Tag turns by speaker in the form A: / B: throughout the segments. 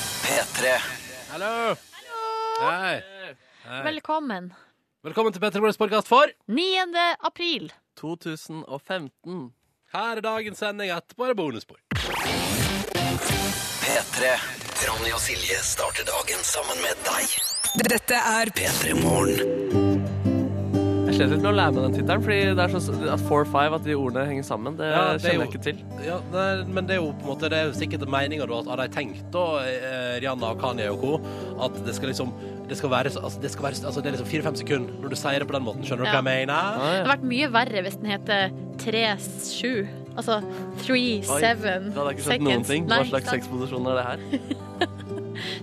A: P3.
B: Hallo! Hei. Hei.
C: Velkommen.
B: Velkommen til Petter Morgens podkast for
C: 9. april.
D: 2015.
B: Her er dagens sending. Etterpå er det bonusspor.
A: P3. Ronny og Silje starter dagen sammen med deg.
E: Dette er
A: P3 Morgen.
D: Jeg slet litt med å lære meg den tittelen, fordi det er så at 4-5, at de ordene henger sammen, det,
B: Ja, det er
D: kjenner jeg
B: jo-
D: ikke til.
B: Ja, nei, men det er jo på en måte Det er jo sikkert meninga da at har de tenkt, da, eh, Rihanna og Kanye og co., at det skal liksom Det skal være, så- altså, det skal være så- altså, det er liksom fire-fem sekunder når du sier det på den måten. Skjønner du
C: Ja.
B: hva jeg mener?
C: Det hadde vært mye verre hvis den heter 3-7. Altså 3-7
D: Oi, Da hadde jeg ikke skjønt noen ting. Hva slags sexposisjon er det her?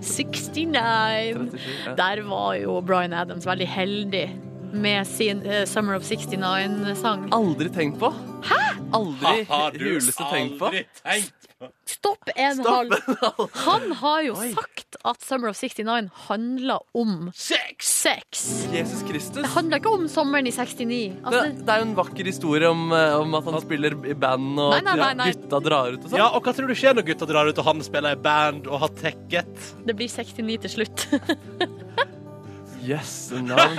C: 69.
D: 37? Ja.
C: Der var jo Bryan Adams veldig heldig med sin eh, Summer of 69-sang.
D: Aldri tenkt på. Hæ? Aldri
B: Ah, Har du
D: huleste tenkt på.
B: aldri tenkt?
C: Stopp en halv! Han har jo sagt at Summer of 69 handler om
B: Sex!
C: sex.
D: Jesus Kristus.
C: Det handler ikke om sommeren i 69.
D: Det,
C: Altså,
D: det er jo en vakker historie om, eh, om at han spiller i band, og
C: Nei, nei, nei,
D: at
C: nei.
D: gutta drar ut og sånn.
B: Ja, og hva tror du skjer når gutta drar ut og han spiller i band og har tekket?
C: det blir 69 til slutt.
D: Yes, navn.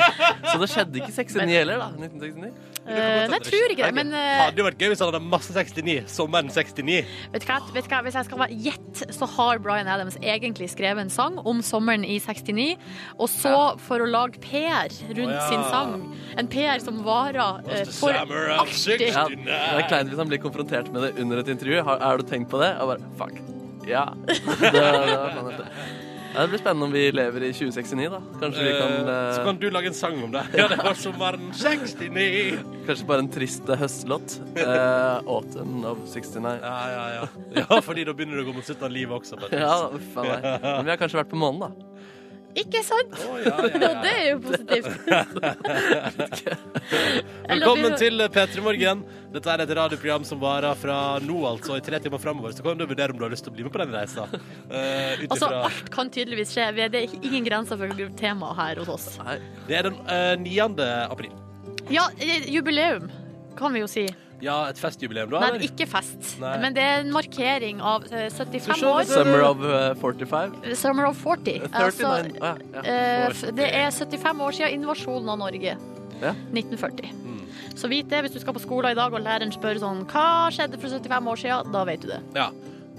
D: Så det skjedde ikke 69 heller, da. 1969.
C: Eh, Nei, jeg tror ikke det, men eh,
B: Hadde jo vært gøy hvis han hadde masse 69. Sommeren 69.
C: Vet du hva, vet du hva? Hvis jeg skal være gjett, så har Bryan Adams egentlig skrevet en sang om sommeren i 69. Og så, for å lage PR rundt
B: Å, ja.
C: sin sang, en PR som varer eh,
B: the
C: for
B: summer of
C: alltid.
B: 69.
D: Ja, det er kleint hvis han blir konfrontert med det under et intervju. Har, har du tenkt på det? Og bare fuck. Ja. Det, det, var sånn at det. Ja, det blir spennende om vi lever i 2069, da. Kanskje vi kan,
B: Eh, Så
D: eh,
B: kan du lage en sang om det. Ja, det var sommeren 69.
D: Kanskje bare en trist høstlåt. Eh, autumn of 69.
B: Ja, ja, ja. Ja, fordi da begynner det å gå mot slutten av livet også. Petter.
D: Ja, uff a meg. Men vi har kanskje vært på månen, da.
C: Ikke sant?
B: Å, ja, ja,
C: Og
B: ja.
C: det er jo positivt. Eller da blir
B: Velkommen
C: det-
B: til eh, P3 Morgen. Dette er et radioprogram som varer fra nå, altså, i tre timer framover. Så kan du vurdere om du har lyst til å bli med på den reisa. Eh, ut
C: Altså,
B: ifra-
C: alt kan tydeligvis skje. Vi- Det er ingen grenser for temaet her hos oss.
D: Nei.
B: det er den eh, 9. april.
C: Ja, eh, jubileum, kan vi jo si.
B: Ja, et festjubileum, da?
C: Nei,
B: eller?
C: ikke fest.
B: Nei.
C: Men det er en markering av eh,
B: Så
C: 75
B: se,
C: år.
D: Summer of eh, 45.
C: Summer of 40.
D: 39.
C: Altså,
D: Å, ah, ja, ja.
C: Eh, f- Det er 75 år siden invasjonen av Norge.
D: Ja. Mm.
C: 1940. Så vit det hvis du skal på skolen i dag og læreren spør sånn Hva skjedde for 75 år siden? Da vet du det.
B: Ja.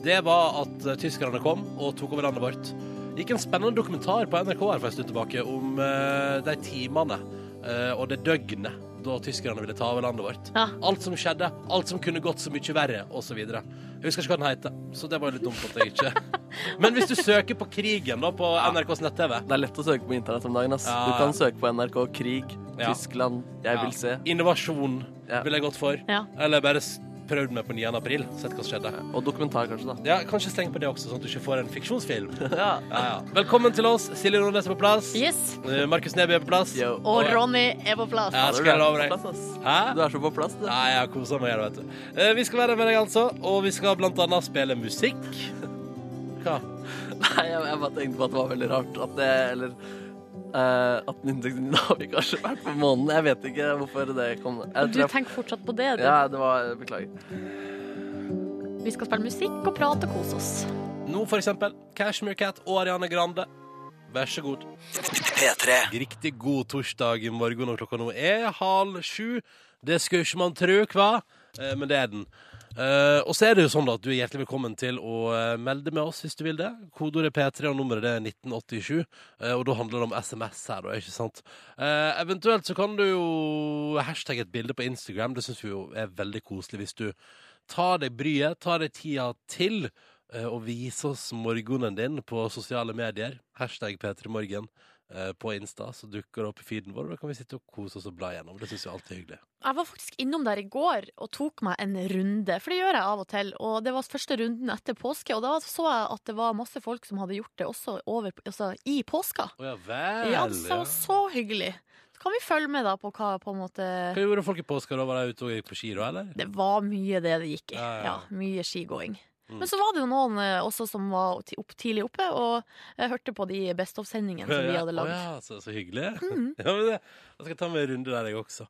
B: Det var at eh, tyskerne kom og tok over landet vårt. Det gikk en spennende dokumentar på NRK her for en stund tilbake om eh, de timene eh, og det døgnet da tyskerne ville ta over landet vårt.
C: Ja.
B: Alt som skjedde, alt som kunne gått så mye verre, osv. Jeg husker ikke hva den heter, så det var jo litt dumt at jeg ikke Men hvis du søker på krigen da på NRKs nett-TV
D: Det er lett å søke på internett om dagen. ass.
B: Ja,
D: Du kan
B: ja.
D: søke på NRK Krig,
B: Ja.
D: Tyskland, Jeg vil se.
B: Innovasjon
D: Ja.
B: ville jeg gått for.
C: Ja.
B: Eller bare s- prøvd meg på 9. april, sett hva som skjedde.
D: Og dokumentar, kanskje, da.
B: Ja, Kanskje sleng på det også, sånn at du ikke får en fiksjonsfilm.
D: Ja.
B: Ja, ja. Velkommen til oss. Silje Nordnes er på plass.
C: Yes.
B: Eh, Markus Neby er på plass.
D: Yo.
C: Og Ronny er på plass.
B: Ja,
D: Ja, du
B: skal jeg
D: er
B: love
D: på
B: deg.
D: plass, ass.
B: Hæ?
D: Du er så på plass, du.
B: Nei, jeg har kosa meg i det, vet du. Eh, Vi skal være med deg, altså. Og vi skal blant annet spille musikk. Hva?
D: Nei, jeg, jeg bare tenkte på at det var veldig rart at det Eller eh, at 1969 da har vi kanskje vært på månen. Jeg vet ikke hvorfor det kom. Jeg
C: Du
D: tror jeg,
C: tenker fortsatt på det. du.
D: ja, det var Beklager.
C: Vi skal spille musikk og prate og kose oss.
B: Nå, for eksempel, Cashmere Cat og Ariane Grande. Vær så god.
A: P3.
B: Riktig god torsdag i morgen, og klokka nå er halv sju. Det skulle ikke man tro, hva? Eh, Men det er den. Eh, og så er det jo sånn da at du er hjertelig velkommen til å eh, melde med oss hvis du vil det. Kodeordet P3 og nummeret det er 1987. eh, og da handler det om SMS her, da, ikke sant? Eh, eventuelt så kan du jo hashtagge et bilde på Instagram. Det syns vi jo er veldig koselig hvis du tar deg bryet, tar deg tida til. eh, Og viser oss morgenen din på sosiale medier. Hashtag P3morgen eh, på Insta, så dukker det opp i feeden vår. og Da kan vi sitte og kose oss og bla gjennom. Det syns jeg alltid er hyggelig.
C: Jeg var faktisk innom der i går og tok meg en runde, for det gjør jeg av og til. Og det var første runden etter påske, og da så jeg at det var masse folk som hadde gjort det også over, altså, i påska.
B: Å ja vel.
C: Ja, det var så hyggelig. Så kan vi følge med da på hva på en måte
B: Hva gjorde folk i påska? da? Var de ute og gikk på ski da, eller?
C: Det var mye det det gikk i.
B: Ja, ja, ja.
C: Ja, mye skigåing.
B: Mm.
C: Men så var det jo noen eh, også som var ti- opp, tidlig oppe og eh, hørte på de Best of-sendingene som vi hadde
B: Å
C: lagd. Mhm.
B: ja, så, så hyggelig. Ja, men det, jeg skal ta meg en runde der, jeg også.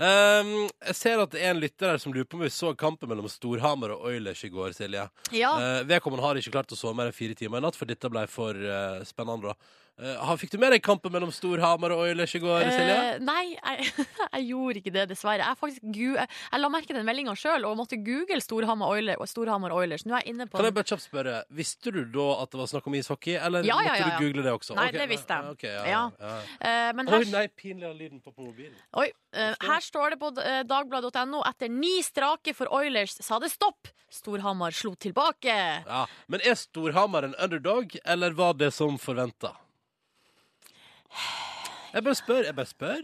B: Ehm, jeg ser at det er en lytter her som lurer på om vi så kampen mellom Storhamar og Oilers i går, Silje.
C: Ja,
B: Eh, Vedkommende har ikke klart å sove mer enn fire timer i natt, for dette ble for eh, spennende. da. Eh, har- fikk du med deg kampen mellom Storhamar og Oilers i går, Silje?
C: Eh, nei, jeg, jeg gjorde ikke det, dessverre. Jeg, faktisk, gu, jeg, jeg la merke til den meldinga sjøl og måtte google Storhamar Oiler- og Storhamar Oilers. Nå er jeg inne på
B: Kan jeg bare kjapt spørre, Visste du da at det var snakk om ishockey, eller
C: Ja, ja, ja,
B: måtte
C: ja.
B: du google det også?
C: Nei,
B: Ok,
C: det visste jeg.
B: ok, ja,
C: Ja.
B: ja.
C: Eh, men
B: Oi,
C: her,
B: nei, pinlig av lyden på mobilen.
C: oi, eh, her står det på eh, dagbladet.no etter ni strake for Oilers sa det stopp. Storhamar slo tilbake.
B: Ja. Men er Storhamar en underdog, eller var det som forventa? Jeg bare spør. Jeg bare spør.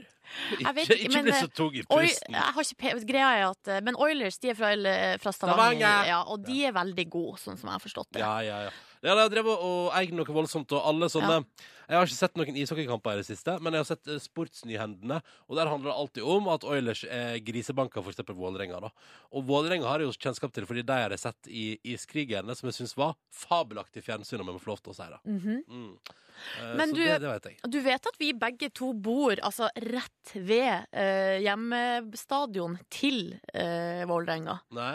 B: Ikke,
C: vet ikke,
B: ikke
C: men, eh,
B: bli så tung i
C: Oi,
B: pusten.
C: jeg har ikke pe Greia er at eh, Men Oilers de er fra, eller, fra Stavanger,
B: Stavanger.
C: Ja, og de er veldig gode, sånn som jeg har forstått det.
B: Ja, ja, ja. Ja, de har drevet og eid noe voldsomt, og alle sånne Jeg har ikke sett noen ishockeykamper i det siste, men jeg har sett eh, sportsnyhendene, og der handler det alltid om at Oilers er grisebanker, for eksempel Vålerenga, da. Og Vålerenga har jeg jo kjennskap til, fordi de har jeg sett i Iskrigerne, som jeg syns var fabelaktig fjernsyn, om jeg må få lov til å si det.
C: Mhm.
B: Mm. Eh,
C: Men
B: så
C: du-
B: det, det vet jeg.
C: Du vet at vi begge to bor altså, rett ved eh, hjemmestadion til eh, Vålerenga?
B: Nei?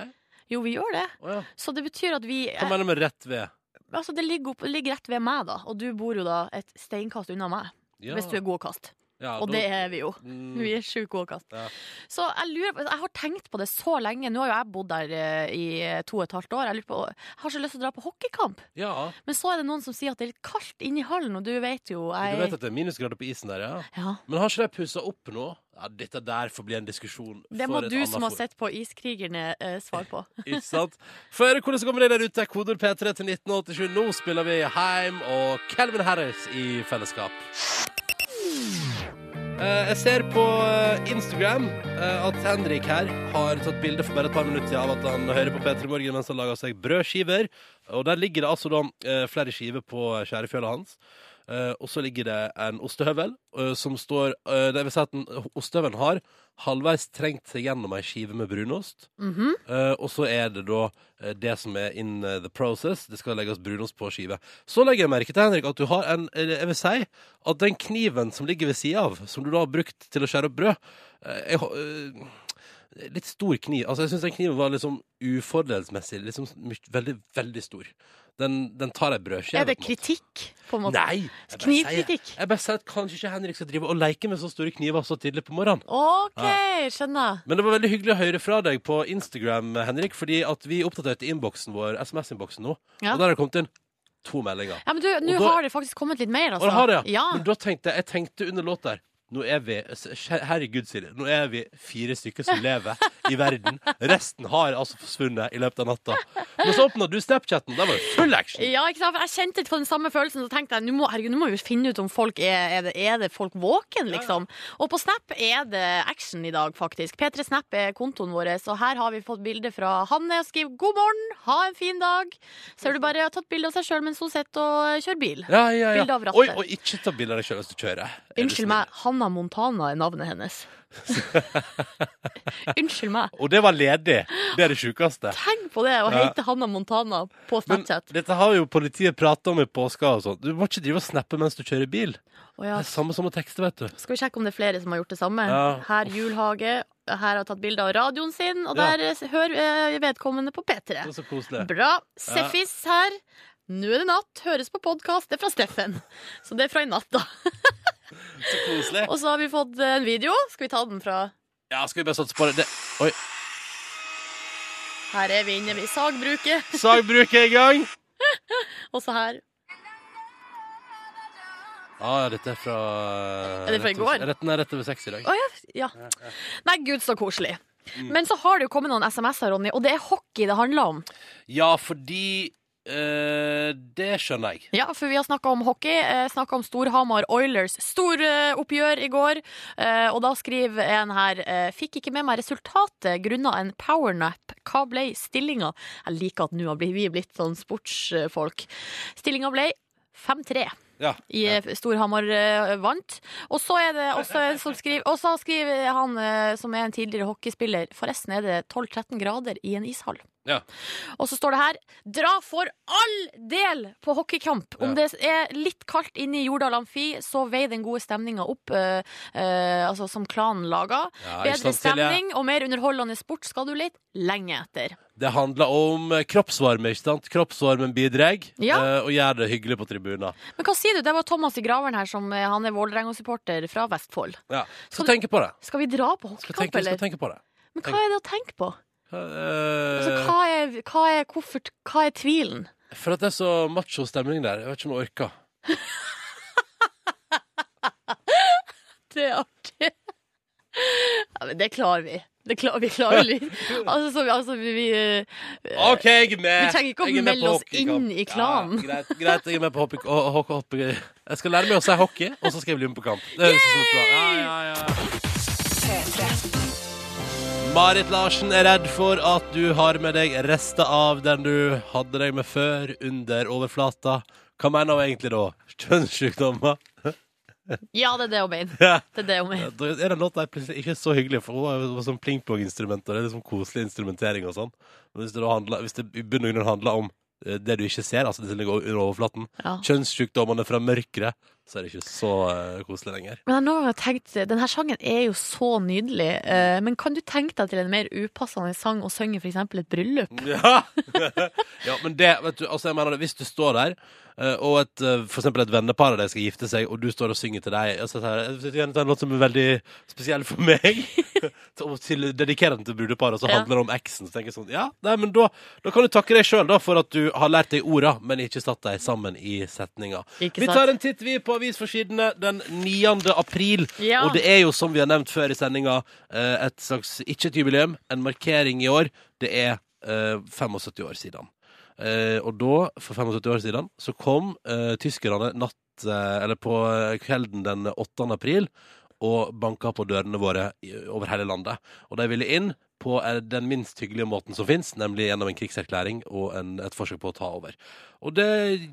C: Jo, vi gjør det.
B: Å ja.
C: Så det betyr at vi
B: Hva
C: eh,
B: mener du med rett ved?
C: altså, Det ligger, opp, ligger rett ved meg, da. Og du bor jo da et steinkast unna meg,
B: Ja.
C: hvis du er god å kaste.
B: ja,
C: Og
B: da-
C: det er vi jo.
B: Mm.
C: Vi er sjukt gode å kaste.
B: Ja.
C: Så jeg lurer på Jeg har tenkt på det så lenge. Nå har jo jeg bodd der eh, i to og et halvt år. Jeg, lurer på, jeg har så lyst til å dra på hockeykamp.
B: ja.
C: Men så er det noen som sier at det er litt kaldt inne i hallen, og du vet jo jeg
B: Du vet at det er minusgrader på isen der, ja?
C: ja.
B: Men har ikke de pussa opp nå? Ja, dette der får bli en diskusjon
C: Det
B: for
C: må
B: et
C: du
B: annet
C: som har
B: forum.
C: sett på Iskrigerne eh, svare på.
B: Ikke sant? Få høre hvordan det går med deg der ute. Kodord P3 til 1987. Nå spiller vi Heim og Calvin Harris i fellesskap. Eh, Jeg ser på eh, Instagram eh, at Henrik her har tatt bilde for bare et par minutter siden av at han hører på P3 Morgen mens han lager seg brødskiver. Og der ligger det altså da eh, flere skiver på skjærefjøla hans. Eh, og så ligger det en ostehøvel eh, som står eh, Det vil si at den- ostehøvelen har halvveis trengt seg gjennom ei skive med brunost.
C: Mhm.
B: Eh, og så er det da eh, det som er in eh, the process. Det skal legges brunost på skive. Så legger jeg merke til Henrik at du har en eller Jeg vil si at den kniven som ligger ved sida av, som du da har brukt til å skjære opp brød eh, jeg, har- eh, Litt stor kniv. Altså, jeg syns den kniven var liksom ufordelsmessig. Liksom my- veldig, veldig stor. Den, den tar ei brødskive.
C: Er det
B: på en måte.
C: kritikk, på en måte?
B: Nei! jeg bare sier-
C: Knivkritikk?
B: Jeg bare sier at kanskje ikke Henrik skal drive og leke med så store kniver så tidlig på morgenen.
C: OK, skjønner.
B: Men det var veldig hyggelig å høre fra deg på Instagram, Henrik, fordi at vi oppdaterte innboksen vår, SMS-innboksen nå,
C: Ja.
B: og der har det kommet inn to meldinger.
C: Ja, men du, Nå
B: Og da-
C: har det faktisk kommet litt mer,
B: Og
C: altså.
B: det har det,
C: ja.
B: Men da tenkte jeg, jeg tenkte under låt der, nå er vi, herregud Silje, nå er vi fire stykker som lever i verden. Resten har altså forsvunnet i løpet av natta. Men så åpnet du Snapchatten, der var det full action.
C: Ja, ikke sant? For Jeg kjente på den samme følelsen, så tenkte jeg nå må, herregud, nå må vi finne ut om folk er, er, det, er det folk våken, liksom. Og på Snap er det action i dag, faktisk. P3 Snap er kontoen vår, så her har vi fått bilde fra Hanne og skriver 'God morgen, ha en fin dag'. Så har du bare tatt bilde av seg sjøl mens hun sitter og kjører bil.
B: Ja, ja, ja.
C: Bilde av rattet.
B: Oi, og ikke ta bilder av deg selv hvis du kjører. Er du
C: Unnskyld
B: snill?
C: meg, Hanna Montana er navnet hennes. Unnskyld meg.
B: Og det var ledig. Det er det sjukeste.
C: Tenk på det, å
B: Ja.
C: hete Hanna Montana på
B: Men
C: Snapchat.
B: dette har jo politiet pratet om i påska og sånt. Du må ikke drive og snappe mens du kjører bil.
C: Å ja.
B: Det er samme som å tekste, vet du.
C: Skal vi sjekke om det er flere som har gjort det samme?
B: Ja.
C: Her julhage, her har tatt bilde av radioen sin, og
B: Ja.
C: der eh, hører eh, vedkommende på
B: Det
C: P3.
B: er så koselig.
C: Bra. Seffis her. Nå er det natt, høres på podkast. Det er fra Steffen. Så det er fra i natt, da.
B: Så koselig.
C: Og så har vi fått eh, en video. Skal vi ta den fra
B: Ja, skal vi bare satse på det? det. Oi.
C: Her er vi inne i sagbruket.
B: Sagbruket er i gang!
C: Og så her.
B: Ja, ja, dette er fra
C: Er det fra i går?
B: Retten er rett over seks i dag.
C: Å ja. ja. Nei, gud, så koselig.
B: Mm.
C: Men så har det jo kommet noen SMS-er, Ronny, og det er hockey det handler om.
B: Ja, fordi eh, Det skjønner jeg.
C: Ja, for vi har snakka om hockey. Eh, snakka om Storhamar Oilers. Stor eh, oppgjør i går. Eh, og da skriver en her eh, Fikk ikke med meg resultatet grunna en powernap. Hva ble stillinga? Jeg liker at nå har bli- vi blitt sånn sportsfolk. Stillinga ble 5-3.
B: Ja.
C: i eh, Storhamar eh, vant. Og så er det også en som skriver Og så skriver han eh, som er en tidligere hockeyspiller Forresten er det 12-13 grader i en ishall.
B: Ja.
C: Og så står det her Dra for all del på hockeykamp! Om det er litt kaldt inne i Jordal Amfi, så vei den gode stemninga opp eh, eh, altså som klanen lager.
B: Ja, ikke
C: Bedre
B: sant, Silje?
C: stemning og mer underholdende sport skal du lete lenge etter.
B: Det handler om eh, kroppsvarme, ikke sant? Kroppsvarmen bidrar,
C: Ja.
B: eh, og gjør det hyggelig på tribunen.
C: Men hva sier du? Det var Thomas i Graveren her, som eh, han er Vålerenga-supporter fra Vestfold.
B: Ja.
C: Skal
B: Skal
C: du-
B: tenke på det.
C: Skal vi dra på
B: Skal
C: hockeykamp,
B: tenke, skal
C: eller?
B: tenke på det.
C: Men hva er det å tenke på? Altså,
B: Eh,
C: hva, er, hva, er koffert, hva er tvilen?
B: for at det er så macho stemning der. Jeg vet ikke om jeg orker.
C: Det er artig. Ja, men det klarer vi. Det klarer, vi klarer litt. Altså, så, altså vi, vi eh,
B: OK, jeg er med!
C: Vi trenger ikke å
B: Jeg er med
C: melde
B: på
C: oss
B: hockeykamp.
C: inn i klanen.
B: Ja, greit, greit, jeg er med på hockey... ho- ho- hockey- Jeg skal lære meg å si hockey, og så skal jeg bli med på kamp. Det høres ut som et plan. Ja, ja, ja. Marit Larsen er redd for at du har med deg rester av den du hadde deg med før, under overflata. Hva mener hun egentlig da? Kjønnssykdommer?
C: Ja, det er det hun mener.
B: Ja.
C: Det er det hun mener.
B: Da er den låta her plutselig ikke så hyggelig, for hun har jo sånn pling-plong-instrument, og det er liksom koselig instrumentering og sånn. Men hvis det, da handler, hvis det i bunn og grunn handler om eh, det du ikke ser, altså det som ligger under overflaten,
C: Ja.
B: kjønnssykdommene fra mørkere, så er det ikke så eh, koselig lenger.
C: Men jeg har noen ganger tenkt Denne sangen er jo så nydelig, eh, men kan du tenke deg til en mer upassende sang å synge f.eks. et bryllup?
B: Ja. ja, men det, vet du, altså jeg mener det, hvis du står der, eh, og et, eh, for eksempel et vennepar av deg skal gifte seg, og du står og synger til deg, altså, jeg vil gjerne ta en låt som er veldig spesiell for meg, og til, dedikerer den til brudeparet, og så
C: Ja.
B: handler det om eksen, så tenker jeg sånn, ja, nei, men da, da kan du takke deg selv da, for at du har lært deg orda, men ikke satt deg sammen i setninga.
C: Ikke
B: Vi
C: sant?
B: tar en titt vi på avisforsidene den 9. april.
C: Ja.
B: Og det er jo, som vi har nevnt før i sendinga, eh, et slags ikke et jubileum, en markering i år. Det er eh, 75 år siden. Eh, Og da, for 75 år siden, så kom eh, tyskerne natt eh, Eller på eh, kvelden den 8. april og banka på dørene våre i- over hele landet. Og de ville inn på eh, den minst hyggelige måten som fins, nemlig gjennom en krigserklæring og en, et forsøk på å ta over. Og det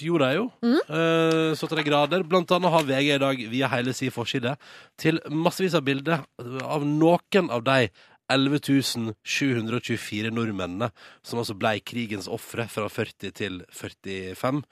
B: gjorde jeg jo. eh, så til de grader. Blant annet har VG i dag via hele sin forside til massevis av bilder av noen av de 11.724 nordmennene som altså blei krigens ofre fra 40 til 45.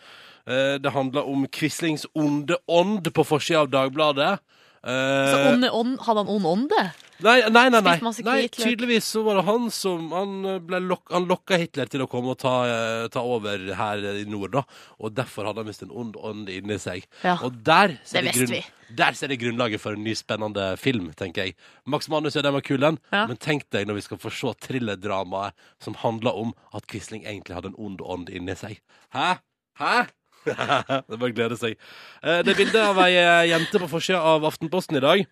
B: Eh, det handla om Quislings onde ånd på forsida av Dagbladet. Eh,
C: Så onde, ånd- hadde han ond ånde?
B: Nei, nei, nei, nei.
C: Spist masse
B: nei
C: hvitløk.
B: tydeligvis så var det han som Han, eh, ble lok han lokka Hitler til å komme og ta, eh, ta over her i nord, da. Og derfor hadde han visst en ond ånd inni seg.
C: Ja.
B: Og der ser det,
C: Det visste
B: grunn der ser det grunnlaget for en ny, spennende film, tenker jeg. Max Manus ja, den var kul, den.
C: Ja.
B: Men tenk deg når vi skal få se thrillerdramaet som handler om at Quisling egentlig hadde en ond ånd inni seg. Hæ? Hæ? det er bare å glede seg. Eh, Det er bilde av ei eh, jente på forsida av Aftenposten i dag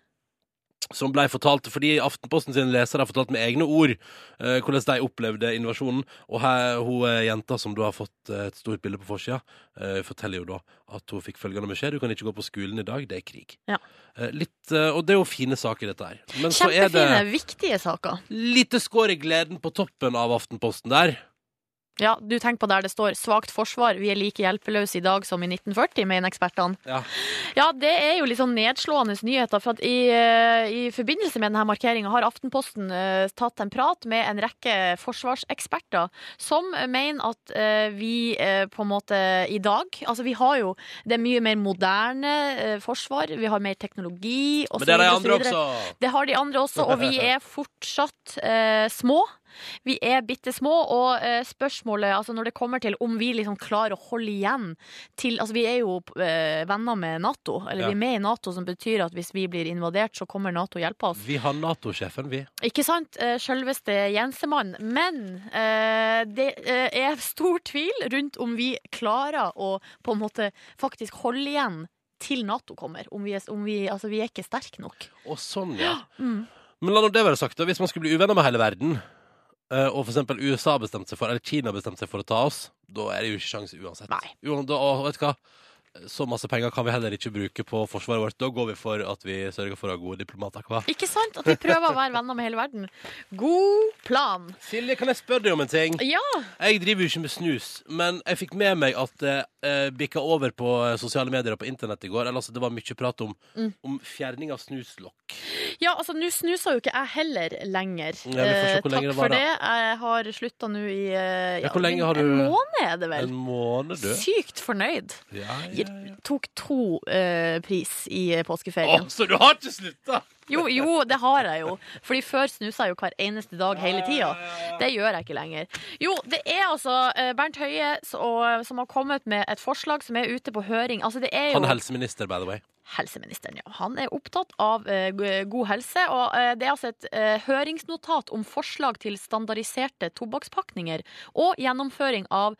B: som ble fortalt fordi Aftenposten sine lesere har fortalt med egne ord eh, hvordan de opplevde invasjonen. Og her, hun eh, jenta som da har fått eh, et stort bilde på forsida, eh, forteller jo da at hun fikk følgende beskjed. Du kan ikke gå på skolen i dag, det er krig.
C: Ja.
B: Eh, litt, eh, og det er jo fine saker, dette her. Men så er det
C: Kjempefine, viktige saker.
B: lite skår i gleden på toppen av Aftenposten der.
C: Ja, du tenker på der det står 'svakt forsvar', vi er like hjelpeløse i dag som i 1940, mener ekspertene.
B: Ja.
C: Ja, det er jo litt sånn nedslående nyheter, for at i, eh, i forbindelse med denne markeringa har Aftenposten eh, tatt en prat med en rekke forsvarseksperter som mener at eh, vi eh, på en måte i dag Altså, vi har jo det mye mer moderne eh, forsvar, vi har mer teknologi osv.
B: Men det er de andre også.
C: Det har de andre også, og vi er fortsatt eh, små. Vi er bitte små, og eh, spørsmålet altså når det kommer til om vi liksom klarer å holde igjen til Altså, vi er jo eh, venner med Nato, eller
B: Ja.
C: vi er med i Nato, som betyr at hvis vi blir invadert, så kommer Nato og hjelper oss.
B: Vi har Nato-sjefen, vi.
C: Ikke sant? Eh, Sjølveste Jensemann. Men eh, det eh, er stor tvil rundt om vi klarer å på en måte faktisk holde igjen til Nato kommer. Om vi er, om vi, altså, vi er ikke sterke nok.
B: Og sånn, ja. Men la nå det være sagt, da. Hvis man skulle bli uvenner med hele verden, eh, og f.eks. USA bestemte seg for, eller Kina bestemte seg for å ta oss, da er det jo ikke sjanse uansett.
C: Nei.
B: Jo, da, og vet du hva? så masse penger kan vi heller ikke bruke på forsvaret vårt. Da går vi for at vi sørger for å ha gode diplomater. Hva?
C: Ikke sant? At vi prøver å være venner med hele verden. God plan.
B: Silje, kan jeg spørre deg om en ting?
C: Ja.
B: Jeg driver jo ikke med snus, men jeg fikk med meg at det eh, bikka over på eh, sosiale medier og på internett i går. Eller, altså, det var mye prat om, om fjerning av snuslokk.
C: Ja, altså nå snuser jo ikke jeg heller lenger.
B: Ja, vi får se
C: Eh,
B: hvor
C: Takk
B: lenge det
C: for
B: varer.
C: det. Jeg har slutta nå i eh,
B: Ja, hvor lenge har
C: en,
B: du-
C: en måned, er det vel.
B: En måned, du.
C: Sykt fornøyd.
B: Ja, ja,
C: Jeg
B: ja.
C: tok to eh, pris i eh,
B: Å,
C: påskeferien.
B: så du har ikke slutta?
C: Jo, jo, det har jeg jo. Fordi før snusa jeg jo hver eneste dag hele tida. Det gjør jeg ikke lenger. Jo, det er altså eh, Bernt Høie s- og- som har kommet med et forslag som er ute på høring. Altså, det er jo
B: Han er helseminister, by the way.
C: helseministeren, ja. Han er opptatt av eh, go- god helse, og eh, det er altså et eh, høringsnotat om forslag til standardiserte tobakkspakninger og gjennomføring av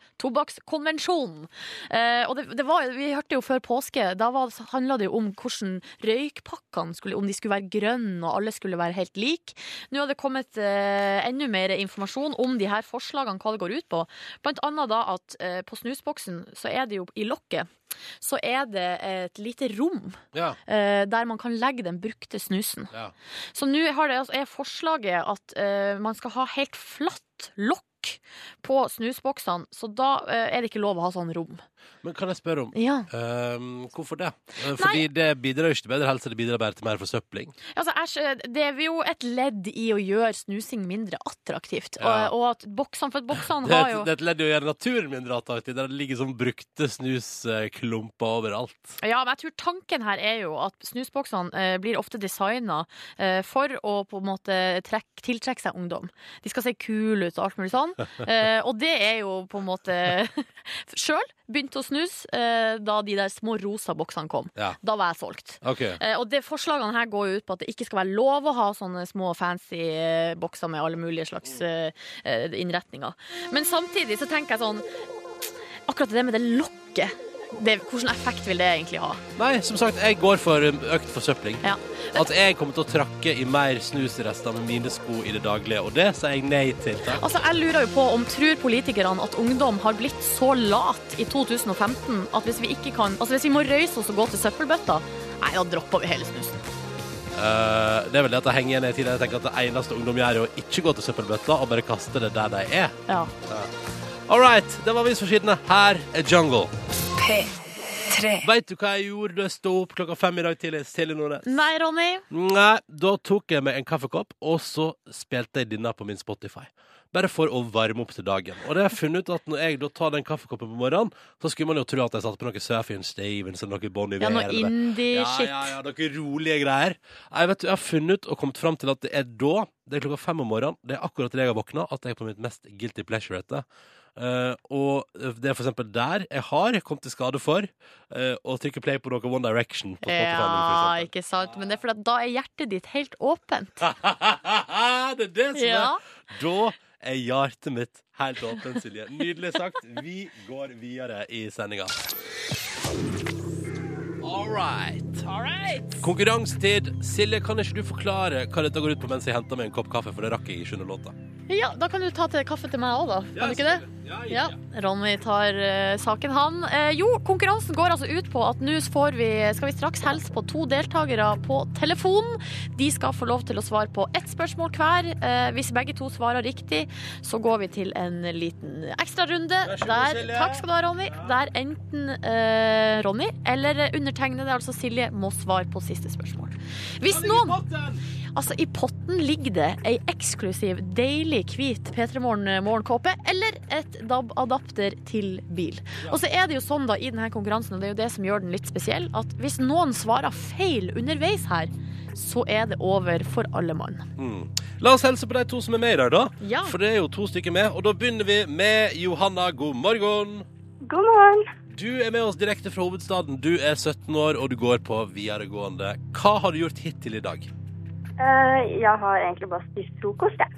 C: tobakkskonvensjonen. Eh, og det, det var, vi hørte jo før påske, da var, handla det jo om hvordan røykpakkene skulle, om de skulle være grønne og alle skulle være helt like. Nå har det kommet eh, enda mer informasjon om de her forslagene, hva det går ut på. Blant annet da at eh, på snusboksen så er det jo i lokket så er det et lite rom
B: Ja,
C: eh, der man kan legge den brukte snusen.
B: ja.
C: Så nå har det, altså, er forslaget at eh, man skal ha helt flatt lokk på snusboksene, så da eh, er det ikke lov å ha sånn rom.
B: Men kan jeg spørre om
C: Ja.
B: ehm, hvorfor det? Eh, Fordi det bidrar jo ikke til bedre helse, det bidrar bare til mer forsøpling.
C: Altså, æsj, det er jo et ledd i å gjøre snusing mindre attraktivt,
B: Ja.
C: og, og at boksene For at boksene
B: Det er,
C: har jo
B: et, det er et ledd i å gjøre naturen mindre attraktiv, der det ligger sånn brukte snusklumper overalt.
C: Ja, men jeg tror tanken her er jo at snusboksene eh, blir ofte designa eh, for å på en måte trekk, tiltrekke seg ungdom. De skal se kule ut og alt mulig sånn. Eh, og det er jo på en måte Sjøl begynte å snuse eh, da de der små rosa boksene kom.
B: Ja.
C: Da var jeg solgt.
B: Ok.
C: Eh, og det, forslagene her går jo ut på at det ikke skal være lov å ha sånne små fancy eh, bokser med alle mulige slags eh, eh, innretninger. Men samtidig så tenker jeg sånn Akkurat det med det lokket, det, hvilken effekt vil det egentlig ha?
B: Nei, som sagt, jeg går for um, økt forsøpling.
C: Ja.
B: At jeg kommer til å trakke i mer snusrester med mine sko i det daglige, og det sier jeg nei til. Takk.
C: Altså, jeg lurer jo på om tror politikerne at ungdom har blitt så lat i 2015 at hvis vi ikke kan Altså hvis vi må røyse oss og gå til søppelbøtta, nei, da dropper vi hele snusen.
B: Eh, det er vel det at jeg henger igjen i tiden. Jeg tenker at det eneste ungdom gjør, er å ikke gå til søppelbøtta og bare kaste det der de er.
C: Ja.
B: All right, det var avisforsidene. Her er Jungle.
E: P3.
B: Veit du hva jeg gjorde da jeg sto opp klokka fem i dag tidlig? Silje Nordnes?
C: Nei, Ronny.
B: Nei, da tok jeg meg en kaffekopp, og så spilte jeg denne på min Spotify. Bare for å varme opp til dagen. Og det har jeg funnet ut at når jeg da tar den kaffekoppen på morgenen, så skulle man jo tro at jeg satte på noe Surfing Stevens eller noe Bon Iver.
C: Ja, noe
B: eller-
C: indie-shit.
B: ja, ja, ja, noen rolige greier. Jeg, vet, du, jeg har funnet og kommet fram til at det er da, det er klokka fem om morgenen, det er akkurat til jeg har våkna, at jeg er på mitt mest guilty pleasure etter. Eh, og det er for eksempel der jeg har kommet til skade for eh, å trykke play på noe One Direction. På Spotify,
C: Ja,
B: for eksempel.
C: ikke sant. Men det er fordi at da er hjertet ditt helt åpent.
B: det er det som
C: Ja.
B: er. Da er hjertet mitt helt åpent, Silje. Nydelig sagt. Vi går videre i sendinga. All right. Konkurransetid. Silje, kan ikke du forklare hva dette går ut på mens jeg henter meg en kopp kaffe, for det rakk jeg ikke under låta.
C: Ja, da kan du ta til kaffe til meg òg, da. Kan du ikke det?
B: Ja,
C: Ja, Ronny tar eh, saken han. Eh, jo, konkurransen går altså ut på at nå får vi, skal vi straks helse på to deltakere på telefon. De skal få lov til å svare på ett spørsmål hver. Eh, hvis begge to svarer riktig, så går vi til en liten ekstrarunde.
B: Vær så god,
C: Der,
B: Silje.
C: takk skal du ha, Ronny. Der enten eh, Ronny eller undertegnede, altså Silje, må svare på siste spørsmål. Hvis noen Altså, I potten ligger det ei eksklusiv, deilig hvit P3 Morgen-morgenkåpe eller et DAB-adapter til bil. Og så er det jo sånn da i denne konkurransen, og det er jo det som gjør den litt spesiell, at hvis noen svarer feil underveis her, så er det over for alle mann.
B: Mm. La oss helse på de to som er med i dag, da.
C: Ja.
B: For det er jo to stykker med. Og da begynner vi med Johanna. God morgen.
F: God morgen.
B: Du er med oss direkte fra hovedstaden. Du er 17 år, og du går på videregående. Hva har du gjort hittil i dag?
F: Eh, jeg har egentlig bare spist frokost, jeg.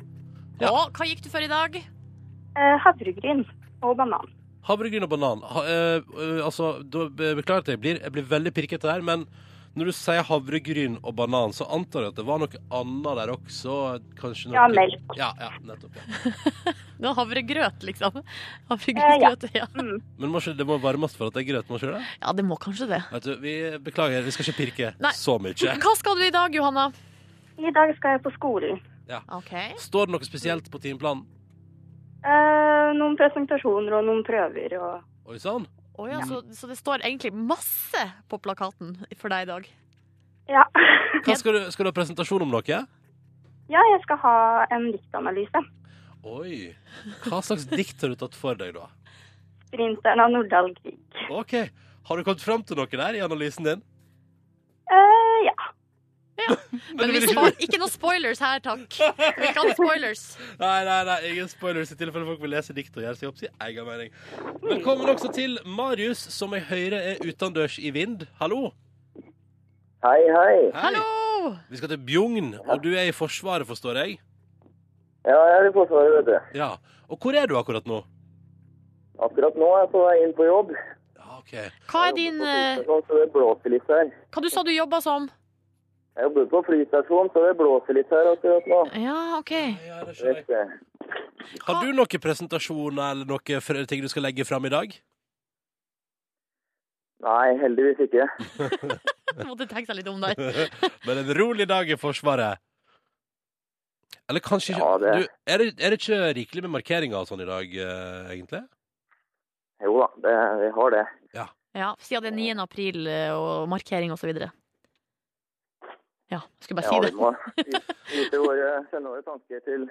B: Ja.
C: Og hva gikk du for i dag?
F: Eh, havregryn og banan.
B: Havregryn og banan. Ha, eh, eh, altså, da, be- beklager at jeg blir, jeg blir veldig pirkete her, men Når du sier havregryn og banan, så antar jeg at det var noe annet der også? Kanskje noe
F: Ja, melk.
B: Ja, ja, nettopp. Ja.
C: Det var havregrøt, liksom.
F: Eh, ja.
C: Havregrøt, ja.
B: Men må ikke, det må varmes for at det er grøt, må ikke det?
C: ja, det må kanskje det.
B: Vet du, vi beklager, vi skal ikke pirke
C: Nei.
B: så mye.
C: Hva skal du i dag, Johanna?
F: I dag skal jeg på skolen.
C: Ok.
B: Står det noe spesielt på timeplanen?
F: Eh, noen presentasjoner og noen prøver og
B: Oi sann.
C: Å ja, så, så det står egentlig masse på plakaten for deg i dag.
F: Ja.
B: Hva Skal, du- skal du ha presentasjon om noe?
F: ja, jeg skal ha en diktanalyse.
B: Oi. Hva slags dikt har du tatt for deg, da?
F: 'Sprinteren av Nordahl Grieg'.
B: OK. Har du kommet fram til noe der i analysen din?
F: Eh, ja.
C: Men vi
B: vil ikke-
C: spar, ikke noe spoilers her, takk. Vi kan spoilers.
B: Nei, nei, nei, ingen spoilers i tilfelle folk vil lese dikt og gjøre seg opp sin egen mening. Velkommen også til Marius, som jeg hører er utendørs i vind. Hallo.
G: Hei, hei.
B: Hei.
C: Hallo!
B: Vi skal til Bjugn, og du er i Forsvaret, forstår jeg.
G: Ja, jeg er i Forsvaret, vet du.
B: Ja. Og hvor er du akkurat nå?
G: Akkurat nå er jeg på vei inn på jobb.
B: Ja, OK.
C: Hva er din eh,
G: Sånn, så det blåser litt her.
C: Hva du sa du jobba som?
G: Jeg jobber på flystasjonen, så det blåser litt her akkurat nå.
C: Ja, OK.
B: Ja, det skjønner
G: Vet
B: jeg.
G: du.
B: Har du noen presentasjoner eller noen fr- ting du skal legge fram i dag?
G: Nei, heldigvis ikke.
C: Jeg måtte tenke seg litt om der.
B: Men en rolig dag i Forsvaret. Eller kanskje ikke
G: Ja, det-
B: du, er, det, er det ikke rikelig med markeringer og sånn i dag, eh, egentlig?
G: Jo da, det, vi har det.
C: Ja, Siden det er 9. april eh, og markering og så videre. Ja, skulle bare
G: Ja,
C: si
G: vi
C: det.
G: må vite våre, sende våre tanker til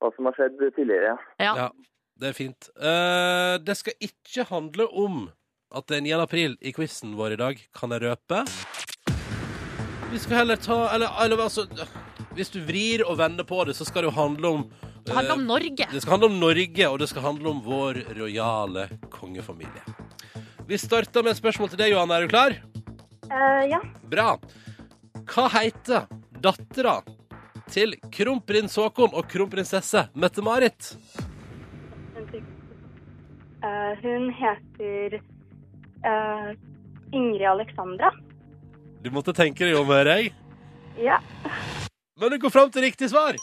G: hva som har skjedd tidligere.
C: Ja.
B: Ja, det er fint. Eh, det skal ikke handle om at det er 9. april i quizen vår i dag, kan jeg røpe. Vi skal heller ta Eller, eller altså Hvis du vrir og vender på det, så skal det jo handle om eh,
C: Det handler om Norge.
B: det skal handle om Norge, og det skal handle om vår rojale kongefamilie. Vi starter med et spørsmål til deg, Johanne. Er du klar?
F: Eh, ja.
B: Bra. Hva heter dattera til kronprins Haakon og kronprinsesse Mette-Marit?
F: Eh, hun heter eh, Ingrid Alexandra.
B: Du måtte tenke deg om, hører jeg.
F: Ja.
B: Men du går fram til riktig svar!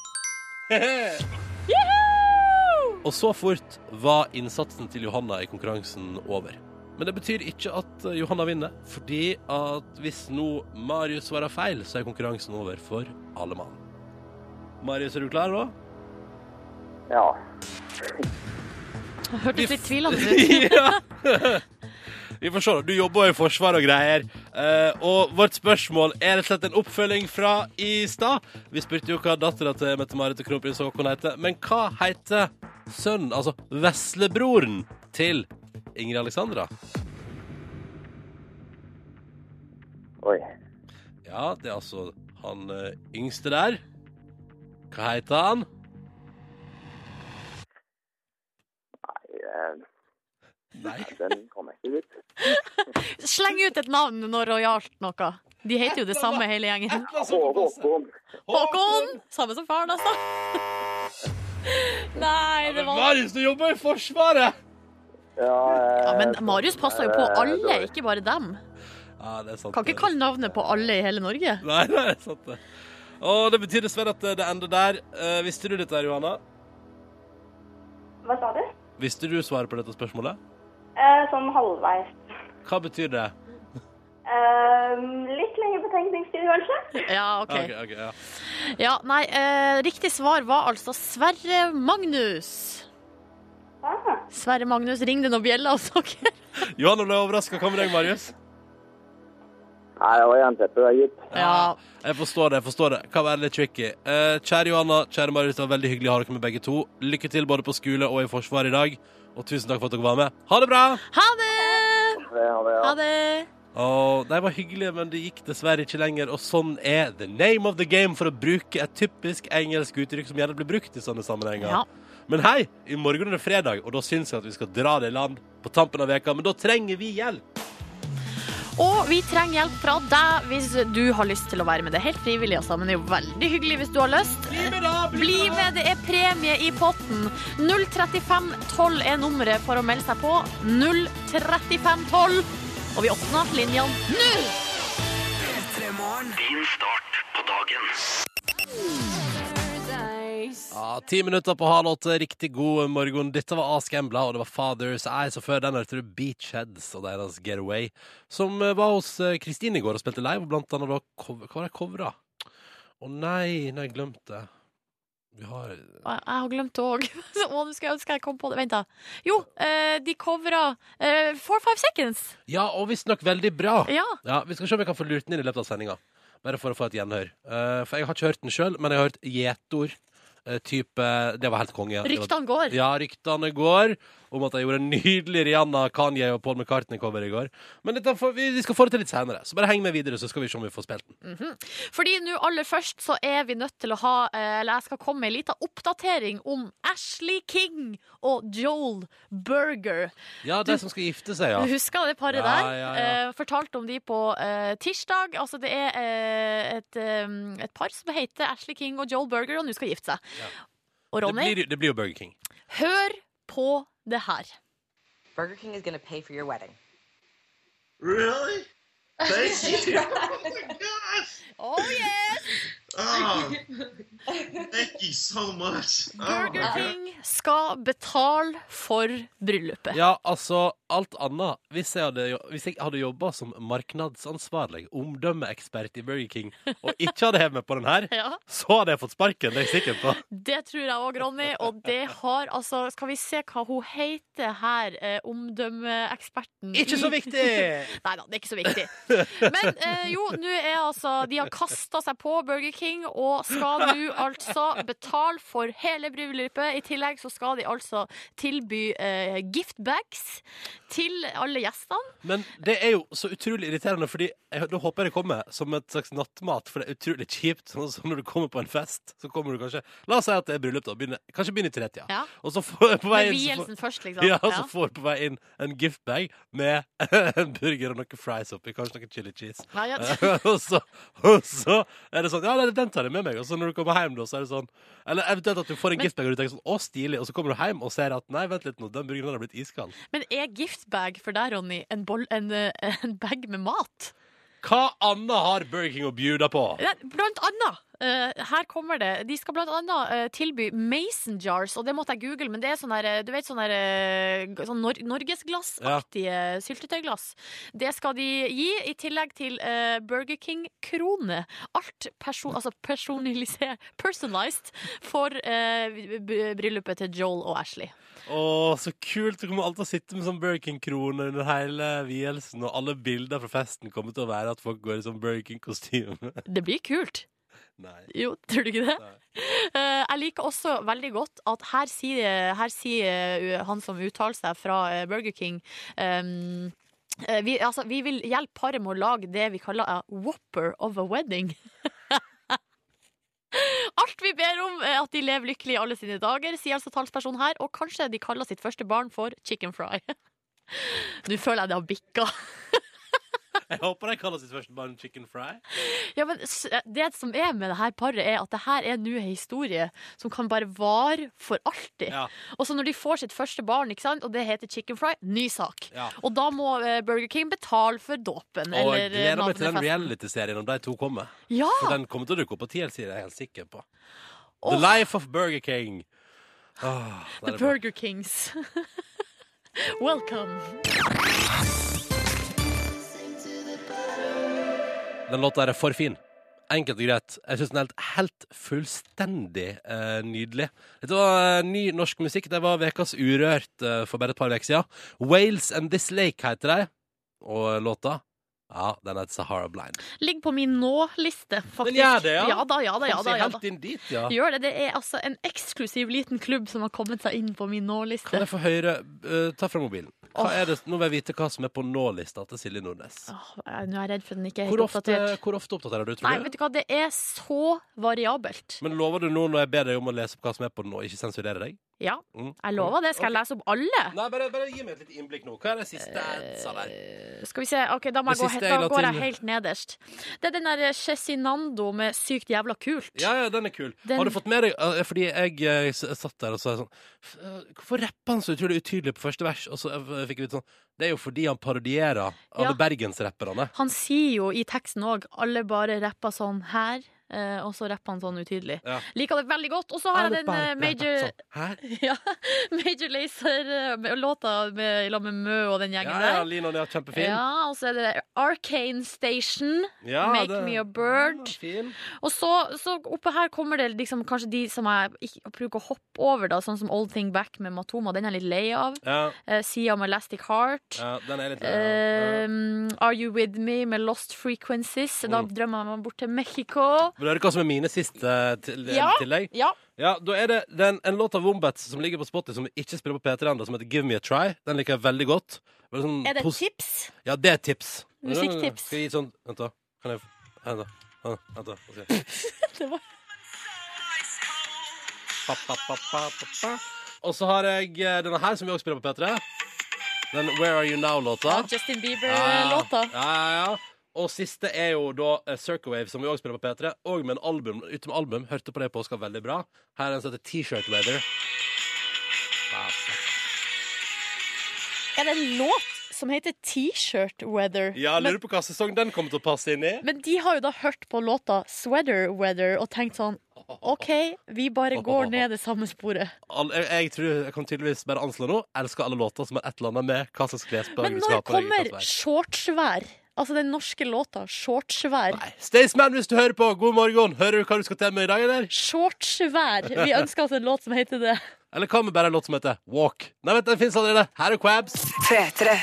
B: Og så fort var innsatsen til Johanna i konkurransen over. Men det betyr ikke at eh, Johanna vinner, fordi at hvis nå Marius svarer feil, så er konkurransen over for alle mann. Marius, er du klar nå?
G: Ja.
C: Eh,
B: Vi f-
C: Hørtes litt tvilende ut.
B: ja. Vi får se. da. Du jobber jo i forsvar og greier. Eh, og vårt spørsmål er rett og slett en oppfølging fra i stad. Vi spurte jo hva dattera til Mette-Marit og kronprins Haakon heter. Men hva heter sønnen, altså veslebroren, til Ingrid Alexandra?
G: Oi.
B: Ja, det er altså han eh, yngste der. Hva heter han?
G: eh,
B: Nei.
G: Den kan jeg ikke ut.
C: Sleng ut et navn når rojalt noe. De heter jo det samme hele gjengen.
G: Hå- Håkon.
C: Håkon! Samme som faren, altså. Nei, det
B: Men
C: var
B: Marius, du jobber i Forsvaret!
G: Ja, eh,
C: ja, Men Marius passa jo på
G: eh,
C: alle,
G: dårlig.
C: ikke bare dem.
B: Ja, det er sant.
C: Kan ikke kalle navnet på alle i hele Norge.
B: Nei, nei, det er sant det. Og det betyr dessverre at det ender der. Eh, visste du dette, her, Johanna?
F: Hva sa du?
B: Visste du svaret på dette spørsmålet?
F: Eh, sånn halvveis.
B: Hva betyr det?
F: Eh, litt lenge betenkningstid,
C: Ja,
F: kanskje?
B: Ja, Ah, ok,
C: OK.
B: ok, ja.
C: Ja, nei, eh, riktig svar var altså Sverre Magnus.
F: Ah.
C: Sverre Magnus, ring det noen bjeller hos dere.
B: Johanna ble overraska. Hva med deg, Marius?
G: Nei, det var jernteppet der, gitt.
C: Ja.
B: Jeg forstår det. jeg forstår det Kan være litt tricky. Eh, kjære Johanna, kjære Marius, det var veldig hyggelig å ha dere med begge to. Lykke til både på skole og i Forsvaret i dag. Og tusen takk for at dere var med. Ha det bra!
C: Ha det!
G: Det, ja, det, ja.
C: Ha det!
B: Åh, de var hyggelige, men det gikk dessverre ikke lenger. Og sånn er the name of the game, for å bruke et typisk engelsk uttrykk som gjerne blir brukt i sånne sammenhenger.
C: Ja.
B: Men hei, i morgen er det fredag, og da syns jeg at vi skal dra det i land på tampen av veka, men da trenger vi hjelp.
C: Og vi trenger hjelp fra deg hvis du har lyst til å være med. Det er helt frivillig, altså, men det er jo veldig hyggelig hvis du har lyst.
B: Bli med, da!
C: Bli med, det er premie i potten. 03512 er nummeret for å melde seg på. 03512. Og vi åpner linjene nå!
A: Din start på dagen.
B: Ja, Ti minutter på halv åtte. Riktig god morgen. Dette var Ask Embla, og det var Father's Eyes. Og før den hørte du Beachheads og deres Getaway, som eh, var hos eh, Kristin i går og spilte live. og Blant annet da cover, Hva var det covra? Å nei, nei, jeg glemte det. Vi har
C: Jeg jeg har glemt det òg. Å, nå skulle jeg ønske jeg kom på det. Vent, da. Jo, eh, de covra eh, Four Five Seconds.
B: Ja, og visstnok veldig bra.
C: Ja.
B: Ja, Vi skal se om jeg kan få lurt den inn i løpet av sendinga. Bare for å få et gjenhør. Eh, for jeg har ikke hørt den sjøl, men jeg har hørt gjetord. eh, type Det var helt konge. ja. Det var-
C: Ryktene går.
B: Ja, ryktene går om at de gjorde en nydelig Rihanna, Kanye og Paul McCartney-cover i går. Men dette får, vi, vi skal få det til litt senere, så bare heng med videre, så skal vi se om vi får spilt den.
C: Fordi nå aller først så er vi nødt til å ha eh, Eller jeg skal komme med en liten oppdatering om Ashley King og Joel Berger.
B: Ja, de som skal gifte seg,
C: Du
B: ja.
C: husker det paret
B: Ja,
C: der?
B: ja, ja.
C: Eh, fortalte om de på eh, tirsdag. Altså det er eh, et, eh, et par som heter Ashley King og Joel Berger, og nå skal gifte seg. Og
B: Det
C: Ronny,
B: blir, det blir jo Burger King.
C: hør på det her.
H: Burger King is going to pay for your wedding.
I: Really? Thank you. oh my gosh.
C: Oh yes!
I: Oh, thank you so much. Oh my
C: Burger
I: God.
C: King skal betale for bryllupet.
B: Ja, altså, alt annet. Hvis jeg hadde, jo- hvis jeg hadde jobba som markedsansvarlig, omdømmeekspert i Burger King, og ikke hadde hevet meg på den her,
C: Ja,
B: så hadde jeg fått sparken, det er jeg sikker på.
C: Det tror jeg òg, Ronny. Og det har altså Skal vi se hva hun heter her, eh, omdømmeeksperten
B: Ikke så
C: i-
B: viktig!
C: Nei da, det er ikke så viktig. Men eh, jo, nå er altså De har kasta seg på Burger King og skal nå altså betale for hele bryllupet. I tillegg så skal de altså tilby eh, giftbags til alle gjestene.
B: Men det er jo så utrolig irriterende, fordi jeg, da håper jeg det kommer som et slags nattmat. For det er utrolig kjipt. Sånn som når du kommer på en fest, så kommer du kanskje La oss si at det er bryllup, da. Begynner, kanskje begynner i tretida.
C: Ja.
B: Og så får på vei
C: Med
B: inn, så får,
C: vielsen først, liksom.
B: ja, så
C: Ja.
B: får på vei inn en giftbag med en burger og noen fries oppi. Kanskje noe chili cheese.
C: Nei, ja.
B: og, så, og så er det sånn Ja, nei, den tar jeg med meg. Og så når du kommer hjem, da, så er det sånn Eller eventuelt at du får en
C: Men-
B: giftbag og du tenker sånn Å, stilig. Og så kommer du hjem og ser at nei, vent litt nå, den burgeren har blitt iskald.
C: Men er giftbag for deg, Ronny, en, boll, en, eh, en bag med mat?
B: Hva annet har Burger King å bjuda på?
C: Ja, Blant annet. eh, her kommer det. De skal blant annet eh, tilby mason jars, og det måtte jeg google, men det er sånn der, eh, du vet, sånn der eh, sånn nor norgesglassaktige syltetøyglass. Det skal de gi, i tillegg til eh, Burger King-krone. Alt perso altså personalisert personalized for eh, b- b- bryllupet til Joel og Ashley.
B: Åh, så kult! Du kommer alltid å sitte med sånn Burger King-krone under hele vielsen, og alle bilder fra festen kommer til å være at folk går i sånn Burger King-kostyme.
C: Det blir kult.
B: Nei.
C: Jo, tror du ikke det? Eh, jeg liker også veldig godt at her sier, her sier eh, han som uttaler seg fra eh, Burger King ehm, eh, vi, altså, vi vil hjelpe paret med å lage det vi kaller a whopper of a wedding. Alt vi ber om, er at de lever lykkelig i alle sine dager, sier altså talspersonen her. Og kanskje de kaller sitt første barn for chicken fry. Nå føler jeg det har bikka.
B: Jeg håper de kaller sitt første barn Chicken Fry.
C: Ja, men s- eh, det som er med det her paret, er at det her er nå en historie som kan bare vare for alltid.
B: Ja.
C: Og så når de får sitt første barn, ikke sant? og det heter chicken fry, ny sak.
B: Ja.
C: Og da må eh, Burger King betale for dåpen.
B: Og jeg
C: eller, eh,
B: gleder meg til den
C: navnefesten.
B: reality-serien om de to kommer.
C: Ja!
B: For den kommer til å dukke opp på TLC, det er jeg helt sikker på. The
C: Åh.
B: Life of Burger King. Åh, det er
C: The
B: bra.
C: Burger Kings. Welcome.
B: Den låta er for fin. Enkelt og greit. Jeg syns den er helt, helt fullstendig eh, nydelig. Dette var eh, ny norsk musikk. Det var Vekas Urørt eh, for bare et par uker siden. Wales and This Lake heter de. Og eh, låta Ja, den heter Sahara Blind.
C: Ligger på min nå-liste, faktisk.
B: gjør det, ja.
C: Ja da, ja da, ja
B: Kom
C: da.
B: seg
C: Ja, da.
B: helt inn dit, ja.
C: Gjør det. Det er altså en eksklusiv liten klubb som har kommet seg inn på min
B: Kan
C: nå-liste.
B: jeg få høre eh, Ta fra mobilen. Hva er det, nå vil jeg vite hva som er på nå-lista til Silje Nordnes.
C: Åh, jeg- Nå er jeg redd for den ikke er helt
B: Hvor ofte,
C: oppdatert.
B: hvor ofte oppdaterer du,
C: Nei,
B: tror
C: vet
B: du?
C: du hva, det er så variabelt.
B: Men lover du nå når jeg ber deg om å lese opp hva som er på den, og ikke sensurere deg?
C: Ja,
B: Mm.
C: jeg lover det. Skal jeg lese opp alle?
B: Nei, bare, bare gi meg et lite innblikk nå. Hva er det siste
C: Eh,
B: jeg sa der?
C: Skal vi se, ok, Da, må
B: Det
C: jeg gå,
B: siste jeg
C: da
B: la
C: går jeg
B: til.
C: helt nederst. Det er den der eh, Cezinando med 'sykt jævla kult'.
B: Ja, ja, den er kul.
C: Den-
B: Har du fått med deg eh, Fordi jeg, eh, s- satt der og sa sånn "F- eh, Hvorfor rapper han så utrolig utydelig på første vers? Og så eh, fikk jeg ut sånn Det er jo fordi han parodierer alle
C: Ja.
B: bergensrapperne.
C: Han sier jo i teksten òg 'alle bare rapper sånn her', eh, og så rapper han sånn utydelig.
B: Ja.
C: Liker det veldig godt. Og så har jeg den eh, Major,
B: Sånn, Hæ?
C: ja, Major Lazer-låta med, i lag med Mø og den
B: Ja, ja,
C: gjengen der.
B: Lino, ja, kjempefin.
C: Ja, og så er det Arcane Station,
B: Ja,
C: Make
B: det-
C: Me a Bird.
B: Ja, fin.
C: Og så, så oppe her kommer det liksom kanskje de som jeg ikke bruker å hoppe over, da, sånn som Old Thing Back med Matoma. Den er jeg litt lei av.
B: Ja,
C: Eh, Sia med Elastic Heart.
B: ja, den er litt ja.
C: Eh, Are You With Me med Lost Frequencies. Da
B: Mm.
C: drømmer jeg meg bort til Mexico.
B: Vil du høre hva som er mine siste eh, til,
C: Ja.
B: tillegg?
C: Ja.
B: Ja, da er det den, en låt av Wombats som ligger på Spotify som ikke spiller på P3 ennå, som heter Give Me A Try. Den liker jeg veldig godt. Bare sånn
C: Er det
B: pos-
C: tips?
B: Ja, det er et tips.
C: Musikktips.
B: Skal jeg gi sånn Vent, da. Kan jeg Vent, da. Vent, da. Vent da. Skal jeg-
C: Det var-
B: Pa, pa, pa, pa, pa, pa. Og så har jeg eh, denne her, som vi også spiller på P3. Den Where Are You Now-låta.
C: Justin
B: Ja,
C: Bieber-låta.
B: ja, ja, ja. Og siste er jo da eh, Circawave, som vi også spiller på P3. Og med en album, utenom album. Hørte på det på Oskar veldig bra. Her er en som heter T-Shirt Weather.
C: Er det en låt som heter T-Shirt Weather?
B: Ja,
C: men,
B: lurer på hva sesong den kommer til å passe inn i.
C: men de har jo da hørt på låta Sweater Weather og tenkt sånn OK, vi bare går ned det samme sporet.
B: All, jeg, jeg, tror, jeg kan tydeligvis bare anslå nå. Elsker alle låter som har et eller annet med hva slags
C: Men
B: klesplagg du skal
C: når
B: ha på deg. i
C: kommer
B: klesvær.
C: shortsvær? Altså den norske låta shortsvær.
B: Nei. Staysman, hvis du hører på, god morgen! Hører du hva du skal til med i dag, eller?
C: Shortsvær. Vi ønsker oss en låt som heter det.
B: Eller hva med bare en låt som heter Walk? Nei, vent, den fins allerede. Her er Quabs.
E: P3.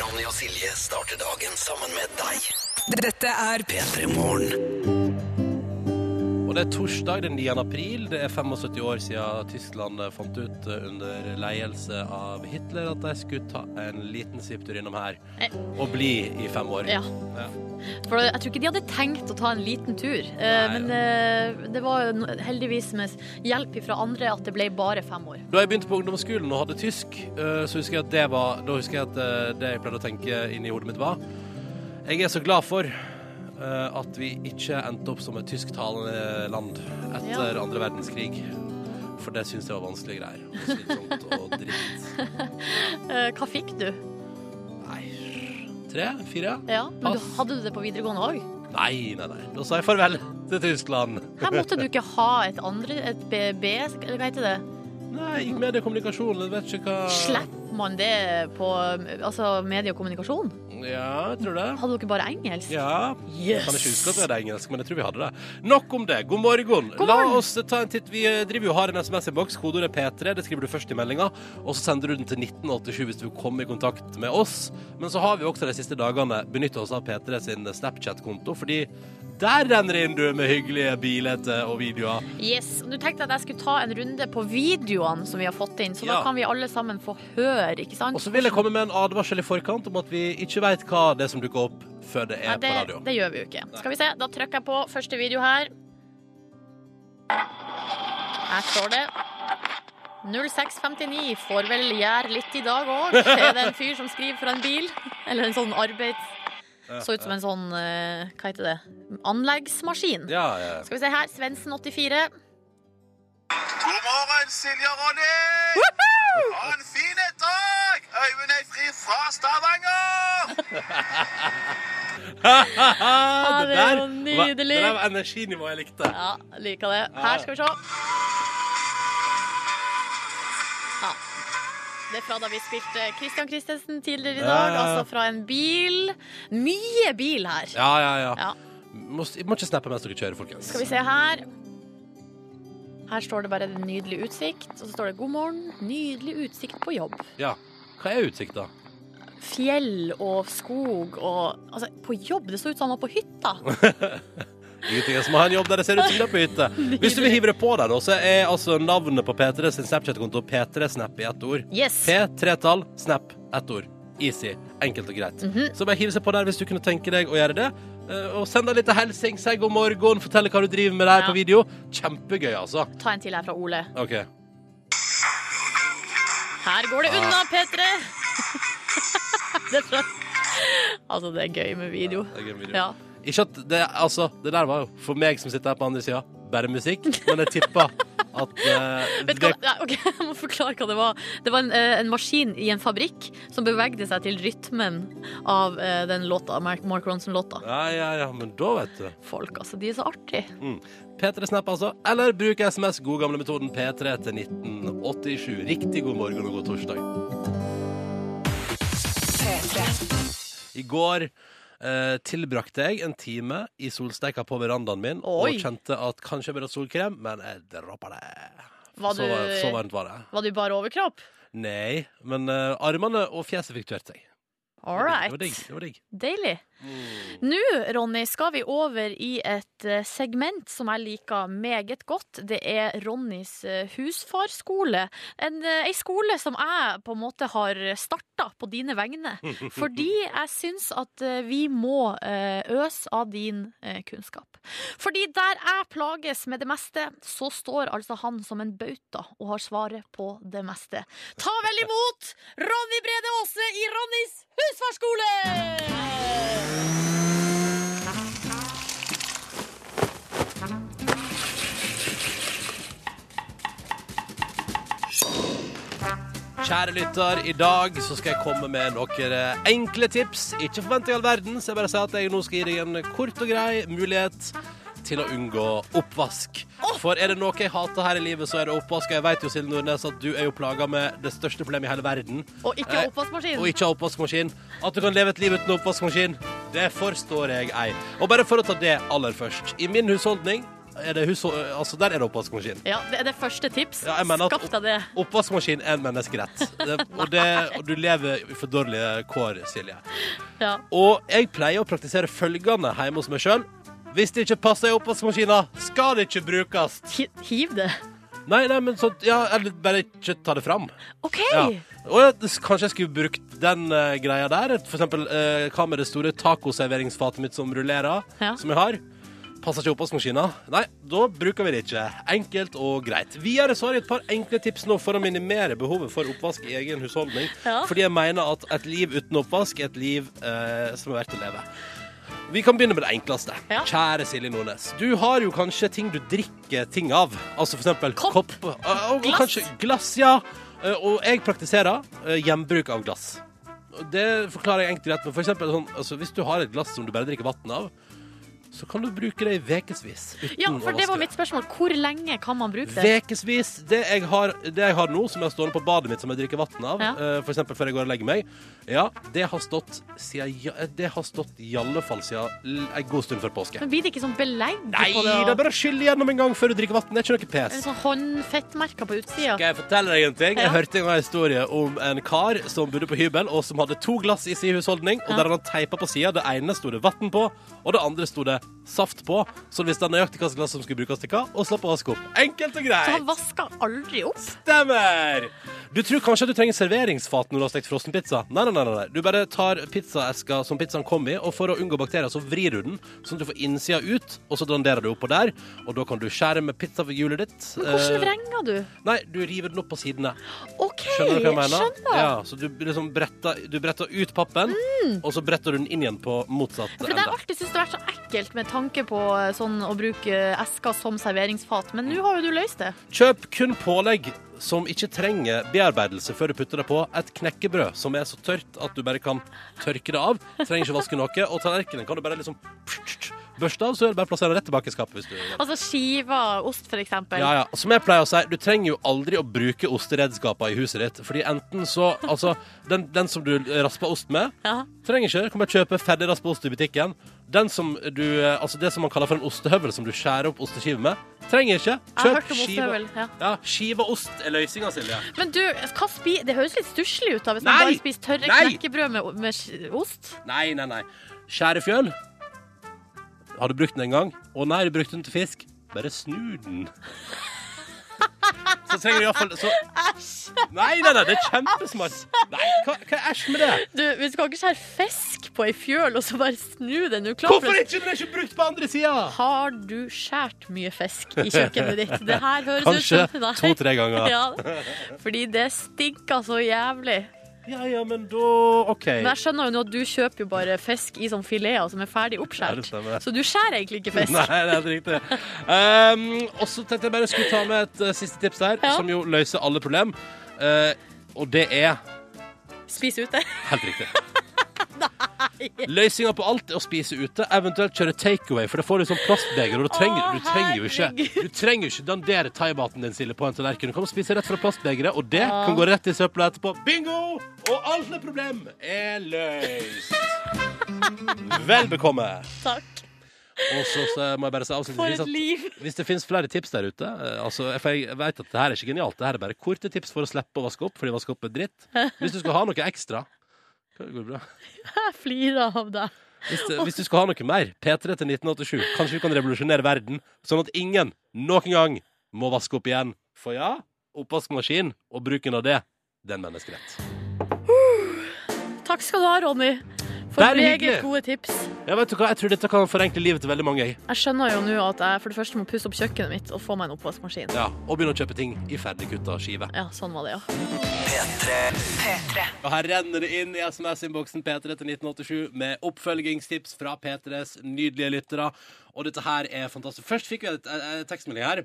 A: Ronny og Silje starter dagen sammen med deg.
E: Dette er
A: P3 Morgen.
B: Og det er torsdag den 9. april. Det er 75 år siden Tyskland fant ut eh, under ledelse av Hitler at de skulle ta en liten svipptur innom her
C: Eh.
B: og bli i fem år.
C: Ja.
B: Ja.
C: For jeg tror ikke de hadde tenkt å ta en liten tur. Eh,
B: Nei.
C: Men eh, det var jo no- heldigvis med hjelp fra andre at det ble bare fem år.
B: Da jeg begynte på ungdomsskolen og hadde tysk, eh, så husker jeg at det var Da husker jeg at eh, det jeg pleide å tenke inni hodet mitt var Jeg er så glad for eh, at vi ikke endte opp som et tysktalende land etter andre verdenskrig. For det syns jeg var vanskelige greier. Og Slitsomt og dritt.
C: Eh, Hva fikk du?
B: Nei Tre? Fire?
C: Ja, men du,
B: Pass.
C: Hadde du det på videregående òg?
B: Nei, nei, nei. Da sa jeg farvel til Tyskland.
C: Her måtte du ikke ha et andre, et BB, eller hva heter det?
B: Nei, jeg gikk mediekommunikasjon. Jeg vet ikke hva
C: Slipper man det på altså, medie og kommunikasjon?
B: Ja, jeg tror det.
C: Hadde dere bare engelsk?
B: Ja. Jeg
C: Yes!
B: kan ikke huske at vi hadde engelsk, men jeg tror vi hadde det. Nok om det. God morgen.
C: God
B: La
C: morgen.
B: oss ta en titt. Vi driver jo og har en SMS-innboks. Kodeordet er P3. Det skriver du først i meldinga, og så sender du den til 1987 hvis du vil komme i kontakt med oss. Men så har vi også de siste dagene benytta oss av P3 sin Snapchat-konto, fordi der renner det inn du med hyggelige bilder og videoer.
C: Yes, og Nå tenkte jeg at jeg skulle ta en runde på videoene som vi har fått inn, så da
B: Ja.
C: kan vi alle sammen få høre, ikke sant?
B: Og så vil jeg komme med en advarsel i forkant om at vi ikke veit hva det er som dukker opp før det er
C: Nei, det,
B: på radio.
C: det gjør vi jo ikke. Skal vi se, da trykker jeg på første video her. Her står det 0659 får vel gjær litt i dag òg. Er det en fyr som skriver fra en bil? Eller en sånn arbeids... Så ut som en sånn, eh, hva heter det, anleggsmaskin.
B: Ja, ja.
C: Skal vi se her, Svendsen84.
I: God morgen, Silje og Ronny! Ha en fin dag! Øyvind Eifrid fra Stavanger!
B: det
C: det
B: der
C: var
B: var- Det
C: nydelig.
B: der var energinivået jeg likte.
C: Ja, liker det. Her skal vi se. Ja. Det er fra da vi spilte Christian Christensen tidligere i dag,
B: Ja, ja, ja.
C: altså fra en bil. Mye bil her.
B: Ja, ja, ja.
C: Ja.
B: Må, må ikke snappe mens dere kjører, folkens.
C: Skal vi se her. Her står det bare en nydelig utsikt, og så står det 'God morgen, nydelig utsikt på jobb'.
B: Ja. Hva er utsikta?
C: Fjell og skog og Altså, på jobb? Det så ut som han var på hytta.
B: Ingenting som har en jobb der det ser ut som det er på hytte. Hvis du vil hive det på deg, da, så er altså navnet på P3 sin Snapchat-konto P3snap i ett ord.
C: Yes.
B: P3-tall, snap, ett ord. Easy. Enkelt og greit.
C: Mhm.
B: Så bare hiv seg på der hvis du kunne tenke deg å gjøre det. Eh, Og send deg litt hilsing, si god morgen, fortell hva du driver med der
C: Ja.
B: på video. Kjempegøy, altså.
C: Ta en til her fra Ole.
B: OK.
C: Her går det
B: Ah.
C: unna, P3! det er fra... Altså, det er gøy med video.
B: Det er gøy video.
C: Ja.
B: Ikke at det, altså, det der var jo, for meg som sitter her på andre sida, bare musikk. Men jeg tipper at eh,
C: Vet du hva, Nei, ok, jeg må forklare hva det var. Det var en, eh, en maskin i en fabrikk som bevegde seg til rytmen av eh, den låta, Mark, Mark Ronson-låta.
B: Ja, ja, ja, men da vet du.
C: Folk, altså. De er så artige.
B: P3 Mm. Snap, altså. Eller bruk SMS, god gamle metoden P3 til 1987. Riktig god morgen og god torsdag. I går eh, tilbrakte jeg en time i solsteika på verandaen min
C: Oi.
B: og kjente at kanskje jeg burde hatt solkrem, men jeg droppa det.
C: Var
B: Så, var- så
C: du,
B: varmt var det.
C: var du bare overkropp?
B: Nei, men eh, armene og fjeset fikk tørt seg.
C: All
B: Det var digg,
C: right. Mm.
B: Det var digg. Det var digg.
C: Deilig. Nå, Ronny, skal vi over i et eh, segment som jeg liker meget godt. Det er Ronnys eh, husfarskole. En, eh, ei skole som jeg på en måte har starta på dine vegne. Fordi jeg syns at eh, vi må eh, øse av din eh, kunnskap. Fordi der jeg plages med det meste, så står altså han som en bauta og har svaret på det meste. Ta vel imot Ronny Brede Aase i Ronnys husfarskole!
B: Kjære lytter, i dag så skal jeg komme med noen eh, enkle tips. Ikke forvent deg all verden, så jeg bare sier at jeg nå skal gi deg en kort og grei mulighet til å unngå oppvask. For er det noe jeg hater her i livet, så er det oppvask. Og Jeg vet jo, Silje Nordnes, at du er jo plaga med det største problemet i hele verden.
C: Og ikke
B: Eh,
C: oppvaskmaskin.
B: Og ikke ha oppvaskmaskin. At du kan leve et liv uten oppvaskmaskin, det forstår jeg ei. Og bare for å ta det aller først. I min husholdning er det hus altså der er det oppvaskmaskin.
C: Ja, det er det første tips.
B: Ja, jeg mener at
C: Skaff deg det.
B: Oppvaskmaskin er en menneskerett. Det, og, det, og du lever i for dårlige kår, Silje.
C: Ja.
B: Og jeg pleier å praktisere følgende hjemme hos meg sjøl. Hvis det ikke passer i oppvaskmaskina, skal det ikke brukes.
C: Hi- Hiv det.
B: Nei, nei, men sånt, ja, eller bare ikke ta det fram.
C: OK!
B: Ja. Og ja, det- kanskje jeg skulle brukt den eh, greia der. For eksempel eh, hva med det store tacoserveringsfatet mitt som rullerer,
C: Ja.
B: som jeg har. Passer ikke oppvaskmaskina. Nei, da bruker vi det ikke. Enkelt og greit. Videre så har jeg et par enkle tips nå for å minimere behovet for oppvask i egen husholdning.
C: Ja.
B: Fordi jeg mener at et liv uten oppvask er et liv eh, som er verdt å leve. Vi kan begynne med det enkleste.
C: Ja.
B: Kjære Silje Nordnes. Du har jo kanskje ting du drikker ting av. Altså for eksempel
C: Kopp.
B: og, og
C: Glass.
B: kanskje glass, ja. Eh, Og jeg praktiserer eh, gjenbruk av glass. Og Det forklarer jeg enkelt og greit. Men for eksempel, sånn, altså, hvis du har et glass som du bare drikker vann av, så kan du bruke det i ukevis.
C: Ja, for det var mitt spørsmål. Hvor lenge kan man bruke det?
B: Vekesvis. Det jeg, har, det jeg har nå, som jeg har stående på badet mitt som jeg drikker vann av,
C: Ja.
B: eh, for eksempel før jeg går og legger meg, ja, det har stått, siden, ja- eh, det har stått i alle fall siden l- en god stund før påske.
C: Men blir det ikke sånn belegg
B: Nei,
C: på
B: det er bare å skylle gjennom en gang før du drikker vann. Det er ikke noe pes.
C: Eller sånn håndfettmerker på utsida.
B: Skal jeg fortelle deg en ting? Jeg
C: Ja.
B: hørte en gang en historie om en kar som bodde på hybel, og som hadde to glass i sin husholdning, og
C: Ja.
B: der han teipa på sida. Det ene sto det vann på, og det andre sto det saft på. Så han visste nøyaktig hvilket glass som skulle brukes til hva, og slapp å vaske opp. Enkelt og
C: Så han
B: greit.
C: vasker aldri opp.
B: Stemmer! Du tror kanskje at du trenger serveringsfat når du har stekt frossenpizza. Nei, nei, nei, nei. Du bare tar pizzaeska som pizzaen kom i, og for å unngå bakterier, så vrir du den, sånn at du får innsida ut, og så danderer du oppå der, og da kan du skjære med pizzahjulet ditt.
C: Men hvordan
B: Eh,
C: vrenger du?
B: Nei, du river den opp på sidene.
C: OK,
B: Skjønner du hva jeg mener?
C: skjønner.
B: Ja, så du liksom bretter, du bretter ut pappen, og så bretter du den inn igjen på motsatt
C: Mm. For det har jeg alltid syntes det har vært så ekkelt med tanke på eh, sånn å bruke eh, esker som serveringsfat, men nå har jo du løst det.
B: Kjøp kun pålegg som ikke trenger bearbeidelse før du putter det på. Et knekkebrød som er så tørt at du bare kan tørke det av. Trenger ikke vaske noe. Og tallerkenen kan du bare liksom børste av, så er det bare å plassere rett tilbake i skapet. hvis du vil.
C: Altså skiver ost, for eksempel.
B: Ja, ja. Som jeg pleier å si, du trenger jo aldri å bruke osteredskaper i huset ditt. Fordi enten så Altså, den, den som du rasper ost med,
C: Ja.
B: trenger ikke. Du kan bare kjøpe ferdig raspa ost i butikken. Den som du Altså det som man kaller for en ostehøvel, som du skjærer opp osteskiver med, trenger ikke.
C: Jeg har hørt om ostehøvel, ja.
B: Ja, skive ost er løsninga, Silje.
C: Men du, hva spi det høres litt stusslig ut da, hvis
B: Nei!
C: man bare spiser tørre
B: Nei!
C: knekkebrød med, med sk- ost.
B: Nei, nei, nei. Skjære fjøl. Har du brukt den en gang? Å nei, du brukte den til fisk. Bare snu den. Så Så trenger du iallfall så...
C: Æsj!
B: Nei, nei, nei, det er kjempesmart. Nei, hva, hva er æsj med det?
C: Du, vi skal ikke skjære fisk på ei fjøl og så bare snu den. Du er klar for
B: Hvorfor
C: at-
B: ikke? Den er ikke brukt på andre sida.
C: Har du skjært mye fisk i kjøkkenet ditt? Det her høres
B: Kanskje
C: ut som Nei.
B: to-tre ganger.
C: Ja, fordi det stinker så jævlig.
B: Ja, ja, men da OK.
C: Men jeg skjønner jo nå at du kjøper jo bare fisk i sånn fileter som er ferdig
B: Ja, det
C: oppskjært.
B: stemmer.
C: Så du skjærer egentlig ikke fisk.
B: Nei, det er helt riktig. Um, og så tenkte jeg bare skulle ta med et eh, siste tips der,
C: Ja.
B: som jo løser alle problem. Eh, og det er
C: Spis ute.
B: helt riktig. Løsninga på alt er å spise ute, eventuelt kjøre takeaway. For da får du sånn plastbeger, og da trenger, du, trenger jo ikke,
C: herregud.
B: du trenger jo ikke dandere thaimaten din Silje, på en tallerken. Du kan spise rett fra plastbegeret, og det kan gå rett i søpla etterpå. Bingo! Og alt med problem er løst. Vel bekomme.
C: Takk.
B: Og så, så må jeg bare si
C: For
B: avslutningsvis
C: et
B: at
C: liv.
B: hvis det finnes flere tips der ute eh, altså, For jeg vet at det her er ikke genialt. Det her er bare korte tips for å slippe å vaske opp, fordi vaske opp er dritt. Hvis du skal ha noe ekstra Går det bra?
C: Jeg flirer av deg.
B: Hvis, det- hvis du skal ha noe mer, P3 til 1987. Kanskje vi kan revolusjonere verden, sånn at ingen noen gang må vaske opp igjen. For ja, oppvaskmaskin og bruken av det, det er en menneskerett.
C: Takk skal du ha, Ronny.
B: Det
C: For
B: er hyggelig.
C: meget gode tips.
B: Ja, vet du hva? Jeg tror dette kan forenkle livet til veldig mange. jeg.
C: Jeg skjønner jo nå at jeg for det første må pusse opp kjøkkenet mitt og få meg en oppvaskmaskin.
B: Ja, og begynne å kjøpe ting i ferdigkutta skive.
C: Ja, sånn var det, ja.
B: Og her renner det inn i SMS-innboksen P3 til 1987 med oppfølgingstips fra P3s nydelige lyttere. Og dette her er fantastisk. Først fikk vi en tekstmelding her.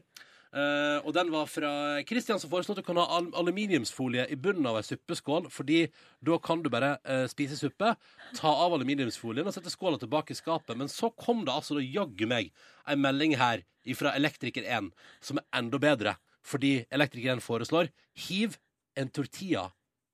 B: eh, og den var fra Kristian som foreslo at du kan ha al- aluminiumsfolie i bunnen av ei suppeskål, fordi da kan du bare eh, spise suppe, ta av aluminiumsfolien og sette skåla tilbake i skapet. Men så kom det altså da jaggu meg ei melding her fra Elektriker 1 som er enda bedre, fordi Elektriker 1 foreslår hiv en tortilla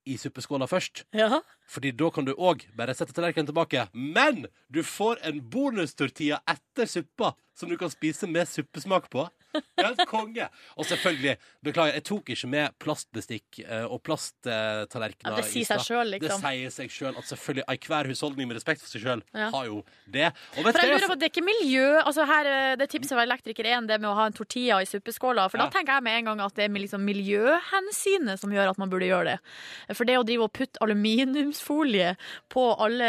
B: i suppeskåla først.
C: ja.
B: Fordi da kan du òg bare sette tallerkenen tilbake. Men du får en bonustortilla etter suppa som du kan spise med suppesmak på. Det er helt konge. Og selvfølgelig, beklager, jeg tok ikke med plastbestikk eh, og plasttallerkener.
C: Ja, det sier seg selv, liksom.
B: Det sier seg sjøl at selvfølgelig ei hver husholdning med respekt for seg sjøl
C: Ja.
B: har jo det. Og vet du
C: For jeg
B: hva jeg
C: lurer på, Det er ikke miljø altså her, eh, Det tipset fra elektriker 1 det med å ha en tortilla i suppeskåla. For
B: Ja.
C: da tenker jeg med en gang at det er liksom miljøhensynet som gjør at man burde gjøre det. For det å drive og putte aluminiumsfolie på alle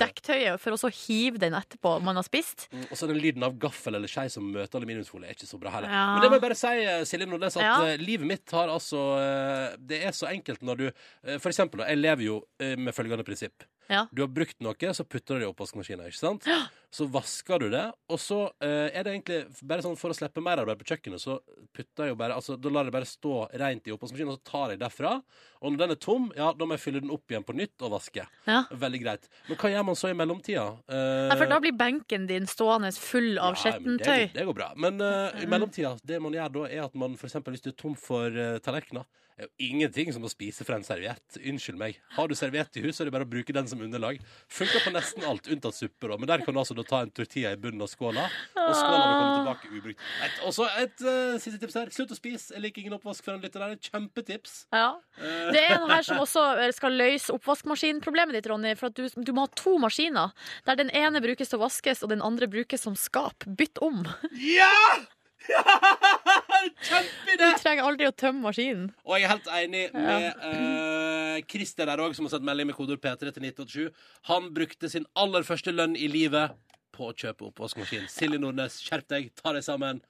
C: dekktøyet for å så hive den etterpå man har spist
B: Mm, Og så den lyden av gaffel eller skei som møter aluminiumsfolie, er ikke så bra heller.
C: Ja.
B: Men det må jeg bare si, eh, Silje Nordnes, at
C: Ja.
B: eh, livet mitt har altså eh, Det er så enkelt når du eh, For eksempel, da, jeg lever jo eh, med følgende prinsipp.
C: Ja.
B: Du har brukt noe, så putter du det i oppvaskmaskinen, ikke sant? Så vasker du det, og så eh, er det egentlig bare sånn for å slippe mer arbeid på kjøkkenet, så putter jeg jo bare Altså, da lar jeg det bare stå rent i oppvaskmaskinen, og så tar jeg derfra. Og når den er tom, ja, da må jeg fylle den opp igjen på nytt og vaske.
C: Ja.
B: Veldig greit. Men hva gjør man så i mellomtida? Eh,
C: Nei, for da blir benken din stående full
B: ja,
C: av
B: men
C: skittentøy.
B: Det, det går bra. Men eh, i mellomtida, det man gjør da, er at man for eksempel hvis du er tom for uh, tallerkener er jo ingenting som å spise fra en serviett. Unnskyld meg. Har du serviett i huset, er det bare å bruke den som underlag. Funker på nesten alt, unntatt suppe, da. Men der kan du altså da ta en tortilla i bunnen av skåla, og skåla vil komme tilbake ubrukt. Et- Og så et eh, siste tips her. Slutt å spise. Jeg liker ingen oppvask før en lytter der. Kjempetips.
C: Ja. Det er en her som også eh, skal løse oppvaskmaskinproblemet ditt, Ronny. For at du, du må ha to maskiner. Der den ene brukes til å vaskes, og den andre brukes som skap. Bytt om.
B: Ja! Kjempeidé!
C: Du trenger aldri å tømme maskinen.
B: Og jeg er helt enig med eh, Christer der òg, som har sendt melding med kodeord P3 til 1987. Han brukte sin aller første lønn i livet på å kjøpe oppvaskmaskin. Silje Nordnes, skjerp deg, ta deg sammen.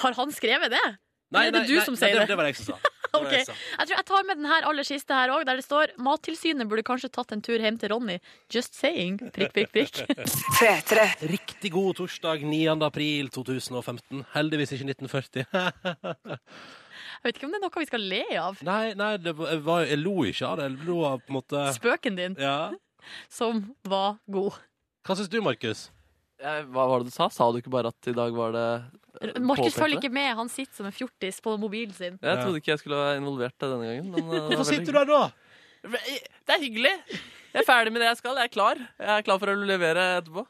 C: Har han skrevet det? Eller er det du som
B: nei,
C: sier
B: det,
C: det?
B: det var jeg som sa. Det var
C: Ok.
B: jeg som sa.
C: Jeg tror jeg tar med den her aller siste her òg, der det står Mattilsynet burde kanskje tatt en tur hjem til Ronny. Just saying. Prikk, prikk, prikk.
E: P3.
B: Riktig god torsdag 9. april 2015. Heldigvis ikke 1940.
C: Jeg vet ikke om det er noe vi skal le av.
B: nei, nei, det var, jeg var- jeg lo ikke av det. Jeg lo av på en måte
C: Spøken din,
B: Ja.
C: som var god.
B: Hva syns du, Markus?
D: Jeg, hva var det du sa? Sa du ikke bare at i dag var det eh,
C: Markus
D: påpekte
C: følger
D: det?
C: ikke med, han sitter som en fjortis på mobilen sin.
D: Jeg
B: Ja.
D: trodde ikke jeg skulle være involvert denne gangen. Men, eh, det var
B: Hvorfor
D: veldig
B: sitter du her da?
D: hyggelig. Det er hyggelig! Jeg er ferdig med det jeg skal. Jeg er klar. Jeg er klar for å levere etterpå.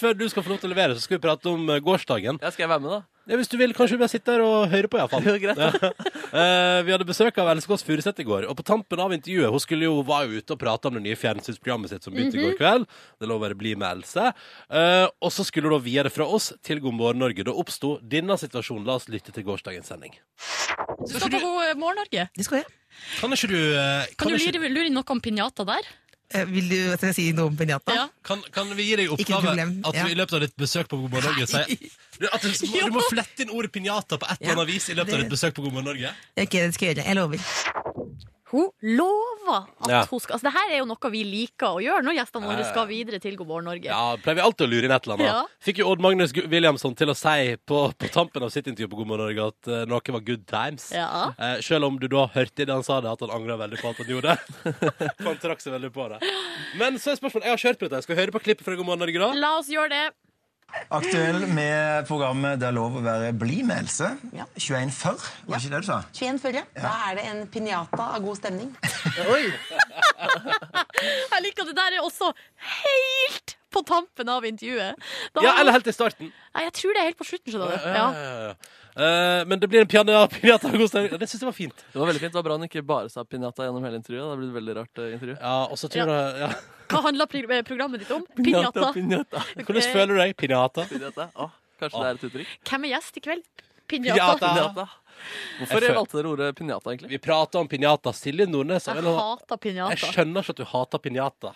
B: Før du skal få lov til å levere, så skal vi prate om eh, gårsdagen.
D: Ja, skal jeg være med, da?
B: Ja, hvis du vil, kanskje vi bare sitter her og hører på, iallfall.
D: Det er greit, da.
B: Eh, vi hadde besøk av Else Kåss Furuseth i går, og på tampen av intervjuet Hun skulle jo, var jo ute og prate om det nye fjernsynsprogrammet sitt som begynte i går kveld. Det lå å være Bli med Else. Eh, og så skulle hun da videre fra oss til God morgen Norge. Da oppsto denne situasjonen. La oss lytte til gårsdagens sending.
J: Du skal på God morgen, Norge.
K: Det skal jeg.
B: Kan ikke du eh,
J: Kan
B: kan,
J: du
B: ikke,
J: lure, lure inn noe om pinjata der?
K: Eh, Vil du at jeg sier noe om Benjata?
J: Ja.
B: kan, kan vi gi deg i
K: Ikke noe
B: oppgave
K: problem,
B: at
K: ja.
B: du i løpet av ditt besøk på God morgen Norge sier du, at du, må, du må flette inn ordet pinjata på et eller annet vis i løpet av
K: Det-
B: ditt besøk på God morgen Norge?
K: Ok, det skal jeg gjøre. Jeg lover.
C: Hun lover at
B: Ja.
C: hun skal Altså, det her er jo noe vi liker å gjøre når gjestene
B: Ja,
C: våre
B: ja.
C: skal videre til God morgen, Norge.
B: Ja, pleier vi alltid å lure inn et eller annet.
C: Ja.
B: Fikk jo Odd Magnus Gu- Williamson til å si på, på tampen av sitt intervju på God morgen Norge at eh, noe var good times.
C: Ja.
B: Eh, selv om du da hørte i det han sa det, at han angra veldig på at han gjorde det. For han trakk seg veldig på det. Men så er spørsmålet Jeg har kjørt på dette. Skal vi høre på klippet fra God morgen Norge da?
C: La oss gjøre det.
L: Aktuell med programmet Det er lov å være blid med Else. 2140, var ikke det du sa?
H: 2140. Da er det en pinjata av god stemning.
C: Jeg liker at det der er også helt på tampen av intervjuet. Da-
B: Ja, eller helt i starten.
C: Nei, jeg tror det er helt på slutten, skjønner du. Ja.
B: ja, ja. Eh, men det blir en piano, pianata god stemning. Det syns jeg var fint.
D: Det var veldig fint. Det var bra han ikke bare sa pinjata gjennom hele intervjuet. Det ble et veldig rart eh, intervju.
B: Ja, og så tror jeg ja.
C: Hva handler pro- eh, programmet ditt om? Pinjata.
D: Pinjata.
B: Hvordan
C: Eh.
B: føler du deg? Pinjata?
D: pinjata. Å, kanskje det er et uttrykk?
C: Hvem er gjest i kveld?
B: Pinjata.
C: Pinjata.
D: Pinjata.
B: Jeg
D: Hvorfor
B: føl-
D: valgte dere ordet pinjata, egentlig?
B: Vi prata om pinjata. Silje Nordnes av en
C: Jeg
B: eller annen- Jeg
C: hater pinjata.
B: skjønner ikke at du hater pinjata.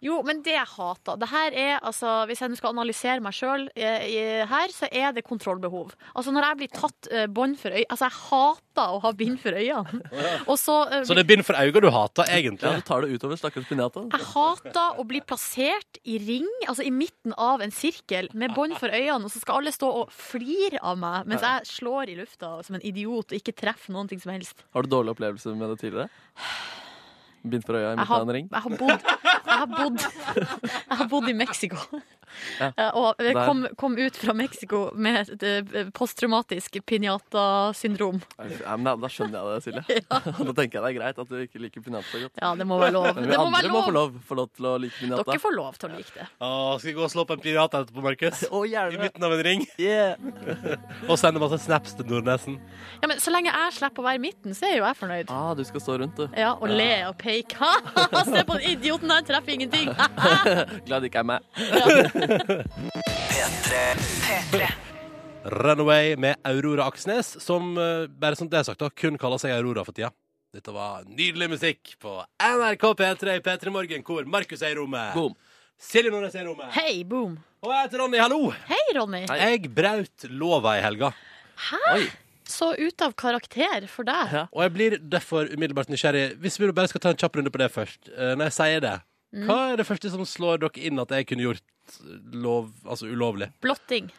C: Jo, men det jeg hater det her er, altså, Hvis jeg nå skal analysere meg sjøl her, så er det kontrollbehov. Altså Når jeg blir tatt eh, bånd for øynene Altså, jeg hater å ha bind for øynene. Og så eh,
B: Så det er bind for øynene du hater,
D: Ja,
B: egentlig?
D: du tar det utover stakkars pinjata.
C: Jeg hater å bli plassert i ring, altså i midten av en sirkel, med bånd for øynene, og så skal alle stå og flire av meg mens jeg slår i lufta som en idiot og ikke treffer noen ting som helst.
D: Har du dårlige opplevelser med det tidligere? Bind for øya i
C: Jeg
D: midten av
C: har,
D: en ring?
C: jeg har bodd Jeg har bodd, jeg har bodd i Mexico.
D: Ja.
C: Eh, Og jeg
D: Der.
C: kom, kom ut fra Mexico med et eh, posttraumatisk pinjata-syndrom.
D: Ja, men da, da skjønner jeg det, Silje. da tenker jeg det er greit at du ikke liker pinjata så godt.
C: Ja, det må være lov.
D: Men vi
C: Det må
D: andre
C: være
D: må få
C: lov.
D: lov, få lov til å like pinjata.
C: Dere får lov til å like det.
B: Å, skal vi gå og slå på en pirat etterpå, Markus?
D: Å,
B: I
D: gjerne.
B: midten av en ring?
D: Yeah.
B: Og sende masse snaps til Nordnesen.
C: Ja, men Så lenge jeg slipper å være i midten, så er jo jeg fornøyd.
D: Ah, du skal stå rundt, du.
C: Ja, Og le og peke. Se på den idioten der, treffer ingenting.
D: Glad det ikke er meg.
B: Runaway med Aurora Aksnes, som eh, bare som det er sagt, da, kun kaller seg Aurora for tida. Dette var nydelig musikk på NRK P3 i P3 Morgen, hvor Markus er i rommet.
D: Boom.
B: Silje Nordnes er i rommet.
C: Hei, boom.
B: Og jeg heter Ronny, hallo!
C: Hei, Ronny.
D: Hei.
B: Jeg braut lova i helga,
D: Oi.
C: Så ut av karakter for deg.
D: Ja.
B: og jeg blir derfor umiddelbart nysgjerrig. Hvis vi bare skal ta en kjapp runde på det først. Eh, Når jeg sier det, hva er det første som slår dere inn at jeg kunne gjort lov, altså ulovlig?
C: Blotting.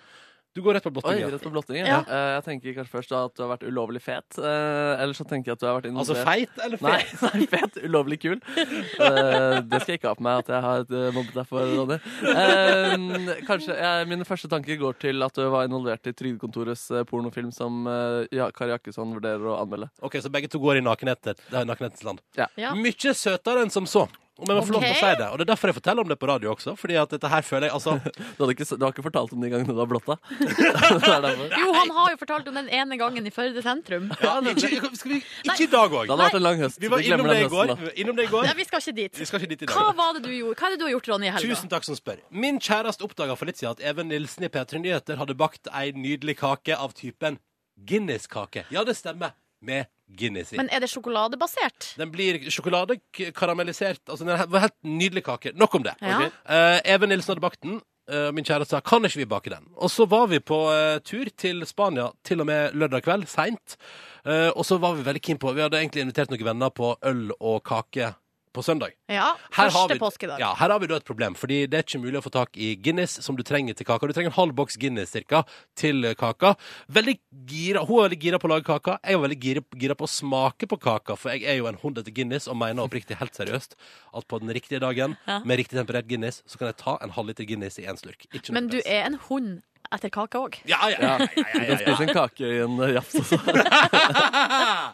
B: Du går rett på
D: Oi,
B: blottingen.
D: rett på blottingen.
C: Ja.
D: Eh, jeg tenker kanskje først da at du har vært ulovlig fet. eh, eller så tenker jeg at du har vært
B: Altså
D: involvert-
B: feit eller
D: Nei,
B: fet?
D: nei, fet. Ulovlig kul. Eh, det skal jeg ikke ha på meg at jeg har eh, mobbet deg for, Ronny. Eh, kanskje eh, Mine første tanker går til at du var involvert i Trygdekontorets eh, pornofilm som eh, ja, Kari Jakkesson vurderer å anmelde.
B: Ok, så begge to går i nakenheter. Det er nakenhetens land.
D: Ja.
C: Ja.
B: Mye søtere enn som så. Om jeg må få lov til å
C: Ok.
B: si det. Og det er derfor jeg forteller om det på radio også. Fordi at dette her føler jeg altså
D: Du, hadde ikke, s- du har ikke fortalt om de gangene du har blotta? Det er derfor.
C: Jo, han har jo fortalt om den ene gangen i Førde sentrum.
B: ja, ikke, skal vi, ikke i dag òg.
D: Det hadde vært en lang høst.
B: Vi var innom
D: glemmer
B: det
D: den
B: i går.
D: høsten,
B: Vi var Innom det i går.
C: Nei, vi skal ikke dit.
B: Vi skal ikke dit i
C: Hva
B: dag.
C: var det du gjorde? Hva er det du har gjort, Ronny, i helga?
B: Tusen takk som spør. Min kjæreste oppdaga for litt siden at Even Nilsen i P3 Nyheter hadde bakt ei nydelig kake av typen Guinness-kake. Ja, det stemmer. Med Guinness i.
C: Men er det sjokoladebasert?
B: Den blir sjokolade k- karamellisert. Altså, den var helt nydelig kake. Nok om det.
C: Ja.
B: Ok. Eh, Even Nilsen hadde bakt den. eh, og min kjære sa kan ikke vi bake den. Og så var vi på eh, tur til Spania, til og med lørdag kveld, seint. Eh, og så var vi veldig keen på Vi hadde egentlig invitert noen venner på øl og kake på søndag.
C: Ja.
B: Her har
C: Første
B: vi-
C: påskedag.
B: Ja, her har vi da et problem, fordi det er ikke mulig å få tak i Guinness som du trenger til kaka. Du trenger en halv boks Guinness cirka til eh, kaka. Veldig gira, Hun var veldig gira på å lage kaka. Jeg var veldig gira, gira på å smake på kaka, for jeg er jo en hund etter Guinness og mener oppriktig helt seriøst at på den riktige dagen,
C: Ja.
B: med riktig temperert Guinness, så kan jeg ta en halvliter Guinness i én slurk. Ikke noe
C: Men du
B: press.
C: er en hund etter kake òg.
B: ja, ja, ja, ja,
D: Du
B: ja,
D: kan
B: ja,
D: spise en kake i en eh, jafs også.
B: ja.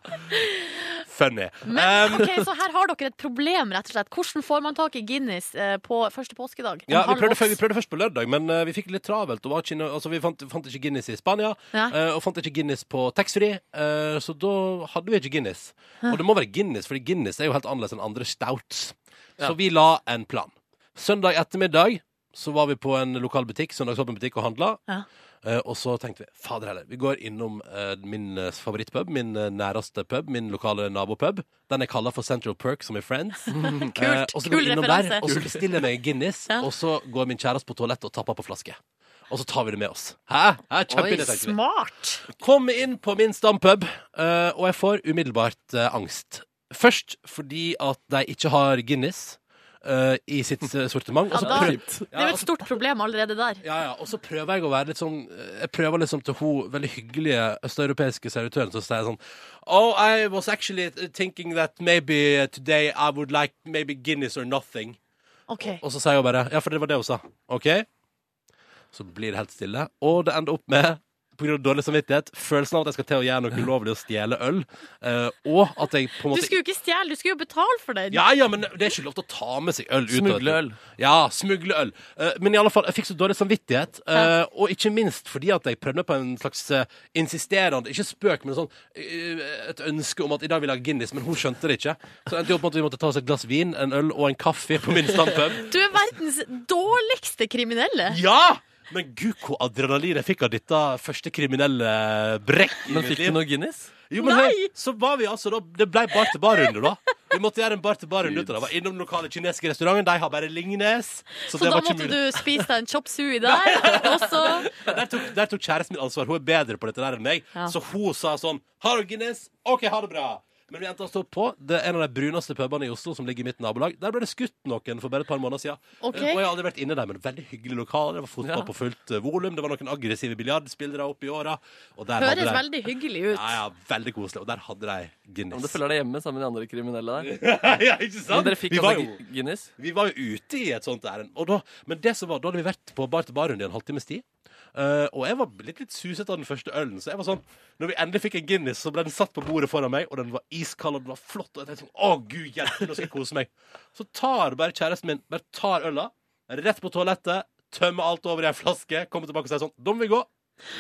B: funny.
C: Men,
B: Um,
C: ok, Så her har dere et problem, rett og slett. Hvordan får man tak i Guinness eh, på første påskedag? En
B: ja, vi
C: halv
B: prøvde,
C: boks.
B: før- vi prøvde først på lørdag, men eh, vi fikk litt travelt. Og var ikke, inne- altså, vi fant, fant ikke Guinness i Spania,
C: Ja.
B: eh, og fant ikke Guinness på taxfree, eh, så da hadde vi ikke Guinness.
C: Hæ.
B: Og det må være Guinness, fordi Guinness er jo helt annerledes enn andre stouts.
D: Ja.
B: Så vi la en plan. Søndag ettermiddag så var vi på en lokal butikk, søndagsåpen butikk og handla.
C: Ja.
B: Eh, og så tenkte vi fader heller, vi går innom eh, min eh, favorittpub, min eh, næreste pub, min lokale nabopub. Den er kalla for Central Perk, som i Friends. Eh,
C: Kult,
B: og så
C: kul
B: går vi innom
C: referanse.
B: der, og så
C: Kul.
B: bestiller jeg meg en Guinness,
C: Ja.
B: og så går min kjæreste på toalettet og tapper på flaske. Og så tar vi det med oss. Hæ? Hæ? Kjempeidé,
C: Oi,
B: tenkte vi.
C: smart!
B: Kom inn på min stampub, eh, og jeg får umiddelbart eh, angst. Først fordi at de ikke har Guinness eh, i sitt eh, sortiment.
C: Ja,
B: Og så
C: da,
B: prøv-
C: det
B: Ja,
C: er jo et stort problem allerede der.
B: Ja, ja, og så prøver jeg å være litt sånn Jeg prøver liksom til hun veldig hyggelige østeuropeiske servitøren som sier jeg sånn Oh, I was actually thinking that maybe today I would like maybe Guinness or nothing.
C: Ok.
B: Og så sier hun bare Ja, for det var det hun sa. OK? Så blir det helt stille. Og det ender opp med på grunn av dårlig samvittighet, følelsen av at jeg skal til å gjøre noe ulovlig og stjele øl, eh, og at jeg på en
C: Du
B: måte
C: skulle jo ikke stjele, du skulle jo betale for den.
B: ja, ja, men det er ikke lov til å ta med seg øl ut.
D: Smugle
B: vet du.
D: øl.
B: Ja, smugle øl. Eh, Men i alle fall, jeg fikk så dårlig samvittighet. eh, Og ikke minst fordi at jeg prøvde meg på en slags eh, insisterende Ikke spøk, men sånn eh, et ønske om at i dag vil jeg ha Guinness, men hun skjønte det ikke. Så endte jeg opp med at vi måtte ta oss et glass vin, en øl og en kaffe på min standpub.
C: Du er verdens dårligste kriminelle.
B: Ja! Men gud, hvor adrenalin jeg fikk av dette første kriminelle brekk i
D: Men
B: mitt
D: fikk
B: liv.
D: du noe Guinness?
B: Jo, men hør, så var vi altså da Det ble bar til bar-runde, da. Vi måtte gjøre en bar til bar-runde. ut av det. Var innom den lokale kinesiske restauranten. De har bare Lignes.
C: Så,
B: det
C: da
B: var ikke
C: måtte du
B: mulig.
C: spise deg en chop sui der, og så
B: Der tok, der tok kjæresten min ansvar. Hun er bedre på dette der enn meg.
C: Ja.
B: Så hun sa sånn Har du Guinness? OK, ha det bra. Men vi endte oss opp på det er en av de bruneste pubene i Oslo som ligger i mitt nabolag. Der ble det skutt noen for bare et par måneder siden.
C: Ok.
B: Og jeg har aldri vært inne der, men veldig hyggelig lokal. Det var fotball på fullt eh, volum. Det var noen aggressive biljardspillere opp i åra. Og der
C: høres
B: hadde de
C: veldig hyggelig ut.
B: ja, ja, veldig koselig. Og der hadde de
D: Ja,
B: Guinness.
D: men du følger deg hjemme sammen med de andre kriminelle der.
B: ja, ikke sant?
D: Men dere fikk
B: Vi var
D: altså
B: jo-
D: Gu- Guinness?
B: Vi var jo ute i et sånt ærend. Og da, men det som var, da hadde vi vært på bar til bar-runde i en halvtimes tid. Eh, og jeg var litt, litt suset av den første ølen. Så jeg var sånn, når vi endelig fikk en Guinness, så ble den satt på bordet foran meg, og den var iskald og den var flott. Og jeg tenkte sånn, å gud hjelpe, nå skal jeg kose meg. Så tar bare kjæresten min bare tar øla, rett på toalettet, tømmer alt over i en flaske, kommer tilbake og sier sånn, da må vi gå.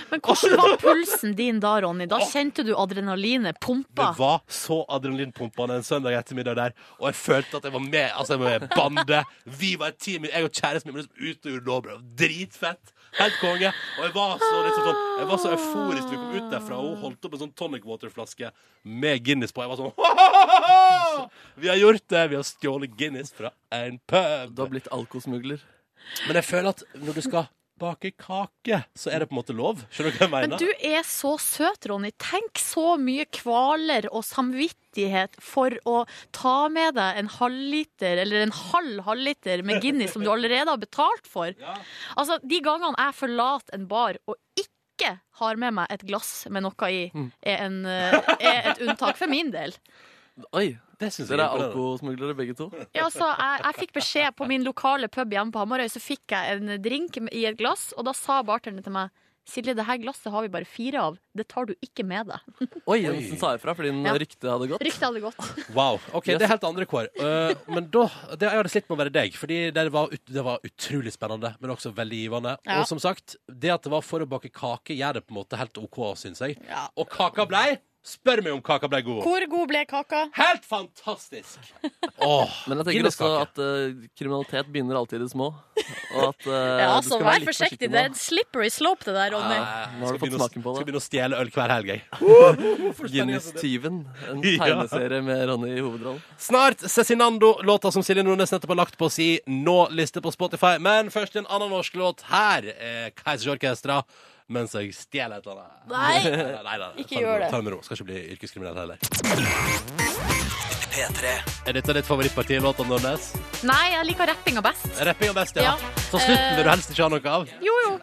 C: Men hvordan var pulsen din da, Ronny? Da kjente du adrenalinet pumpa.
B: Det var så adrenalinpumpende en søndag ettermiddag der, og jeg følte at jeg var med. Altså, jeg var med i bandet. Vi var et team. Jeg og kjæresten min var liksom ute og gjorde lovbrev. Dritfett. Helt konge. Og jeg var så, liksom, sånn, jeg var så euforisk da vi kom ut derfra, og hun holdt opp en sånn tonic water-flaske med Guinness på. Jeg var sånn Vi har gjort det! Vi har stjålet Guinness fra en pub. Du
D: har blitt alkosmugler.
B: Men jeg føler at når du skal bake kake, så er det på en måte lov. Skjønner du hva jeg mener?
C: Men du er så søt, Ronny. Tenk så mye kvaler og samvittighet for å ta med deg en halvliter, eller en halv halvliter med Guinness som du allerede har betalt for. Altså, de gangene jeg forlater en bar og ikke har med meg et glass med noe i,
D: Mm.
C: er, en, eh, er et unntak for min del.
D: Oi,
B: synes jeg
D: dere er
B: imponerer.
D: alkosmuglere begge to.
C: Ja, altså, jeg, jeg fikk beskjed på min lokale pub hjemme på Hamarøy, så fikk jeg en drink i et glass, og da sa bartenderen til meg Silje, det her glasset har vi bare fire av. Det tar du ikke med deg.
D: Oi, Jensen sa ifra fordi den
C: Ja.
D: ryktet hadde gått.
C: Ryktet hadde gått.
B: Wow. Ok,
D: Yes.
B: det er helt andre kår. Eh, men da det, Jeg hadde slitt med å være deg, fordi det var, ut, det var utrolig spennende, men også veldig givende.
D: Ja.
B: Og som sagt, det at det var for å bake kake, gjør det på en måte helt OK, syns jeg. Og kaka blei Spør meg om kaka blei god.
C: Hvor god ble kaka?
B: Helt fantastisk!
D: Men jeg tenker også at eh, kriminalitet begynner alltid i det små. Og at eh,
C: Ja,
D: du
C: altså,
D: skal være
C: Vær
D: litt
C: forsiktig.
D: forsiktig
C: Det
D: nå.
C: er en slippery slope, det der, Ronny.
B: Ah.
D: Nå har du fått smaken på det.
B: Skal begynne å stjele øl hver helg, jeg.
D: Guinness-tyven. En
B: Ja.
D: tegneserie med Ronny i hovedrollen.
B: Snart Cezinando, låta som Silje Nordnes nettopp har lagt på si nå-liste på Spotify. Men først en annen norsk låt. Her er Keisers Orkestra mens jeg stjeler et eller annet.
A: Nei.
B: nei, nei, nei.
A: Ikke
B: Ta
A: gjør
B: med ro,
A: det.
B: Ta med ro. Skal ikke bli yrkeskriminell heller.
A: P3.
B: Er dette ditt favorittparti, låta Nordnes?
C: Nei, jeg liker rappinga best.
B: Rapping er best, ja.
C: Ja.
B: Så slutten vil du
C: Eh,
B: helst ikke ha noe av?
C: Jo, jo.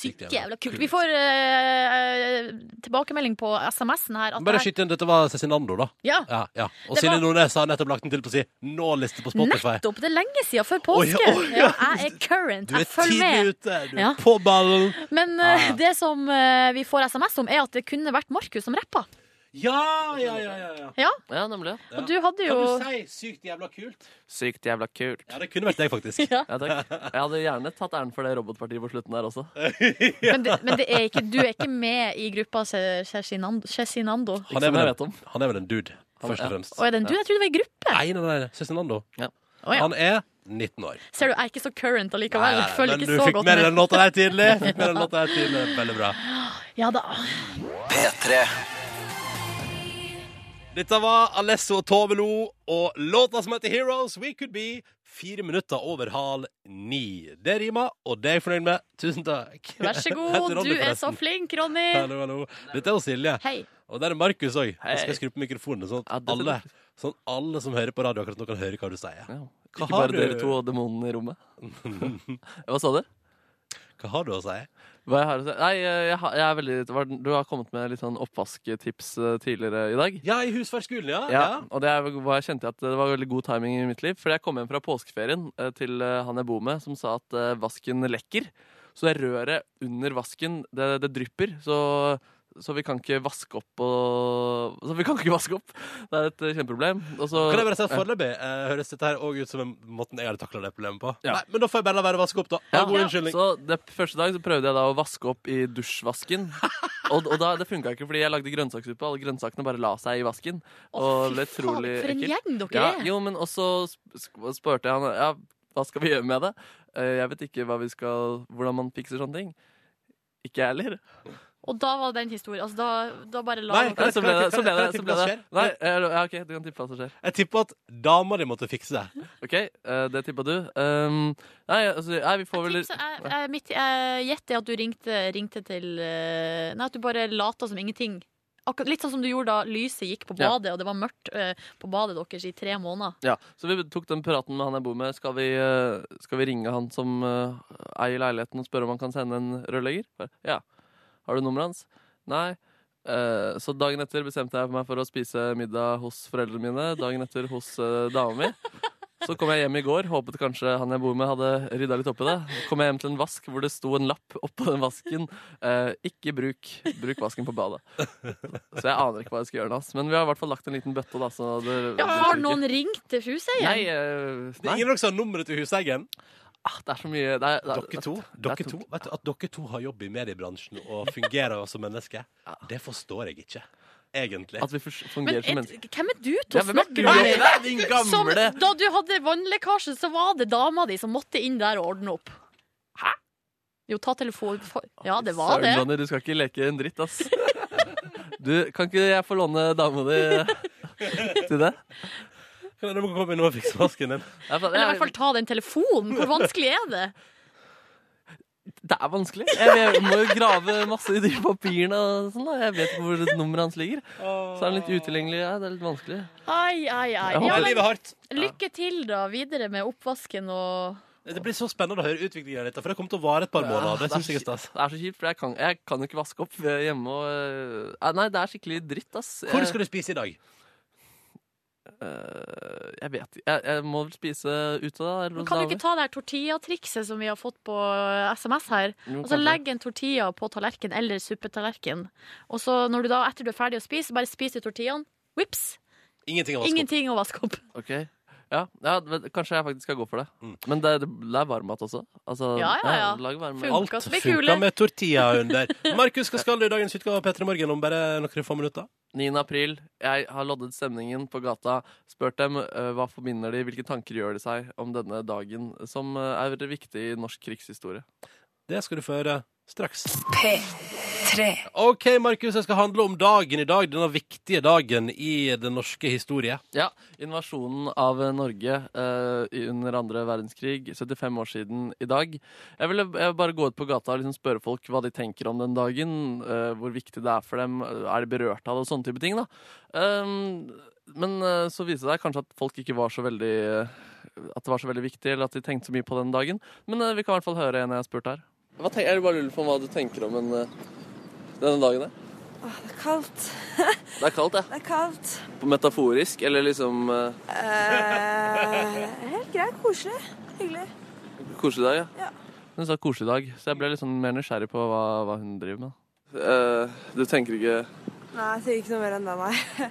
C: Sykt jævla kult. Vi får eh, tilbakemelding på SMS-en her. At
B: Bare
C: det her-
B: skyt inn. Dette var Cezinando, da.
C: Ja.
B: ja, Og
C: Det
B: Silje
C: var-
B: Nordnes har nettopp lagt den til på si nå-liste på Spotify.
C: Nettopp! Det er lenge siden før
B: Oi,
C: påske.
B: oi,
C: ja.
B: ja.
C: jeg er current.
B: Du er
C: Jeg følger
B: tidlig
C: med.
B: ute. Du er
C: Ja.
B: på ballen.
C: Men eh,
B: Ah.
C: det som eh, vi får SMS om, er at det kunne vært Markus som rappa.
B: Ja, ja, ja, ja, ja.
C: Ja.
D: Ja, nemlig.
C: Og du hadde jo
B: Kan du si 'sykt jævla kult'?
D: Sykt jævla kult.
B: Ja, Det kunne vært deg, faktisk.
C: Ja.
D: takk. Jeg hadde gjerne tatt æren for det robotpartiet på slutten der også.
C: Men, det, men det er ikke, du er ikke med i gruppa Cezinando?
B: Han er, vel en, han er vel en dude, først og fremst.
C: Og er det en du? Jeg trodde det var en gruppe.
B: Nei, nei, nei. Cezinando.
C: Å, ja.
B: Han er 19 år.
C: Ser du, jeg er ikke så current
B: Nei,
C: allikevel.
B: nei,
C: Jeg følger
B: men
C: ikke
B: du
C: så
B: fikk
C: godt
B: med deg
C: med.
B: den låta her tidlig. Fikk med deg den låta her tidlig. Veldig bra.
C: Ja da.
A: P3.
B: Dette var Alesso og Tove Lo og låta som heter 'Heroes We Could Be'. Fire minutter over halv ni. Det rimer, og det er jeg fornøyd med. Tusen takk.
C: Vær så
B: Jeg heter
C: god.
B: Ronny,
C: Du er så
B: forresten.
C: flink, Ronny.
B: Hallo, hallo. Dette er jo Silje.
C: Hei.
B: Og der er Markus òg.
D: Hei.
B: Jeg skal skru på mikrofonene, sånn at
D: det er
B: alle, sånn at alle som hører på radio akkurat nå, kan høre hva du sier. Hva
D: Ikke bare dere to og demonen i rommet. Hva sa du?
B: Hva har du å si?
D: Hva jeg har å si? Nei, eh, jeg, har- jeg er veldig, det var- du har kommet med litt sånn oppvasktips eh, tidligere i dag.
B: Ja, i husferdskolen, ja.
D: Ja, og det er, hva jeg kjente at det var veldig god timing i mitt liv. For jeg kom hjem fra påskeferien eh, til eh, han jeg bor med, som sa at eh, vasken lekker. Så det røret under vasken, det, det drypper. Så, så vi kan ikke vaske opp og Så vi kan ikke vaske opp! Det er et eh, kjempeproblem. Og så-
B: Kan jeg bare si at
D: Ja.
B: foreløpig eh, høres dette her også ut som en måten jeg hadde takla det problemet på?
D: Ja.
B: Nei, men da får jeg bare la være å vaske opp, da. Ha
D: Ja.
B: god unnskyldning.
D: Så det første dag så prøvde jeg da å vaske opp i dusjvasken. Og, og da, det funka ikke, fordi jeg lagde grønnsakssuppe. Alle grønnsakene bare la seg i vasken.
C: fy
D: Og det ble
C: faen,
D: utrolig
C: for en
D: ekkelt.
C: gjeng dere
D: ja,
C: er.
D: Jo, men også sp- sk- spurte jeg han ja, hva skal vi gjøre med det. Eh, Jeg vet ikke hva vi skal, hvordan man fikser sånne ting. Ikke jeg heller.
C: Og da var den historien. Altså, da, da bare la
B: Nei,
C: dere-
D: Nei, Eh, Så ble det
B: kan jeg-
D: så ble
B: kan
D: det.
B: jeg
D: Så
B: tippe
D: ble
B: hva
D: det.
B: som skjer?
D: Nei, eh, ja, OK, du kan tippe hva som skjer.
B: Jeg tipper at dama di måtte fikse det.
D: OK, eh, det tippa du. Um, Nei, altså, nei, vi får vel
C: Så jeg, jeg, mitt jeg gjett er at du ringte, ringte til eh, Nei, at du bare lata som ingenting. Akkurat Litt sånn som du gjorde da lyset gikk på
D: Ja.
C: badet, og det var mørkt eh, på badet deres i tre måneder.
D: Ja, så vi tok den praten med han jeg bor med. Skal vi, eh, skal vi ringe han som eh, eier leiligheten og spørre om han kan sende en rørlegger? Bare, Ja. Har du nummeret hans? Nei. Eh, Så dagen etter bestemte jeg meg for å spise middag hos foreldrene mine. Dagen etter hos eh, dama mi. Så kom jeg hjem i går, håpet kanskje han jeg bor med hadde rydda litt opp i det. Kom jeg hjem til en vask hvor det sto en lapp oppå den vasken. Eh, ikke bruk, bruk vasken på badet. Så jeg aner ikke hva jeg skal gjøre nå. ass. Men vi har i hvert fall lagt en liten bøtte, da. Så det,
C: Ja,
D: det
C: har
D: ryker.
C: noen ringt til huseieren?
D: Nei, eh,
B: Det er ingen av dere som har nummeret til huseieren?
D: Ah, det er så mye det er, det er,
B: Dere to, dere to vet du, At dere to har jobb i mediebransjen og fungerer som mennesker, det forstår jeg ikke. Egentlig.
D: At vi fungerer
C: som et- mennesker. Hvem er du til
B: Ja,
C: å
B: hvem er
C: snakke
B: du?
C: med?
B: Nei, din gamle-
C: Som, da du hadde vannlekkasje, så var det dama di som måtte inn der og ordne opp. Hæ? Jo, ta telefonen Ja, det var
D: Søren,
C: det.
D: Johnny, du skal ikke leke en dritt, ass. Du, kan ikke jeg få låne dama di til det?
B: Kan du komme inn og fikse vasken din?
C: Eller i hvert fall ta den telefonen. Hvor vanskelig er det?
D: Det er vanskelig. Jeg, jeg må jo grave masse i de papirene. og sånn da. Jeg vet ikke hvor nummeret hans ligger. Så er han litt utilgjengelig. Ja, det er litt vanskelig.
C: Ai, ai, ai.
D: Jeg håper
C: men
D: livet er hardt.
C: Lykke til da videre med oppvasken og
B: Det blir så spennende å høre utviklingen ditt, for det kommer til å vare et par
D: Ja,
B: måneder. Det synes
D: er
B: jeg er
D: så-
B: stas.
D: det er så kjipt, for jeg kan, jeg kan jo ikke vaske opp hjemme. Og, eh, nei, det er skikkelig dritt, ass.
B: Hvor skal du spise i dag?
D: jeg vet ikke. Jeg, jeg må vel spise ute, da. eller
C: Men
D: hos
C: Kan du
D: damer.
C: ikke ta det her tortillatrikset som vi har fått på eh, SMS her?
D: Jo,
C: Altså
D: kanskje.
C: Legg en tortilla på tallerken eller suppetallerken. Og så når du da, etter du er ferdig å spise, bare spis i tortillaen. Vips!
B: Ingenting altså. å vaske opp.
C: Ingenting å vaske opp.
D: Ok, ja, ja men Kanskje jeg faktisk skal gå for det. Men det, det er varmmat også. Altså,
C: Ja, ja, ja.
D: lag varm mat.
B: Alt funka med tortilla under. Markus, hva skal du i dagens utgave av P3 Morgen om bare noen få minutter?
D: 9. april. Jeg har loddet stemningen på gata. Spurt dem eh, hva forbinder de, hvilke tanker gjør de seg om denne dagen, som eh, er viktig i norsk krigshistorie.
B: Det skal du få høre straks.
E: P3.
B: OK, Markus, det skal handle om dagen i dag. Denne viktige dagen i den norske historie.
D: Ja, invasjonen av eh, Norge eh, i- under andre verdenskrig, 75 år siden i dag. Jeg ville jeg vil bare gå ut på gata og liksom spørre folk hva de tenker om den dagen, eh, hvor viktig det er for dem, eh, er de berørt av det, og sånne type ting. da. Um, men eh, så viste det seg kanskje at folk ikke var så veldig eh, at det var så veldig viktig, eller at de tenkte så mye på den dagen. Men eh, vi kan i hvert fall høre en jeg har spurt her. jeg bare lurer på hva du tenker om eh, denne dagen. her.
M: Åh, det er kaldt.
D: Det er kaldt,
M: Det er kaldt.
D: Metaforisk, eller liksom
M: Eh, helt greit. Koselig. Hyggelig.
D: Koselig dag, ja. Hun sa koselig dag, så jeg ble litt sånn mer nysgjerrig på hva, hva hun driver med. du Eh, tenker ikke
M: Nei, jeg sier ikke noe mer enn det, nei.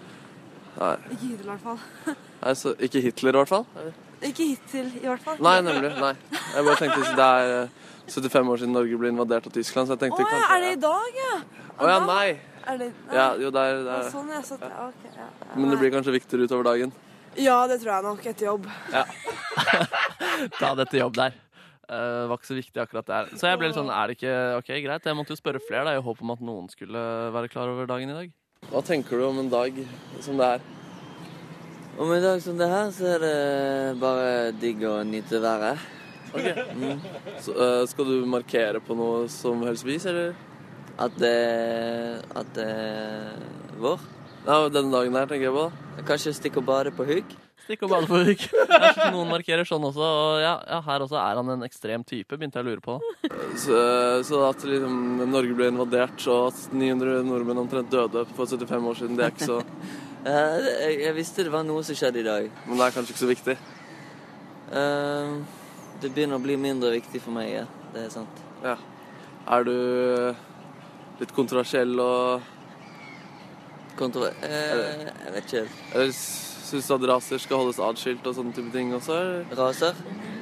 D: Nei.
M: Ikke hittil, i hvert fall.
D: Nei, så ikke Hitler, i hvert fall.
M: Ikke hittil, i hvert fall.
D: Nei, nemlig. Nei. Jeg bare tenkte så Det er eh, 75 år siden Norge ble invadert av Tyskland, så jeg
M: Å
D: tenkte
M: ja,
D: kanskje
M: er det i dag, ja?
D: Å ja, nei.
M: Er det nei.
D: Ja, jo, det er, det
M: Å,
D: er.
M: Sånn, ja. Så, ja, ok, ja.
D: Men det blir kanskje viktigere utover dagen.
M: ja, det tror jeg nok. Etter jobb.
D: Ja. Ta dette jobb der. Eh, var ikke så viktig akkurat der. Så jeg ble litt sånn, er det ikke ok, greit? Jeg måtte jo spørre flere da, i håp om at noen skulle være klar over dagen i dag. Hva tenker du om en dag som det er?
N: Om en dag som det her, så er det bare digg å nyte været.
D: Ok.
N: Mm.
D: Så, eh, skal du markere på noe som helst vis, eller?
N: At det At det vår.
D: Ja, denne dagen her tenker jeg på.
N: Kanskje stikke og bade på huk?
D: Stikk og bade på huk. Ja, så Noen markerer sånn også, og ja, ja, her også er han en ekstrem type, begynte jeg å lure på. Så, så at liksom Norge ble invadert, og at 900 nordmenn omtrent døde for 75 år siden, det er ikke så
N: Eh, det- jeg, jeg visste det var noe som skjedde i dag. Eh,
D: Men det er kanskje ikke så viktig?
N: det begynner å bli mindre viktig for meg, ja. Det er sant.
D: Ja. Er du eh, litt kontroversiell og
N: Kontro... Eh, jeg vet ikke helt.
D: Eller syns du at raser skal holdes atskilt og sånne type ting også? eller?
N: Raser?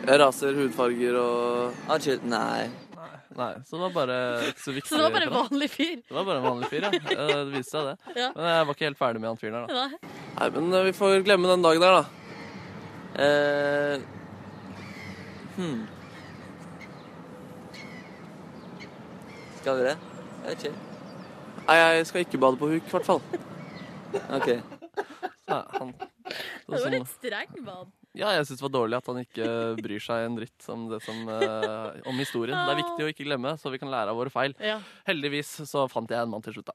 D: Ja, Raser, hudfarger og
N: Atskilt? Nei.
D: Nei, så det var bare ikke så viktig.
C: Så det var bare en
D: for deg.
C: vanlig fyr.
D: Det var bare en vanlig fyr, ja. Eh, Det viste seg det.
C: Ja.
D: Men jeg var ikke helt ferdig med han fyren her, da.
C: Nei.
D: Nei, men eh, vi får glemme den dagen her, da.
N: Eh, hmm. Skal vi det? Jeg vet ikke.
D: Nei, jeg skal ikke bade på huk, i hvert fall.
N: OK.
D: Nei, han... sånn-
C: Det var litt streng, mann.
D: Ja, jeg syns det var dårlig at han ikke bryr seg en dritt om, det som, eh, om historien. Det er viktig å ikke glemme, så vi kan lære av våre feil.
C: Ja.
D: Heldigvis så fant jeg en mann til slutt, da.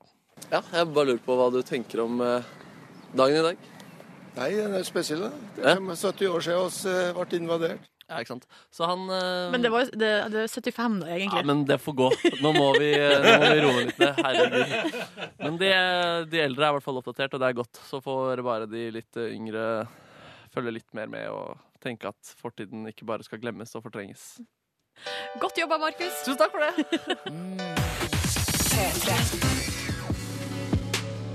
D: Ja, jeg bare lurer på hva du tenker om eh, dagen i dag.
O: Nei, den er spesiell. da. Det
D: Ja.
O: er 70 år siden oss eh, ble invadert.
D: Ja, ikke sant. Så han eh,
C: Men det var jo det, det er 75, da, egentlig.
D: Ja, men det får gå. Nå må vi, eh, nå må vi roe litt ned. Herregud. Men de, de eldre er i hvert fall oppdatert, og det er godt. Så får bare de litt eh, yngre følge litt mer med og tenke at fortiden ikke bare skal glemmes og fortrenges.
J: Godt jobba, Markus.
D: Tusen takk for det.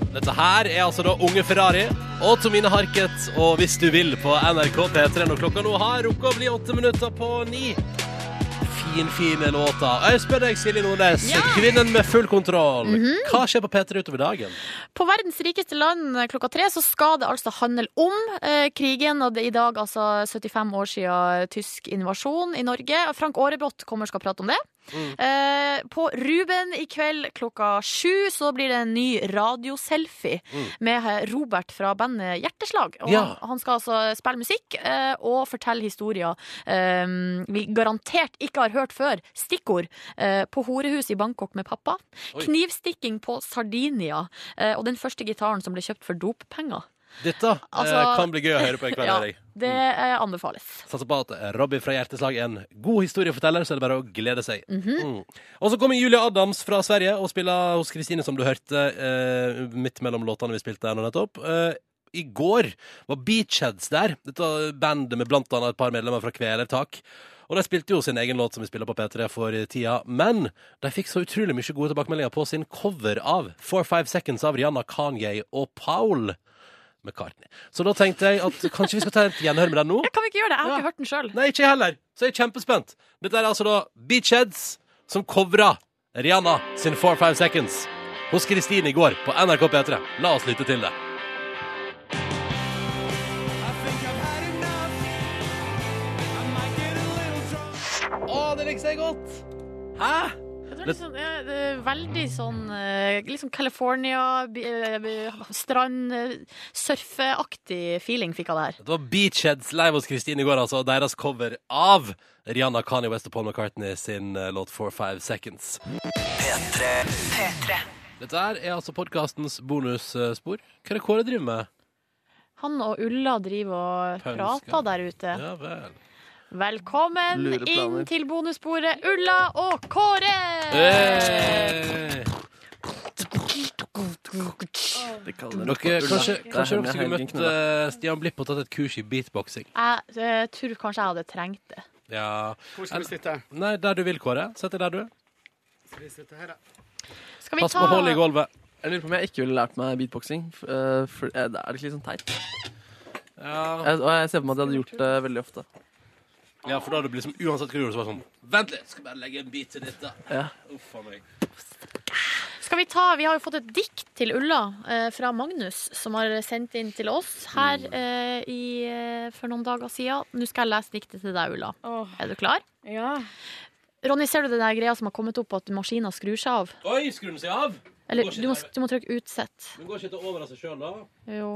B: Dette her er altså da Unge Ferrari og Tomine Harket og Hvis du vil på NRK P3 når klokka nå har rukket å bli åtte minutter på ni. Fin, fine låter. Jeg spør deg, Silje Nordnes, kvinnen med full kontroll.
C: Mhm.
B: Hva skjer på P3 utover dagen?
C: På verdens rikeste land eh, klokka tre så skal det altså handle om eh, krigen. Og det er i dag altså 75 år siden tysk invasjon i Norge. Frank Aarebrot kommer og skal prate om det.
P: Mm.
C: Eh, på Ruben i kveld klokka sju så blir det en ny radioselfie
P: Mm.
C: med eh, Robert fra bandet Hjerteslag. Og
P: Ja.
C: han, han skal altså spille musikk eh, og fortelle historier eh, vi garantert ikke har hørt før. Stikkord. Eh, på horehus i Bangkok med pappa.
B: Oi.
C: Knivstikking på Sardinia. Eh, og den første gitaren som ble kjøpt for doppenger.
B: Dette eh,
C: Altså-
B: kan bli gøy å høre på en kveld.
C: Ja,
B: hører jeg.
C: det eh, anbefales.
B: Satser på at Robbie fra Hjerteslag er en god historieforteller, så er det bare å glede seg.
C: Mhm.
B: Mm. Og så kommer Julia Adams fra Sverige og spiller hos Kristine, som du hørte eh, midt mellom låtene vi spilte her nå nettopp. Eh, I går var Beachheads der, dette bandet med blant annet et par medlemmer fra Kvelertak. Og de spilte jo sin egen låt som vi spiller på P3 for eh, tida, men de fikk så utrolig mye gode tilbakemeldinger på sin cover av 4-5 Seconds av Rihanna, Kanye og Paul. McCartney. Så da tenkte jeg at kanskje vi skal ta et gjenhør med den nå?
C: Kan vi ikke gjøre det? Jeg har ikke hørt den sjøl.
B: Nei, ikke jeg heller. Så jeg er kjempespent. Dette er altså da Beachheads som covra Rihanna sin 4-5 Seconds hos Kristine i går på NRK P3. La oss lytte til det. Å, det likte jeg godt! Hæ?
C: Det er liksom, eh, det er veldig sånn eh, liksom California, bi- eh, bi- strand, eh, surfeaktig feeling fikk av det her.
B: Det var Beachheads live hos Kristine i går, altså. og Deres cover av Rihanna, Kanye West og Paul McCartney sin eh, låt 4-5 Seconds. Dette her er altså podkastens bonusspor. Hva er det Kåre driver med?
C: Han og Ulla driver og
B: Pønsker.
C: prater der ute.
B: Ja vel.
C: Velkommen
B: Lureplaner.
C: inn til bonussporet Ulla og Kåre!
D: Det kaller
B: Dere, kanskje kanskje dere skulle møtt eh, Stian Blipp og tatt et kurs i beatboxing?
C: Jeg eh, tror kanskje jeg hadde trengt det.
B: Ja.
Q: Hvor skal vi sitte?
B: Nei, Der du vil, Kåre. Sett deg der, du.
Q: Skal vi sitte her, da?
C: Skal vi
B: Pass
C: ta
B: på hullet i gulvet.
D: Jeg lurer på om jeg ikke ville lært meg beatboxing. f- eh, For eh, det er litt liksom teit. Jeg, og jeg ser for meg at jeg hadde gjort det veldig ofte.
B: Ja, for da hadde det blitt som uansett hva du gjorde, så var det sånn Vent litt, skal bare legge en bit til dette.
D: Ja.
B: Uff a meg.
C: Skal Vi ta, vi har jo fått et dikt til Ulla eh, fra Magnus, som har sendt inn til oss her eh, i, eh, for noen dager siden. Nå skal jeg lese diktet til deg, Ulla. Er du klar?
J: Ja.
C: Ronny, ser du den der greia som har kommet opp, at maskina skrur seg av?
B: Oi, skrur den seg av?
C: Eller
B: Går ikke
C: du må,
B: til-
C: du må trykke 'utsett'.
B: Den går ikke til å overraske sjøl, da.
C: Jo.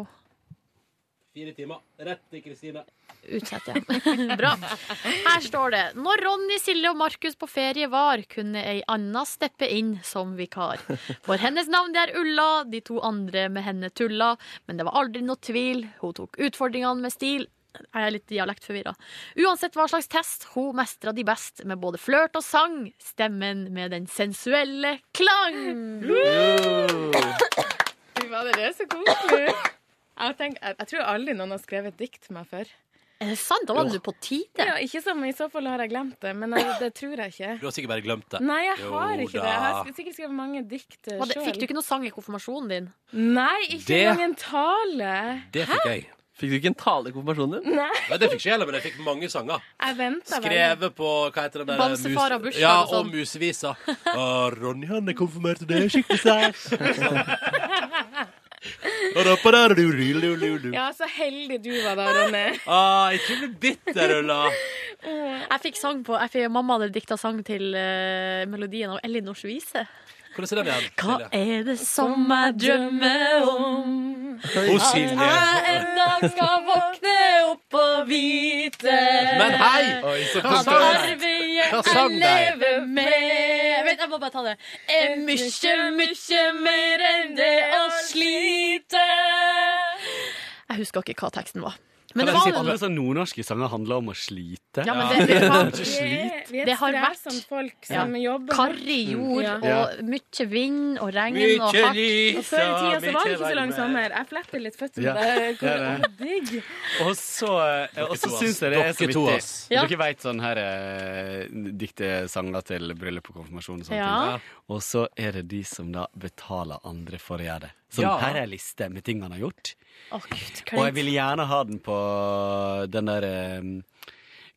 B: Fire timer. Rett til Kristine.
C: Utsett, ja. Bra. Her står det Når Ronny, Silje og Markus på ferie var, kunne ei anna steppe inn som vikar. For hennes navn det er Ulla, de to andre med henne tulla. Men det var aldri noe tvil, hun tok utfordringene med stil. Jeg er litt dialektforvirra. Uansett hva slags test, hun mestra de best med både flørt og sang. Stemmen med den sensuelle
J: Mm.
C: klang.
J: Fy fader, det er så koselig. Jeg, tenker, jeg, jeg tror aldri noen har skrevet dikt til meg før.
C: Er det sant? Da var du på tide.
J: Ja, ikke som I så fall har jeg glemt det, men jeg, det tror jeg ikke.
B: Du har sikkert bare glemt det.
J: Nei, jeg har
B: Jo
J: ikke
B: da.
J: det. Jeg har sk- sikkert skrevet mange dikt
C: Var det-
J: sjøl.
C: Fikk du ikke noe sang i konfirmasjonen din?
J: Nei, ikke
B: Det-
J: engang en tale.
B: Det fikk jeg.
D: Fikk du ikke en tale i konfirmasjonen din?
J: Nei.
B: Nei, det fikk ikke jeg heller, men jeg fikk mange sanger.
J: Jeg venta
B: Skrevet på hva heter den der
J: Bamsefar
B: mus-
J: og bursdag
B: Ja,
J: og
B: og
J: sånn.
B: musevisa. Og Ronny han er konfirmert, og det er skikkelig særs.
J: Ja, så heldig du var da, Ronny.
B: Ah, ikke bli bitter, Ulla.
C: Jeg fikk sang på jeg fikk, Mamma hadde dikta sang til eh, melodien av Elinors vise.
B: Hvordan er den igjen?
C: Hva
B: Silje?
C: er det som jeg drømmer om?
B: Å, Silje.
J: Ah,
C: At jeg en dag skal våkne opp og vite
B: Men hei! Oi, så
C: Hva
B: forstår jeg.
C: arvet
B: Hva
C: jeg
B: sang de?
C: lever med Vent, jeg må bare ta det. Er mykje, mykje mer enn det å slite Jeg husker ikke hva teksten var. Men det
P: kan
C: var
P: jeg si at alle sånne nordnorske sanger handler om å slite?
C: Ja, men det- det-
P: er ikke slit.
J: Vi er
C: Det
J: et
C: har vært
J: strevsomt folk som jobber
C: Karri jord
J: Ja.
C: og mye vind og regn
J: Mye
C: og hardt.
P: lys
J: Og før i tida så var det ikke så lang
P: varme.
J: sommer. Jeg fletter litt føttene.
P: Ja,
J: Det
P: det er
J: er digg.
P: Og så, og så
B: to, ass.
P: syns jeg det er så
B: Dere to,
P: vittig.
B: ass.
J: Ja.
P: Dere veit sånn her eh, diktesanger til bryllup og konfirmasjon og sånne
J: Ja.
P: ting. Og så er det de som da betaler andre for å gjøre det. Sånn,
Q: Ja.
P: her er ei liste med ting han har gjort.
C: Å, Gud, kleint.
P: Og jeg vil gjerne ha den på den der eh,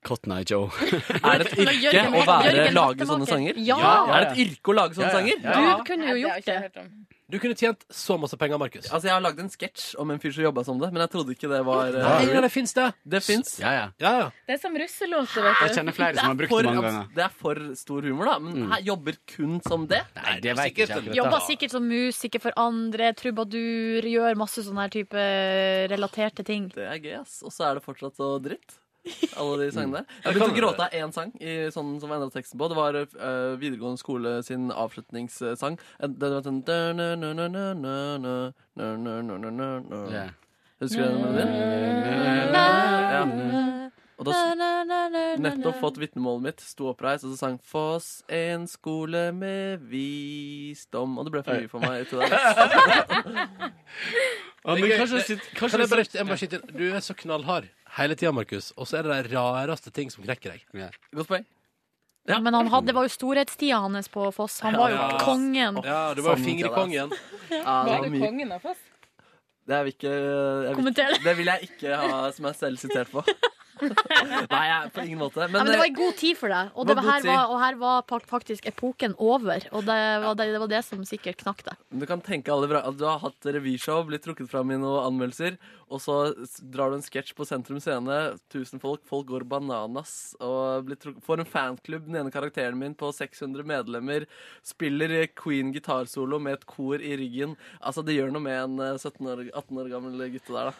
P: Cotton Eye Joe.
D: Er det et
C: Men
D: yrke
C: Jørgen-
D: å være,
C: Jørgen
D: lage
C: Hattemaker.
D: sånne sanger?
C: Ja.
D: Er det et yrke å lage sånne sanger?
C: Du kunne jo gjort det.
B: Du kunne tjent så masse penger, Markus.
D: Altså, Jeg har lagd en sketsj om en fyr som jobba som det, men jeg trodde ikke det var
B: Nei,
D: eh,
B: men det fins, det.
D: Det fins.
P: Ja, ja.
J: Det er som russelåter, vet du.
D: Det er for abs- Det er for stor humor, da.
P: Mm.
D: Men her jobber kun som det?
P: Nei, det vet jeg ikke akkurat, da.
C: Jobba sikkert som musiker for andre, trubadur, gjør masse sånne her type eh, relaterte ting.
D: Det er gøy, ass. Og så er det fortsatt så dritt. Alle de sangene der. Jeg
C: Det kan
D: begynte å
C: være.
D: gråte av én sang i, sånn, som jeg endret teksten på. Det var eh, videregående skole sin avslutningssang. Eh, Den var sånn
P: Ja.
D: Husker du den melodien? Ja. Og da s- nettopp fått vitnemålet mitt, sto oppreist og så sang Foss en skole med visdom. Og det ble for mye for meg til det.
B: Det er
D: men
B: gøy.
D: kanskje
B: Det-
D: sitt- kanskje
B: Kan jeg bare,
D: sitt-
B: jeg må bare skyte inn? Du er så knallhard hele tida, Markus. Og så er det de rareste ting som knekker deg.
D: Godt poeng.
C: Men han hadde, det var jo storhetstida hans på Foss. Han var jo
B: Ja.
C: kongen.
B: Ja, du var jo fingerkongen.
D: det var
J: Var du
D: mye-
J: kongen av oss?
D: Det er vi ikke jeg vil-
C: Kommenter det.
D: Det vil jeg ikke ha som jeg selv sitert på. Nei, jeg, på ingen måte. eh,
C: Men, ja, men det var en god tid for deg, og, det var
D: Det var
C: her
D: god tid.
C: var, og her var pak- faktisk epoken over. Og det var det, det, var det som sikkert knakk deg.
D: Men Du kan tenke alle bra at Du har hatt revyshow, blitt trukket fram i noen anmeldelser, og så s- drar du en sketsj på Sentrum Scene. Tusen folk, folk går bananas. Og blir trukket, får en fanklubb, den ene karakteren min, på 600 medlemmer. Spiller Queen gitarsolo med et kor i ryggen. Altså, det gjør noe med en eh, 17 år, 18 år gammel gutte der, da.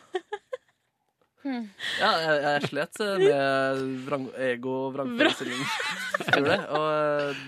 J: Hmm.
D: Ja, jeg, jeg slet eh, med vrang, ego og vrangforestilling. Jeg gjorde det, og eh,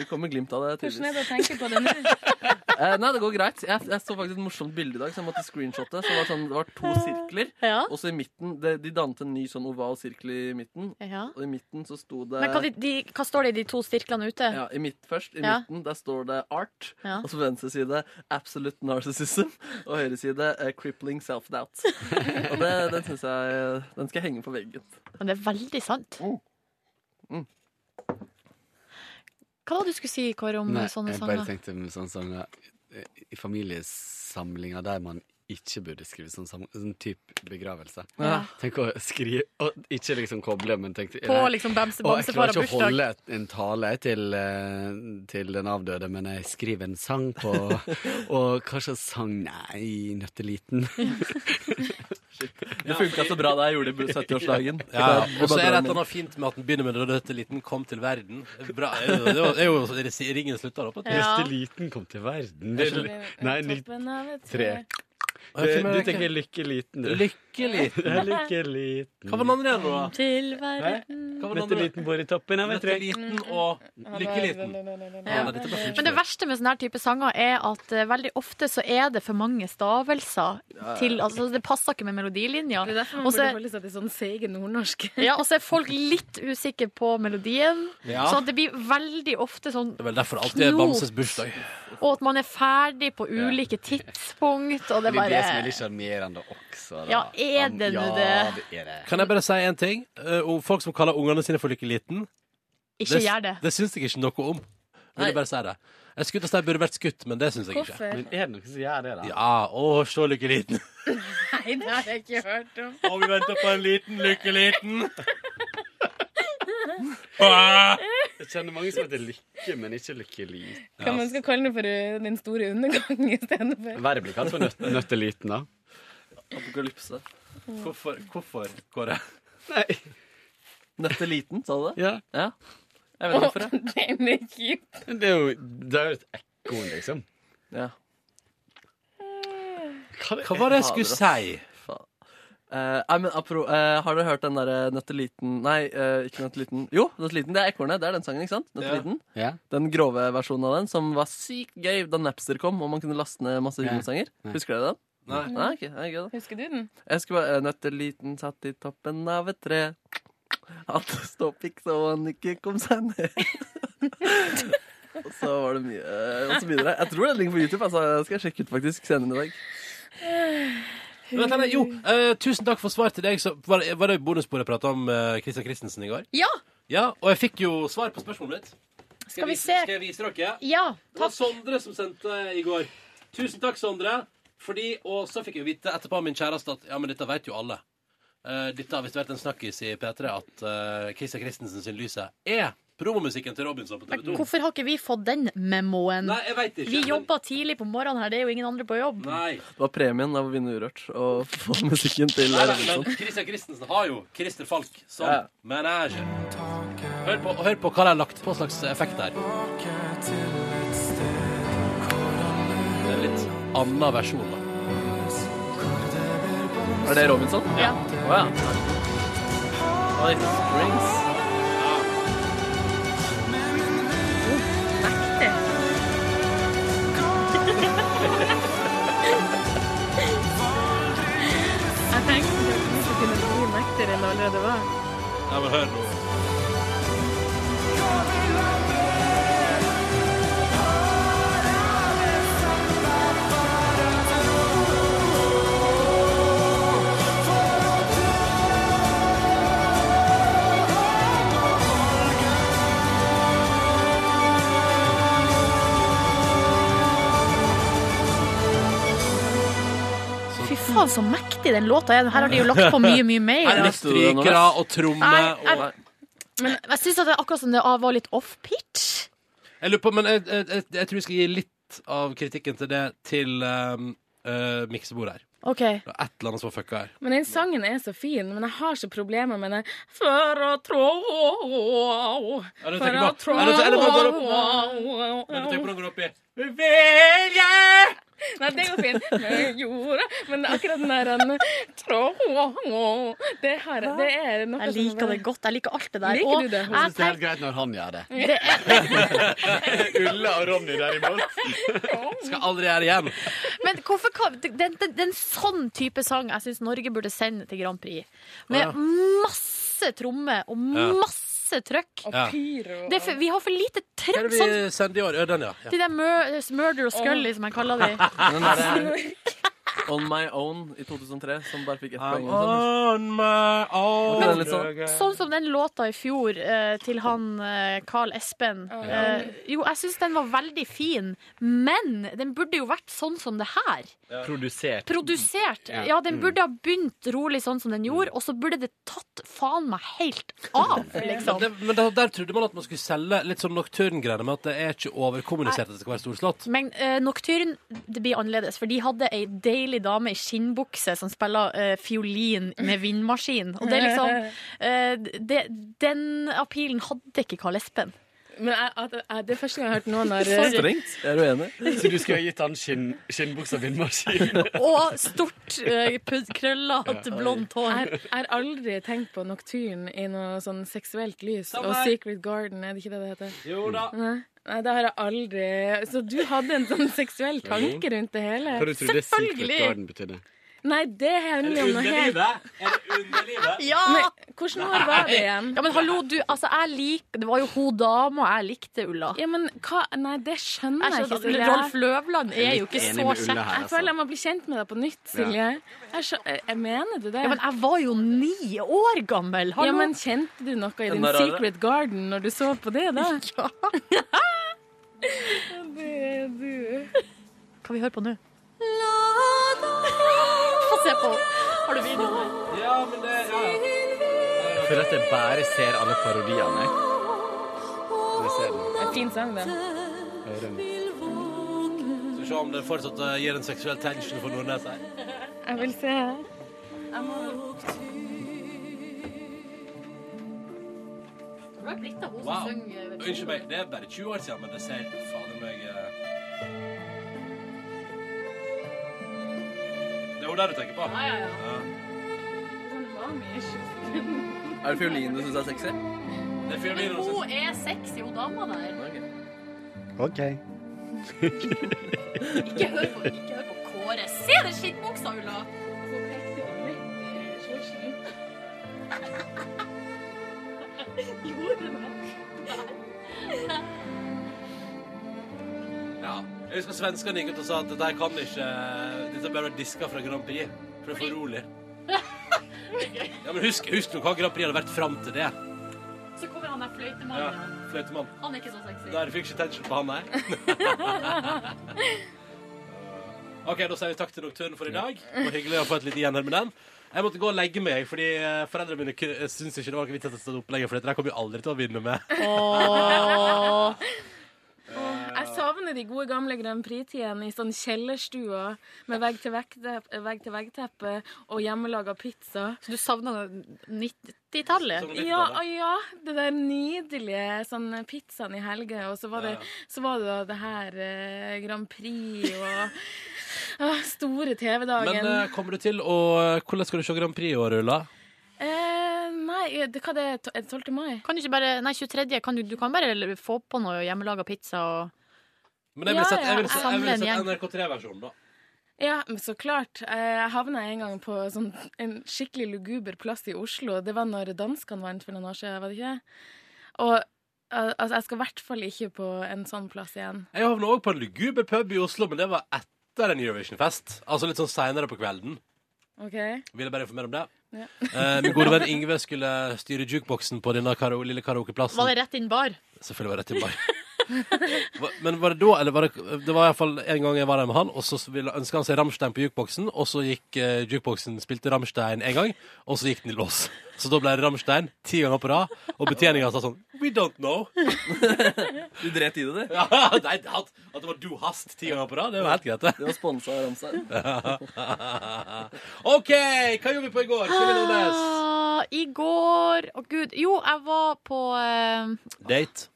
D: det kommer glimt av det
J: Hvordan er
D: tidligvis.
J: det å tenke på det nå?
D: Eh, nei, det går greit. Jeg, jeg så faktisk et morsomt bilde i dag, så jeg måtte screenshotte. Så det, var sånn, det var to sirkler, og så i midten De, de dannet en ny sånn oval sirkel i midten,
C: Ja.
D: og i midten så sto det
C: Men hva, de, de, hva står det i de to sirklene ute?
D: ja, I midt først, i
C: Ja.
D: midten, der står det art.
C: Ja.
D: Og så på venstre side absolute narcissism. Og høyre side eh, crippling self-doubt. og det, den synes jeg eh, Den skal jeg henge på veggen.
C: Men det er veldig sant.
D: Mm.
C: Hva var det du skulle si, Kåre, om
P: Nei,
C: sånne
P: jeg bare
C: sanger?
P: tenkte med sånne sanger i familiesamlinger der man ikke burde skrive sånn, sam- sånn type begravelse.
J: Ja.
P: Tenk å skrive og Ikke liksom koble, men tenk
J: På liksom bamse-
P: Å, Jeg
J: bamsefar
P: klarer ikke å
J: og bursdag.
P: holde et- en tale til, eh, til den avdøde, men jeg skriver en sang på Og hva slags sang? Nei, Nøtteliten.
D: Det funka så bra da jeg gjorde det på 70-årsdagen.
B: Ja, ja. Og så er det et eller annet fint med at den begynner med da dette liten kom til verden. Bra. Det er jo- det er jo det- ringen slutter da. på et vis.
J: Ja.
P: Nøtteliten kom til verden. Det, er- nei, ni-
J: Toppen av et
P: tre.
B: Å, jeg
P: Det-
B: tror
P: Du
B: jeg-
P: tenker lykke liten, du.
B: Lykke liten.
P: Ja, lykke liten.
B: Hva var den andre igjen, da?
C: Til
B: verden. Hva var den andre?
P: Nøtteliten bor i toppen av et tre.
B: Nøtteliten og
C: Ja.
B: Nei, dette var fint.
C: Men det verste med sånne her type sanger er at eh, veldig ofte så er det for mange stavelser.
J: Ja, ja.
C: Til, altså, det passer ikke med melodilinja.
J: Det er derfor man
C: Og så
J: burde
C: er-
J: holde seg til sånn seige nordnorsk.
C: ja, Og så er folk litt usikre på melodien.
B: Ja.
C: Så det blir veldig ofte sånn
B: Det er vel derfor det alltid er Bamses bursdag.
C: Og at man er ferdig på ulike tidspunkt. Og det
P: Det er det som
C: bare
P: er liksom litt sjarmerende også. Da.
C: Ja, er det nå
P: Ja,
C: det?
P: det er det.
B: Kan jeg bare si en ting? Eh, om folk som kaller ungene sine for Lykke Liten
C: Ikke gjør det.
B: Det syns jeg ikke noe om. Vil jeg bare si det. Jeg skulle til å si jeg burde vært skutt, men det syns jeg ikke.
J: Hvorfor? Men
P: er det noen som gjør det, da?
B: Ja, å, se Lykke Liten.
J: Nei, det har jeg ikke hørt om.
B: Og vi venter på en liten Lykke Liten.
P: Jeg kjenner mange som heter Lykke, men ikke Lykke Liten.
J: Hva man skal kalle det for uh, den store undergang istedenfor.
P: Verre blir kalt for nøt Nøtteliten, da.
B: Apokalypse. Hvorfor, hvorfor, Kåre?
D: Nøtteliten, sa du det?
P: Ja.
D: Jeg vet ikke hvorfor, jeg.
J: Den er kjip.
P: Det er jo det er jo et ekorn, liksom.
D: Ja.
P: Hva,
D: var det jeg skulle si? nei, men apro, eh, Har dere hørt den derre Nøtteliten Nei, eh, ikke Nøtteliten. Jo, Nøtteliten, det er Ekornet. Det er den sangen, ikke sant? Nøtteliten.
P: Ja.
D: Den grove versjonen av den, som var sykt gøy da Napster kom, og man kunne laste ned masse
J: Nei.
D: humorsanger.
J: Nei.
D: Husker dere den?
J: Nei.
D: Nei ok, det er gøy, da.
J: Husker du den?
D: Jeg skulle bare eh, Nøtteliten satt i toppen av et tre. At det stoppikk så han ikke kom seg ned. og så var det mye eh, Og så videre. Jeg tror den ligger på YouTube. Altså, jeg skal sjekke ut faktisk senere i dag.
B: Men jeg tenker, jo, eh, tusen takk for svar til deg. Så var, det- var det bonusbordet jeg prata om eh, Christian Christensen i går?
C: Ja!
B: Ja, Og jeg fikk jo svar på spørsmålet mitt.
C: Skal vi
B: jeg vise-
C: se.
B: Skal jeg vise dere?
C: Ja,
B: Det var Sondre som sendte i går. Tusen takk, Sondre. Fordi, Og så fikk jeg vite etterpå av min kjæreste at ja, men dette vet jo alle. Eh, dette har visst vært en snakkis i P3 at eh, Christian Christensen sin Lyset er promomusikken til Robinson på TV 2.
C: Hvorfor har ikke vi fått den memoen?
B: Nei, jeg vet ikke,
C: vi
B: men-
C: jobber tidlig på morgenen her, det er jo ingen andre på jobb.
B: Nei.
D: Det var premien av å vinne Urørt og få musikken til
B: Nei, nei,
D: Robinson.
B: men Christian Christensen har jo Christer Falk som
D: Ja.
B: manager. Hør på, hør på hva de har lagt på slags effekt der. Det er en litt annen versjon. da.
D: Er det Robinson?
C: Ja.
D: Å ja. Oi, strings.
J: Jeg tenkte at vi ikke kunne bli nektere enn det allerede var.
B: Ja, men hør nå.
C: Fy faen, så mektig den låta er. Her har de jo lagt på mye, mye mer.
B: Her er det strykere og trommer
C: Nei, jeg-
B: og
C: Men jeg syns det er akkurat som det var litt off-pitch.
B: Jeg lurer på, men jeg, jeg, jeg, jeg tror vi skal gi litt av kritikken til det til um, eh, miksebordet her.
J: Ok.
B: Det er et eller annet som har fucka her.
J: Men den sangen er så fin, men jeg har så problemer med den For å trå
B: Ja, du
J: For
B: tenker
J: å
B: på-
J: trå
B: ja, du tenker- eller bare- Men du tenker
J: Nei,
B: på den går opp i
J: det går fint. Med jorda. Men akkurat den der den, trå det, har, det er noe
C: Jeg
J: som
C: liker det godt. Jeg liker alt det der.
J: Liker
C: Og
J: du det?
P: Jeg
C: jeg
P: syns
C: tenker
P: det er helt greit når han gjør det.
C: det er,
P: Ulla og Ronny, derimot.
B: Skal aldri gjøre det igjen.
C: men hvorfor kan Det er en sånn type sang jeg syns Norge burde sende til Grand Prix. Med
B: Ja.
C: masse trommer og
B: Ja.
C: masse trøkk.
B: Og Ja. pyro.
C: Det er for, vi har for lite
B: Hva er
C: trøkk.
B: det
C: Sånn,
B: vi sender i år? Ja, den, ja.
C: de
B: ja.
C: der mur, murder og scully, som jeg kaller de.
B: Den er-
D: On My Own i 2003, som bare fikk ett poeng.
B: On my own.
D: Men- Litt sånn.
C: Sånn som den låta i fjor eh, til han eh, Carl Espen. Eh, jo, jeg syns den var veldig fin, men den burde jo vært sånn som det her.
P: Produsert.
C: Produsert.
P: Ja.
C: Ja, den
P: Mm.
C: burde ha begynt rolig sånn som den gjorde, og så burde det tatt faen meg helt av,
B: Men,
C: liksom.
B: det, men da, der trodde man at man skulle selge litt sånn Nocturne-greiene med at det er ikke overkommunisert at det skal være storslått.
C: Men eh, Nocturne det blir annerledes, for de hadde ei deilig dame i skinnbukse som spiller eh, fiolin med vindmaskin. Og det er liksom eh, det, Den appealen hadde ikke Karl Espen.
J: Men er, er, er det første gang jeg har hørt noen der
D: Strengt. Er du enig?
P: Så du skulle ha gitt han skinn, skinnbuksa vindmaskin?
C: Og stort, eh, pud- krøllete,
P: Ja.
C: blondt hår.
J: Jeg har aldri tenkt på Nocturne i noe sånn seksuelt lys.
C: Samme
J: Og
C: her.
J: Secret Garden, er det ikke det det heter?
B: Jo da.
J: Nei, Nei, det har jeg aldri Så du hadde en sånn seksuell tanke rundt det hele?
P: Hva du trodde Secret Garden betydde?
J: Nei, det er hemmelig om noe helt
C: Ja!
J: Men hvordan år var det igjen?
C: Ja, men hallo, du, altså, jeg lik, Det var jo hun dama jeg likte, Ulla.
J: Ja, men hva Nei, det skjønner jeg,
C: Jeg skjønner
J: ikke,
C: at
J: Silje.
C: Rolf Løvland er jo ikke
J: Jeg er litt enig
C: så
J: med
C: kjekk.
J: Ulla her, Jeg altså. føler jeg må bli kjent med deg på nytt, Silje. Jeg, skjø jeg mener du det?
C: Ja, men jeg var jo ni år gammel. Hallo.
J: Ja, men kjente du noe i
C: Den
J: din
C: der rare.
J: Secret Garden når du så på det, da?
C: Ja.
J: det er du.
C: Kan vi høre på nå? Få se på. Har du videoen?
B: Ja, men det
P: Jeg føler at jeg bare ser alle parodiene. Jeg ser den.
J: En fin sang, det.
P: Hører den.
B: Skal vi se om det fortsatt eh, gir en seksuell tension for Nordnes her.
J: Jeg vil se.
B: Wow. Unnskyld meg, det er bare 20 år siden, men det ser fader meg eh, Det er hun der du tenker på?
J: Ja, ja, ja.
D: Er det fiolinen du syns er sexy?
B: Det er
C: Men hun er sexy, hun dama der.
P: OK.
C: Ikke hør på, ikke hør på Kåre. Se den skinnbuksa, Ulla!
B: Ja. Jeg husker svenskene gikk ut og sa at dette her kan ikke eh, Dette bør være diska fra Grand Prix, for det er for rolig. Ja, men husk, husk nå hva Grand Prix hadde vært fram til det.
C: Så kommer han der
B: Ja,
C: fløytemannen.
B: Fløytemann.
C: Han er ikke så sexy.
B: Der fikk ikke tension på han her. OK, da sier vi takk til Nocturne for i dag. Det var hyggelig å få et lite gjenhør med den. Jeg måtte gå og legge meg, fordi eh, foreldrene mine ku- syntes ikke det var noe vits at jeg stod opp lenger, for dette der kommer vi aldri til å vinne med.
J: Åh. Jeg savner de gode gamle Grand Prix-tidene i sånn kjellerstua med vegg-til-vegg-teppe og hjemmelaga pizza.
C: Så du savner 90-tallet?
J: Ja, å ja, det der nydelige sånn pizzaen i helge, og så var det, så var det da det her eh, Grand Prix og ah, store TV-dagen.
B: Men eh, kommer du til å Hvordan skal du se Grand Prix i år, Ulla?
J: Eh, nei, det, hva det er det 12. mai?
C: Kan du ikke bare, nei, 23. Kan du, du kan bare få på noe hjemmelaga pizza og
B: Men jeg ville
J: Ja,
B: sett, jeg
J: ja.
B: ville sett, jeg ville
C: Samle en
B: sett
C: gjeng.
B: NRK3-versjonen, da.
J: Ja, men så klart. Eh, Jeg havna en gang på sånn, en skikkelig luguber plass i Oslo. Det var når danskene vant for noen år siden, var det ikke? det? Og al- altså, jeg skal i hvert fall ikke på en sånn plass igjen.
B: Jeg havna òg på en luguber pub i Oslo, men det var etter en Eurovision-fest. Altså litt sånn seinere på kvelden.
J: OK?
B: Vil jeg bare informere om det.
J: Ja.
B: Eh, min gode venn Ingve skulle styre jukeboksen på denne karo lille karaokeplassen.
C: Var det rett inn bar?
B: Selvfølgelig var det til bar. Hva- Men var det da, eller var det Det var iallfall en gang jeg var der med han, og så ønska han seg Rammstein på jukeboksen, og så gikk eh, jukeboksen Spilte Rammstein en gang, og så gikk den i lås. Så da ble det Rammstein ti ganger på rad, og betjeninga sa sånn We don't know.
D: Du dret i det, du?
B: Ja, nei, at, at det var du hast ti ganger på rad, det var helt greit, det.
D: Det var sponsa av Ramsar.
B: OK, hva gjorde vi på i går? Silje Nordnes.
C: Ah, I går Å, gud. Jo, jeg var på eh,
B: Date.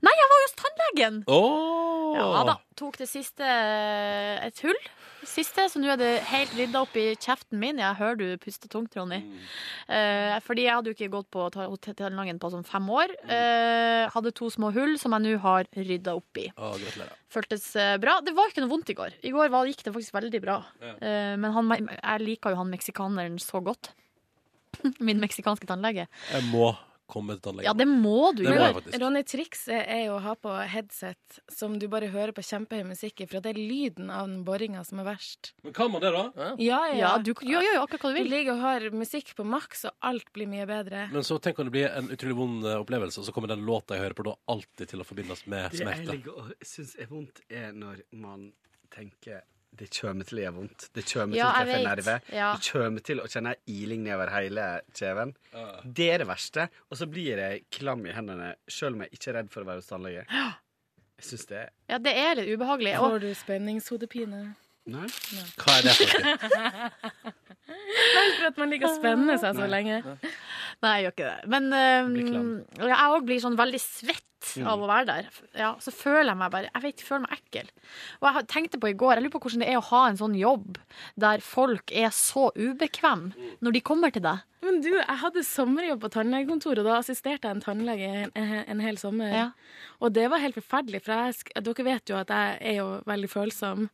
C: Nei, jeg var jo hos tannlegen!
B: Åh.
C: Ja da. Tok det siste eh, et hull. Siste, så nå er det helt rydda opp i kjeften min. Jeg hører du puster tungt, Ronny.
B: Mm.
C: Eh, fordi jeg hadde jo ikke gått på ta- hos tannlegen på sånn fem år. Eh, hadde to små hull som jeg nå har rydda opp i.
B: Å, gratulerer.
C: Føltes eh, bra. Det var ikke noe vondt i går. I går var, gikk det faktisk veldig bra.
B: Ja.
C: Eh, men han, jeg liker jo han meksikaneren så godt. Min meksikanske tannlege.
B: Jeg må komme til tannlegen.
C: Ja, det må du
B: Det må jeg
C: gjøre.
B: faktisk.
J: Ronny, trikset er jo å ha på headset som du bare hører på kjempehøy musikk i, for det er lyden av den boringa som er verst.
B: Men kan man det, da?
J: Ja, ja.
C: Ja, du gjør jo akkurat hva du vil.
J: Du ligger og hører musikk på maks, og alt blir mye bedre.
B: Men så tenk om det blir en utrolig vond eh, opplevelse, og så kommer den låta jeg hører på da alltid til å forbindes med
P: Det jeg
B: smerte.
P: ligger og syns er vondt, er når man tenker det kommer til å gjøre vondt. Det kommer
C: Ja,
P: til å treffe
C: jeg
P: en
C: vet.
P: nerve.
C: Ja.
P: Det kommer til å kjenne iling nedover hele kjeven. Det er det verste. Og så blir jeg klam i hendene, sjøl om jeg ikke er redd for å være hos tannlege. Jeg syns det er
C: Ja, det er litt ubehagelig.
J: Får du spenningshodepine?
P: Nei.
B: Hva er det for noe?
J: Nei, for at man ligger og spenner seg så lenge.
C: Nei, jeg gjør ikke det. Men øhm,
J: blir
C: ja, jeg òg blir sånn veldig svett
J: Mm.
C: av å være der. Ja, så føler jeg meg bare Jeg vet, ikke, føler meg ekkel. Og jeg har- tenkte på i går, jeg lurer på hvordan det er å ha en sånn jobb der folk er så ubekvem
J: Mm.
C: når de kommer til deg.
J: Men du, jeg hadde sommerjobb på tannlegekontoret, og da assisterte jeg en tannlege en, en, en hel sommer. Og det var helt forferdelig, for jeg, sk- dere vet jo at jeg er jo veldig følsom.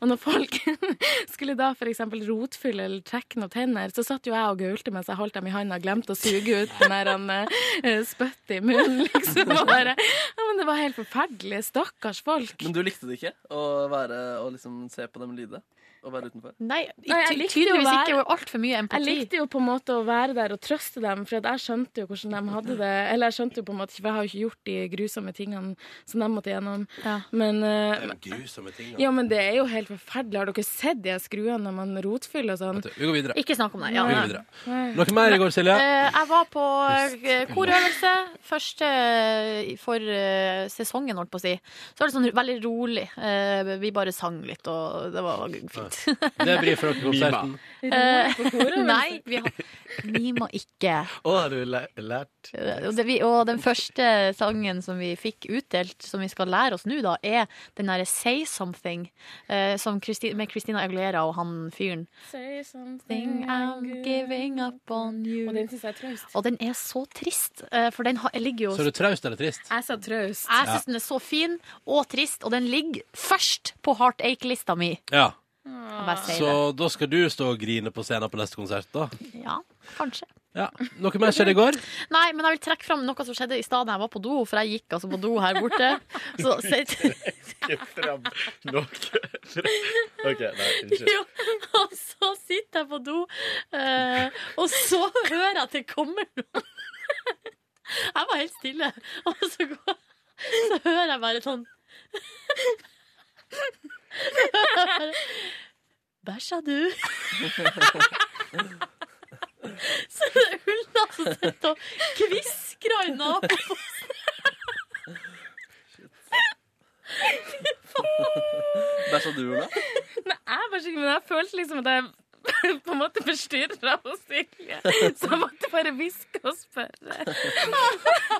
J: Og når folk skulle da f.eks. rotfylle eller trekke noen tenner, så satt jo jeg og gaulte mens jeg holdt dem i handa og glemte å suge ut den der han, eh, spyttet i munnen, liksom. Og bare, ja, men det var helt forferdelig. Stakkars folk.
D: Men du likte det ikke å, være, å liksom se på dem lide? Og være utenfor?
C: Nei,
J: jeg
C: ty-
J: likte
C: tydeligvis
J: jo å være-
C: ikke. og Altfor mye empati.
J: Jeg likte jo på en måte å være der og trøste dem, for at jeg skjønte jo hvordan de hadde det. Eller jeg skjønte jo på en måte ikke, for jeg har jo ikke gjort de grusomme tingene som de måtte gjennom. Men, eh,
B: Det er jo grusomme ting. da.
J: ja, men det er jo helt forferdelig. Har dere sett de skruene når man rotfyller og sånn?
B: Vi går videre.
C: Ikke snakk om det. Ja,
B: Vi går
C: nei.
B: videre. Noe mer i går, Silje?
C: Eh, jeg var på eh, korøvelse. Første eh, for eh, sesongen, holdt på å si. Så var det sånn veldig rolig. Eh, vi bare sang litt, og det var fint.
B: Det blir fra konserten.
C: Eh,
J: på korøvelse?
C: nei, vi har Mima ikke. Eh,
P: Å, har du læ- lært
C: Og, det, vi, og den første sangen som vi fikk utdelt, som vi skal lære oss nå, da, er den derre Say Something eh, som Christi, med Christina Aguilera og han fyren.
J: Say something
C: Thing I'm giving up on you.
J: Og den syns jeg er traust.
C: Og den er så trist, eh, for den har, ligger jo
B: Så er du traust eller trist?
J: Jeg sa traust.
C: Jeg
B: Ja.
C: syns den er så fin og trist, og den ligger først på heartache-lista mi.
B: Ja.
C: Kan bare si
B: Så da skal du stå og grine på scenen på neste konsert, da?
C: det. Ja, kanskje.
B: Ja. Noe mer skjedde i går?
C: Nei, men jeg vil trekke fram noe som skjedde i stad da jeg var på do, for jeg gikk altså på do her borte. Så, så,
P: fram nok OK, nei,
C: jo, og så sitter jeg på do, eh, og så hører jeg at det kommer noen. Jeg var helt stille, og så, går, så hører jeg bare sånn Bæsja du? Så det er Ulla som sitter og kviskra i naboen.
D: Bæsja du, Ola?
J: Nei, jeg var sikker, men jeg følte liksom at jeg på en måte forstyrra hos Silje. Så jeg måtte bare hviske og spørre.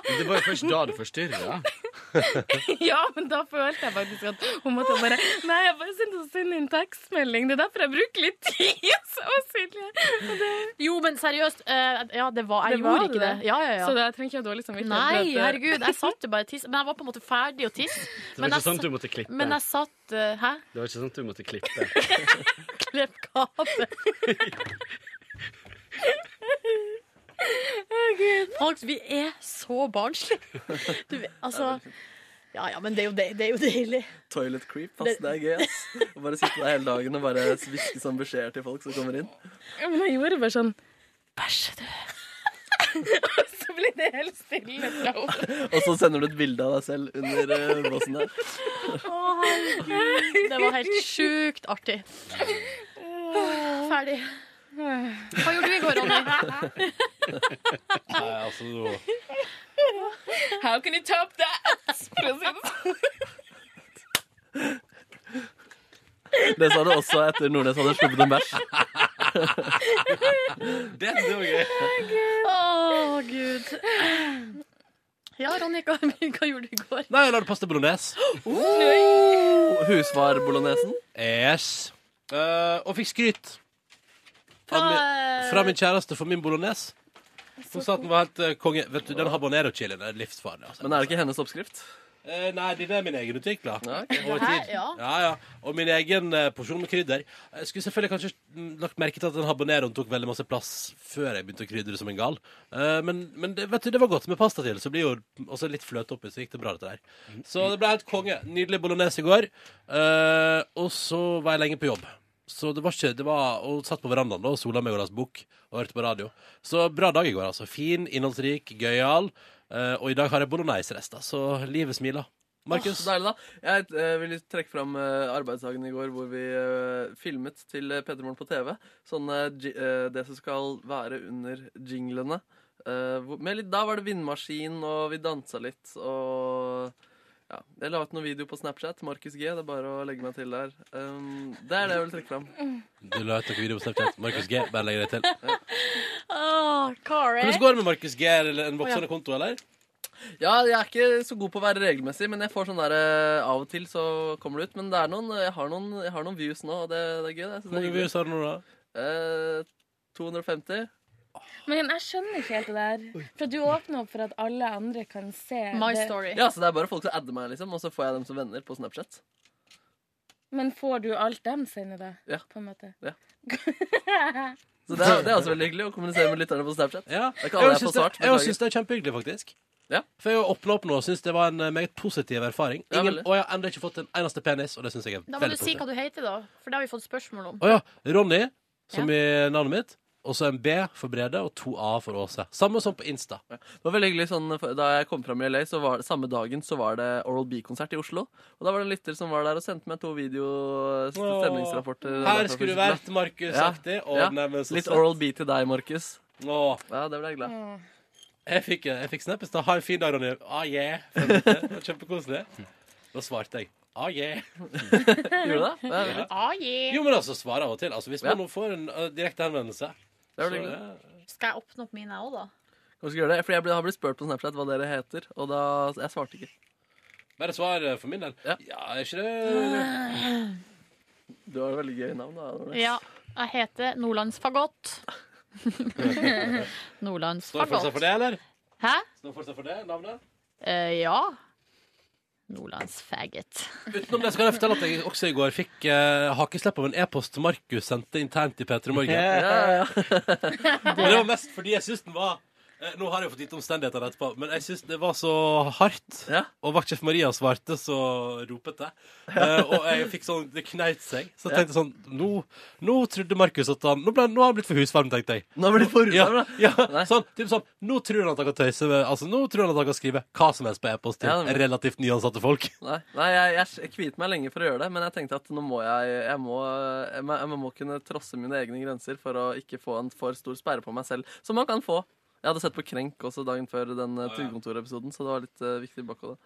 P: Det var jo først da du forstyrra.
J: Ja, men da følte jeg faktisk at hun måtte bare Nei, jeg bare sendte sende en tekstmelding. Det er derfor jeg bruker litt tid. Så Silje.
C: Jo, men seriøst. eh, ja, det var Jeg
J: Det var
C: gjorde ikke det.
J: det.
C: Ja, ja, ja.
J: Så det, jeg trenger ikke ha dårlig samvittighet. for
C: Nei,
J: at-
C: herregud. Jeg satt jo bare og tisset. Men jeg var på en måte ferdig å tisse.
P: Det var
C: Men jeg
P: ikke
J: altså-
P: sånn
C: sa-
P: du måtte klippe.
C: Men jeg satt eh, Hæ?
P: Det var ikke sånn du måtte klippe.
C: Klepp kabel. Folk, vi er så barnslige. Du, vet, altså Ja ja, men det er jo, det, det er jo deilig.
D: Toilet creep, ass. Det er gøy, ass. Å Bare sitte der hele dagen og bare hviske sånn beskjeder til folk som kommer inn.
J: Ja, Men jeg gjorde bare sånn Bæsje, du. Og så ble det helt stille fra henne.
D: Og så sender du et bilde av deg selv under eh, båsen der.
C: Det var helt sjukt artig. Ferdig. Hva gjorde du i går, Ronny?
B: Nei, altså
J: How can you top that? For å si det sånn.
D: Det sa du også etter Nordnes hadde sluppet en bæsj.
B: Det var gøy.
C: Å, gud. Ja, Ronny, hva, hva gjorde du i går?
B: Nei, jeg lagde pasta bolognese.
D: Husvar bolognesen.
B: Yes. Eh, og fikk skryt
C: Fra,
B: av min, fra min kjæreste for min bolognese. Hun sa at den var helt eh, konge. Vet du, Den habanero-chilien er livsfarlig. Altså.
D: Men er det ikke hennes oppskrift?
B: Eh, nei, den er min egen utvikla. Over
C: Hæ?
B: tid.
C: Ja.
B: Ja, ja. Og min egen eh, porsjon med krydder. Jeg skulle selvfølgelig kanskje mm, lagt merke til at den habaneroen tok veldig masse plass før jeg begynte å krydre som en gal. Eh, men men det, vet du, det var godt med pasta til. Så blir jo også litt fløte oppi, så gikk det bra, dette der. Så det ble helt konge. Nydelig bolognese i går. Eh, og så var jeg lenge på jobb. Så det var ikke det var, Og satt på verandaen da og sola meg og leste bok og hørte på radio. Så bra dag i går, altså. Fin, innholdsrik, gøyal. Eh, og i dag har jeg bolognesrester, så livet smiler. Markus?
D: Åh, Så deilig, da. Jeg eh, vil litt trekke fram eh, arbeidsdagen i går hvor vi eh, filmet til eh, P3 Morgen på TV. Sånn eh, ji- eh, det som skal være under jinglene. Eh, hvor- med litt, da var det vindmaskin, og vi dansa litt, og ja, Jeg la ut noen video på Snapchat. Markus G. Det er bare å legge meg til der. Um, det er det jeg vil trekke fram.
B: Du la ut noen videoer på Snapchat. Markus G. Bare legg det til.
C: Åh, Kari.
B: Hvordan går det med Markus G? Er det en
D: Å, ja.
B: voksende konto, eller?
D: Ja, jeg er ikke så god på å være regelmessig, men jeg får sånn der eh, av og til så kommer det ut. Men det er noen, jeg, har noen, jeg har noen views nå, og det, det er gøy. det. Jeg synes
B: Hvor mange
D: det er hyggelig.
B: views har du nå, da?
D: Eh, 250.
J: Men jeg skjønner ikke helt det der. For du åpner opp for at alle andre kan se det.
D: Ja, så det er bare folk som adder meg, liksom, og så får jeg dem som venner på Snapchat.
J: Men får du alt dem sender deg,
D: Ja.
J: på en måte?
D: Ja. Så det er, det er også veldig hyggelig å kommunisere med lytterne på Snapchat. Det er ikke alle jeg
B: syns
D: får svart.
B: det, jeg
D: beklager.
B: syns det er kjempehyggelig, faktisk. For jeg har åpna opp nå og syns det var en eh, meget positiv erfaring.
D: Ja,
B: Ingen,
D: veldig.
B: og jeg har ennå ikke fått en eneste penis, og det syns jeg er
C: Da må du
B: veldig
C: si hva
B: positivt.
C: du heter, da. For det har vi fått spørsmål om.
B: Å ja. Ronny, som i navnet mitt. Og så en B for Brede og to A for Åse. Samme som på Insta.
D: Det var veldig hyggelig sånn, for Da jeg kom fram i LA, så var det, samme dagen så var det Oral B-konsert i Oslo. Og Da var det en lytter som var der og sendte meg to video
B: Åh.
D: stemningsrapporter.
B: Her skulle du vært, Markus,
D: Ja.
B: aktig. Å,
D: Ja.
B: neimen, så
D: Litt
B: søtt.
D: Oral B til deg, Markus. Ja, det ble jeg glad
B: Jeg fikk, jeg fikk snap i stad. Ha en fin dag, Ronny. Ah, yeah. Det var Kjempekoselig. Da svarte jeg. Ah, yeah.
D: Gjorde du det? Ja,
B: Ja.
C: Ah, yeah.
B: Jo, men altså, svar av og til. Altså, hvis
D: Ja.
B: man nå får en ø, direkte henvendelse
D: Det er vel
B: så eh,
D: hyggelig.
C: Skal jeg åpne opp mine òg, da?
D: Kanskje gjøre det, for Jeg ble- har blitt spurt på Snapchat hva dere heter, og da jeg svarte ikke.
B: Bare svar eh, for min del. Ja, er ikke det
D: Du har et veldig gøy navn. da Nordnes.
C: Ja. Jeg heter Nordlandsfagott.
B: Står det fortsatt for
C: Nordlandsfagott.
B: det, eller?
C: Hæ?
B: Står det fortsatt for det, navnet?
C: Eh, ja. Nordlandsfaggot.
B: Utenom det skal jeg fortelle at jeg også i går fikk eh, hakeslepp av en e-post Markus sendte internt i P3 Morgen.
D: Ja,
B: Men det var mest fordi jeg syns den var eh, Nå har jeg jo fått vite omstendighetene etterpå, men jeg syns det var så hardt. Og vaktsjef Maria svarte så ropete. Eh, og jeg fikk sånn Det kneit seg. Så jeg tenkte sånn Nå, nå trodde Markus at han Nå, ble, nå har han blitt for husvarm, tenkte jeg.
D: Nå blir det for
B: ja, ja, sånn, typ sånn Nå tror han at han kan tøyse med Altså, nå tror han at han kan skrive hva som helst på e-post til
D: Ja, det-
B: relativt nyansatte folk.
D: Nei, nei jeg, jeg, jeg kviet meg lenge for å gjøre det, men jeg tenkte at nå må jeg jeg må, jeg, må- jeg må kunne trosse mine egne grenser for å ikke få en for stor sperre på meg selv, som man kan få. Jeg hadde sett på Krenk også dagen før den eh, Trygdekontoret-episoden, så det var litt eh, viktig i bakhodet.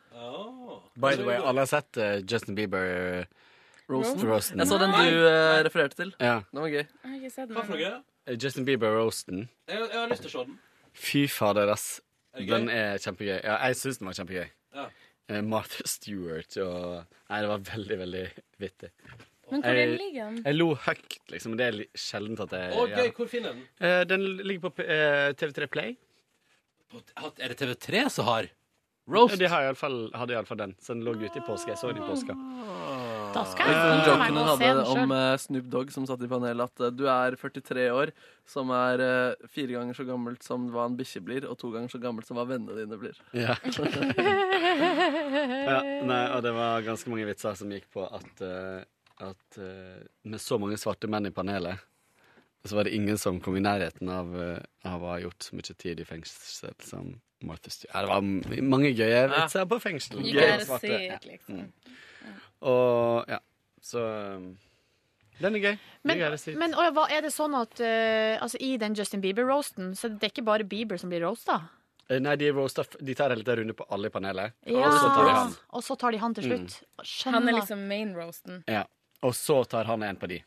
P: By the way, alle har sett eh, Justin Bieber eh,
D: Rosen.
P: Rosen.
D: Jeg så den du eh, refererte til.
P: Ja.
D: Den var gøy.
J: Jeg har ikke sett den.
B: Hva for noe?
P: Eh, Justin Bieber-roasten.
B: Jeg, jeg har lyst til å se den.
P: Fy fader, ass.
B: Er det gøy?
P: Den er kjempegøy. Ja, jeg syns den var kjempegøy.
B: Ja.
P: Eh, Martha Stewart og Nei, det var veldig, veldig vittig.
J: Men hvor
P: Jeg-
J: ligger den?
P: Jeg lo høyt, liksom. Det er li- sjelden at jeg
B: Å, gøy.
P: gjør
B: Hvor finner jeg den?
P: det. Eh, Den ligger på eh, TV3 Play.
B: At- Er det TV3 som har?
P: Roast? De har i alle fall, hadde iallfall den. Så den lå ute i påske. Jeg så den i påska.
C: Da skal jeg
D: Eh, Den
C: kose meg
D: joken
C: med
D: hun
C: å se
D: hadde
C: den
D: om
C: sjøl.
D: eh, Snoop Dogg som satt i panelet, at eh, du er 43 år, som er eh, fire ganger så gammelt som hva en bikkje blir, og to ganger så gammelt som hva vennene dine blir.
P: Ja. Ja, nei, og det var ganske mange vitser som gikk på at, eh, at eh, med så mange svarte menn i panelet, så var det ingen som kom i nærheten av, eh, av å ha gjort så mye tid i fengsel som Martha Stewart. Ja, det var m- mange gøye vitser på fengsel.
J: You
P: Gøye
J: gotta
P: svarte.
J: see
P: Ja.
J: it, liksom.
P: Mm. Og ja, så um, Den er gøy.
C: Men,
P: you gotta see it.
C: men å ja, hva, er det sånn at eh, altså, i den Justin Bieber-roasten, så det er ikke bare Bieber som blir roasta?
P: Eh, Nei, de, roaster, f- de tar en liten runde på alle i panelet,
C: Ja.
P: og så tar de han.
C: Og så tar de han til
P: Mm.
C: slutt. Skjønner.
J: Han er liksom main roasten.
P: Ja. Og så tar han en på de.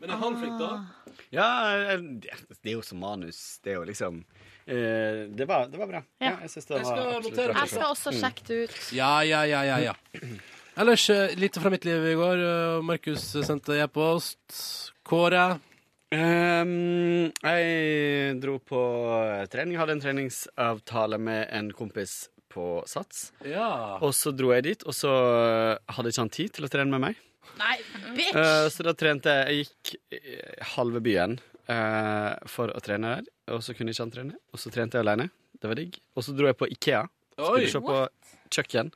B: Men er han flink, da?
P: Ja, eh, det det er jo som manus. Det er jo liksom eh, det, var, det var bra. Ja. jeg syns det
B: Jeg
P: var
B: skal
P: absolutt
B: notere
P: bra.
B: det.
C: Jeg skal også
P: Mm.
C: sjekke det ut.
B: Ja, ja, ja, ja, ja. Ellers eh, lite fra mitt liv i går. Eh, Markus sendte e-post. Kåre.
P: Ehm, jeg dro på trening. Hadde en treningsavtale med en kompis på Sats.
B: Ja.
P: Og så dro jeg dit, og så hadde ikke han tid til å trene med meg.
R: Nei, bitch!
P: Eh, så da trente jeg Jeg gikk eh, halve byen eh, for å trene der, og så kunne ikke han trene. Og så trente jeg alene. Det var digg. Og så dro jeg på Ikea.
B: Oi.
P: Skulle se på
B: What?
P: kjøkken.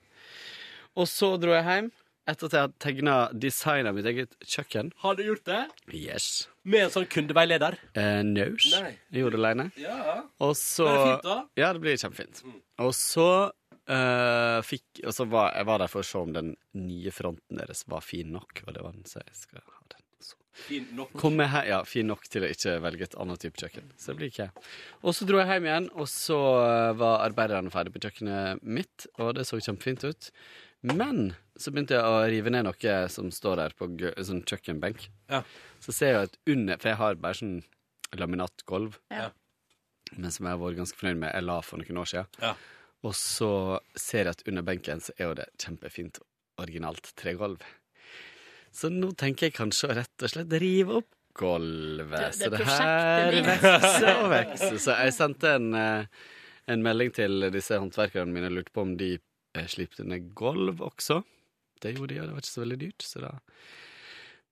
P: Og så dro jeg hjem etter at jeg hadde tegna design av mitt eget kjøkken.
B: Har du gjort det?
P: Yes.
B: Med en sånn kundeveileder?
P: Eh, Naus.
B: Nei.
P: Jeg gjorde det alene.
B: Ja.
P: Og så
B: Blir det fint da?
P: Ja, det blir kjempefint.
B: Mm.
P: Og så eh, fikk Og så var jeg var der for å se om den nye fronten deres var fin nok, og det var den, så jeg skal ha den. Så.
B: Fin nok.
P: Kom jeg he- ja, fin nok til å ikke velge et annet type kjøkken. Så det blir ikke jeg. Og så dro jeg hjem igjen, og så eh, var arbeiderne ferdig på kjøkkenet mitt, og det så kjempefint ut. Men så begynte jeg å rive ned noe som står der på gø- en sånn kjøkkenbenk. Så ser jeg at under For jeg har bare sånn laminatgulv.
R: Ja.
P: Men som jeg har vært ganske fornøyd med. Jeg la for noen år siden.
B: Ja.
P: Og så ser jeg at under benken så er jo det kjempefint originalt tregulv. Så nå tenker jeg kanskje å rett og slett rive opp gulvet.
B: Det-
P: Så
B: det
P: det
B: prosjektet
P: her
B: ditt.
P: vokser og vokser. Så jeg sendte en, eh, en melding til disse håndverkerne mine og lurte på om de eh, slipte ned gulv også. Det gjorde de, og det var ikke så veldig dyrt, så da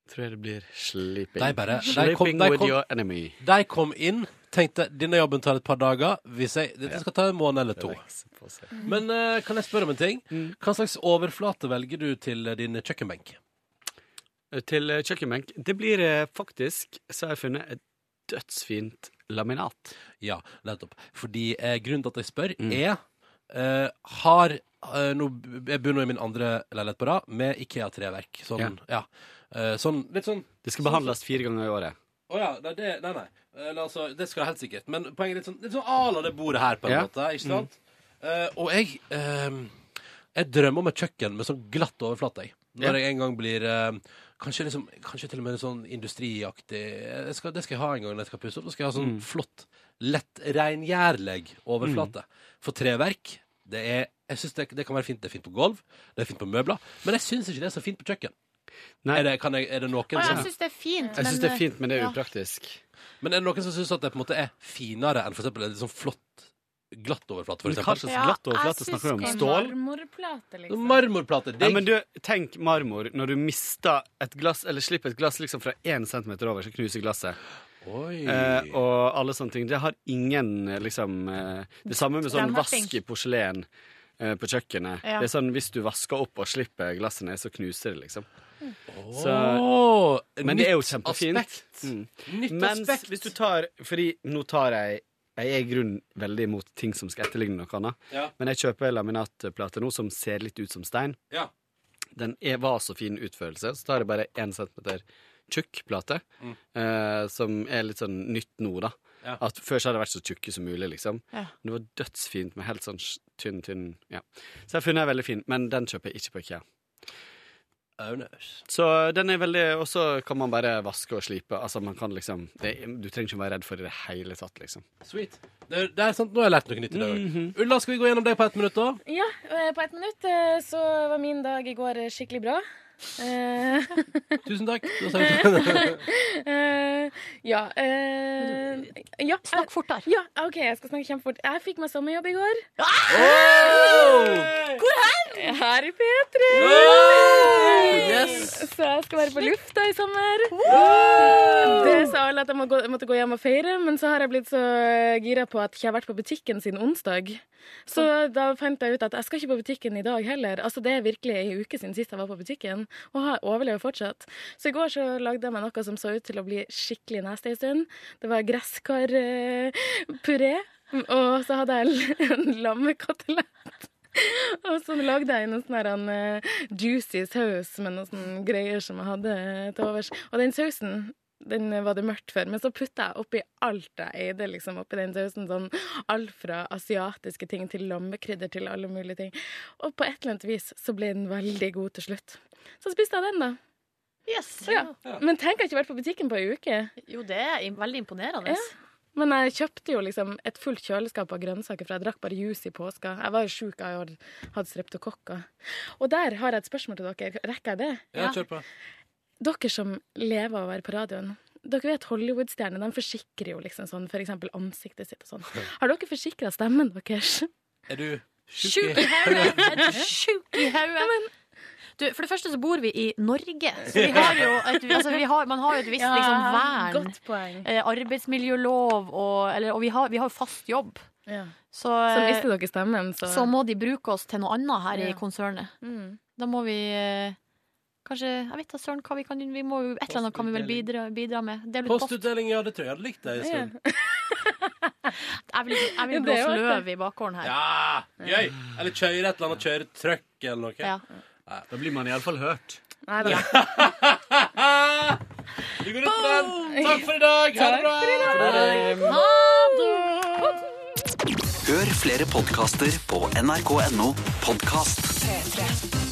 P: tror jeg det blir sliping.
B: De bare- de
P: sliping
B: kom- de
P: with
B: kom-
P: your enemy.
B: De kom inn, tenkte denne jobben tar et par dager. Hvis jeg, dette skal ta en måned eller to. Men eh, kan jeg spørre om en ting? Hva slags overflate velger du til eh, din kjøkkenbenk?
P: Til eh, kjøkkenbenk. Det blir eh, faktisk, så har jeg funnet, et dødsfint laminat.
B: Ja, nettopp. Fordi eh, grunnen til at jeg spør, er eh, Har eh, nå, b- Jeg bor nå i min andre leilighet på rad med Ikea-treverk. Sånn, ja. Eh, sånn, litt sånn
P: Det skal behandles fire ganger i året.
B: Å ja, nei, det, nei, nei. Eller, altså, det skal jeg helt sikkert. Men poenget er litt sånn, litt sånn ala det bordet her, på en
P: Ja. Mm.
B: måte. Ikke sant? Eh, og jeg ehm, Jeg drømmer om et kjøkken med sånn glatt overflate. Jeg. Når
P: Ja.
B: jeg en gang blir ehm, kanskje, liksom, kanskje til og med sånn industriaktig eh, jeg skal, Det skal jeg ha en gang når jeg skal pusse opp. Da skal jeg ha sånn
P: Mm.
B: flott, lett, reingjerlig
P: Mm.
B: overflate. For treverk det er, jeg synes det, det kan være fint. Det er fint på gulv, det er fint på møbler. Men jeg syns ikke det er så fint på kjøkken. Er, det, kan jeg, er det noen
R: Å, jeg
B: som-
R: syns det er fint.
P: Jeg syns det er fint, men det
C: eh,
P: er
R: ja.
P: upraktisk.
B: men er det noen som syns at det på en måte er finere enn for eksempel en sånn flott, glatt overflate? For
P: Men hva
B: eksempel? Sånn
P: slags glatt overflate snakker vi om? Stål?
C: Marmorplate, liksom.
B: Marmorplate.
P: Ja, men du, tenk marmor når du mister et glass, eller slipper et glass liksom fra én centimeter over, så knuser glasset.
B: Oi.
P: Eh, og alle sånne ting. Det har ingen eh, liksom eh, Det samme med sånn
B: Strømmapping.
P: vask i porselen eh, på kjøkkenet.
B: Ja.
P: Det er sånn hvis du vasker opp og slipper glasset ned, så knuser det, liksom.
B: Åh,
P: men det er jo
B: nytt
P: kjempefint.
B: aspekt.
P: Mm.
B: Nytt
P: Mens
B: aspekt.
P: hvis du tar Fordi nå tar jeg jeg er i grunnen veldig imot ting som skal etterligne noe annet.
B: Ja.
P: Men jeg kjøper laminatplate nå som ser litt ut som stein.
B: Ja.
P: Den er, var så fin utførelse. Så tar jeg bare én centimeter tjukk plate,
B: Mm.
P: eh, som er litt sånn nytt nå, da.
B: Ja.
P: At Før så har de vært så tjukke som mulig, liksom.
B: Ja.
P: Det var dødsfint med helt sånn sj- tynn, tynn ja. Så jeg har funnet en veldig fin, men den kjøper jeg ikke på IKEA. Så den er veldig Og så kan man bare vaske og slipe. Altså man kan liksom det, Du trenger ikke være redd for det i det hele tatt, liksom.
B: Sweet. Det, det er sant, Nå har jeg lært noe nytt i dag òg.
P: Mhm.
B: Ulla, skal vi gå gjennom deg på ett minutt, da?
C: Ja, eh, på ett minutt eh, så var min dag i går eh, skikkelig bra. Eh,
B: Tusen takk. Da sier vi-
C: Eh, ja, eh, ja Snakk fort der. Ja, OK, jeg skal snakke kjempefort. Jeg fikk meg sommerjobb i går. Ah! Hvor hen? Her i P3. Så jeg skal være på lufta i sommer. Det sa alle at jeg må gå, måtte gå hjem og feire, men så har jeg blitt så eh, gira på at jeg ikke har vært på butikken siden onsdag. Så da fant jeg ut at jeg skal ikke på butikken i dag heller. Altså Det er virkelig ei uke siden sist jeg var på butikken, og har overlever fortsatt. Så i går så lagde jeg meg noe som så ut til å bli skikkelig nasty en stund. Det var gresskarpuré, og så hadde jeg en lammekatalett. Og så lagde jeg noen sånne her, en, eh, juicy saus med noen sånne greier som jeg hadde til overs. Og den sausen den var det mørkt for, men så putta jeg oppi alt jeg eide. liksom oppi den sausen, sånn Alt fra asiatiske ting til lammekrydder til alle mulige ting. Og på et eller annet vis så ble den veldig god til slutt. Så spiste jeg den, da.
R: Yes.
C: Ja. Men tenk, jeg har ikke vært på butikken på ei uke.
R: Jo, det er im- veldig imponerende.
C: Men jeg kjøpte jo liksom et fullt kjøleskap av grønnsaker, for jeg drakk bare juice i påska. Jeg var jo sjuk, jeg hadde hatt streptokokker. Og der har jeg et spørsmål til dere. Rekker jeg det?
B: Ja, kjør på.
C: Dere som lever av å være på radioen. Dere vet Hollywood-stjerner de forsikrer jo liksom sånn, for eksempel ansiktet sitt og sånn. Har dere forsikra stemmen deres?
B: Er du
C: Sjuk i hodet! Et Sjuk i hodet! Du, for det første så bor vi i Norge, så vi har jo et, altså, vi har, man har jo et visst
J: Ja,
C: liksom, vern.
J: godt poeng.
C: Eh, arbeidsmiljølov og eller, Og vi har vi har jo fast jobb.
J: Ja.
C: Så,
J: Så
C: eh,
J: mister dere stemmen, så,
C: så må de bruke oss til noe annet her i
J: Ja.
C: konsernet.
J: Mm.
C: Da må vi eh, kanskje Jeg vet da søren hva vi kan vi må, jo- Et eller annet kan vi vel bidra, bidra med. Dele ut post.
B: Postutdeling, ja, det tror jeg hadde likt deg en stund.
C: Jeg vil, jeg vil
J: Ja, det er
C: blåse
J: jo artig.
C: løv i bakgården her.
B: Ja, gøy! Eller kjøre et eller annet, kjøre trøkk eller noe.
C: Ja.
B: Da blir man iallfall hørt.
J: Nei da.
B: Vi går ut på den. Takk for i dag! Ha det bra!
A: Hør flere podkaster på nrk.no podkast.
E: P3.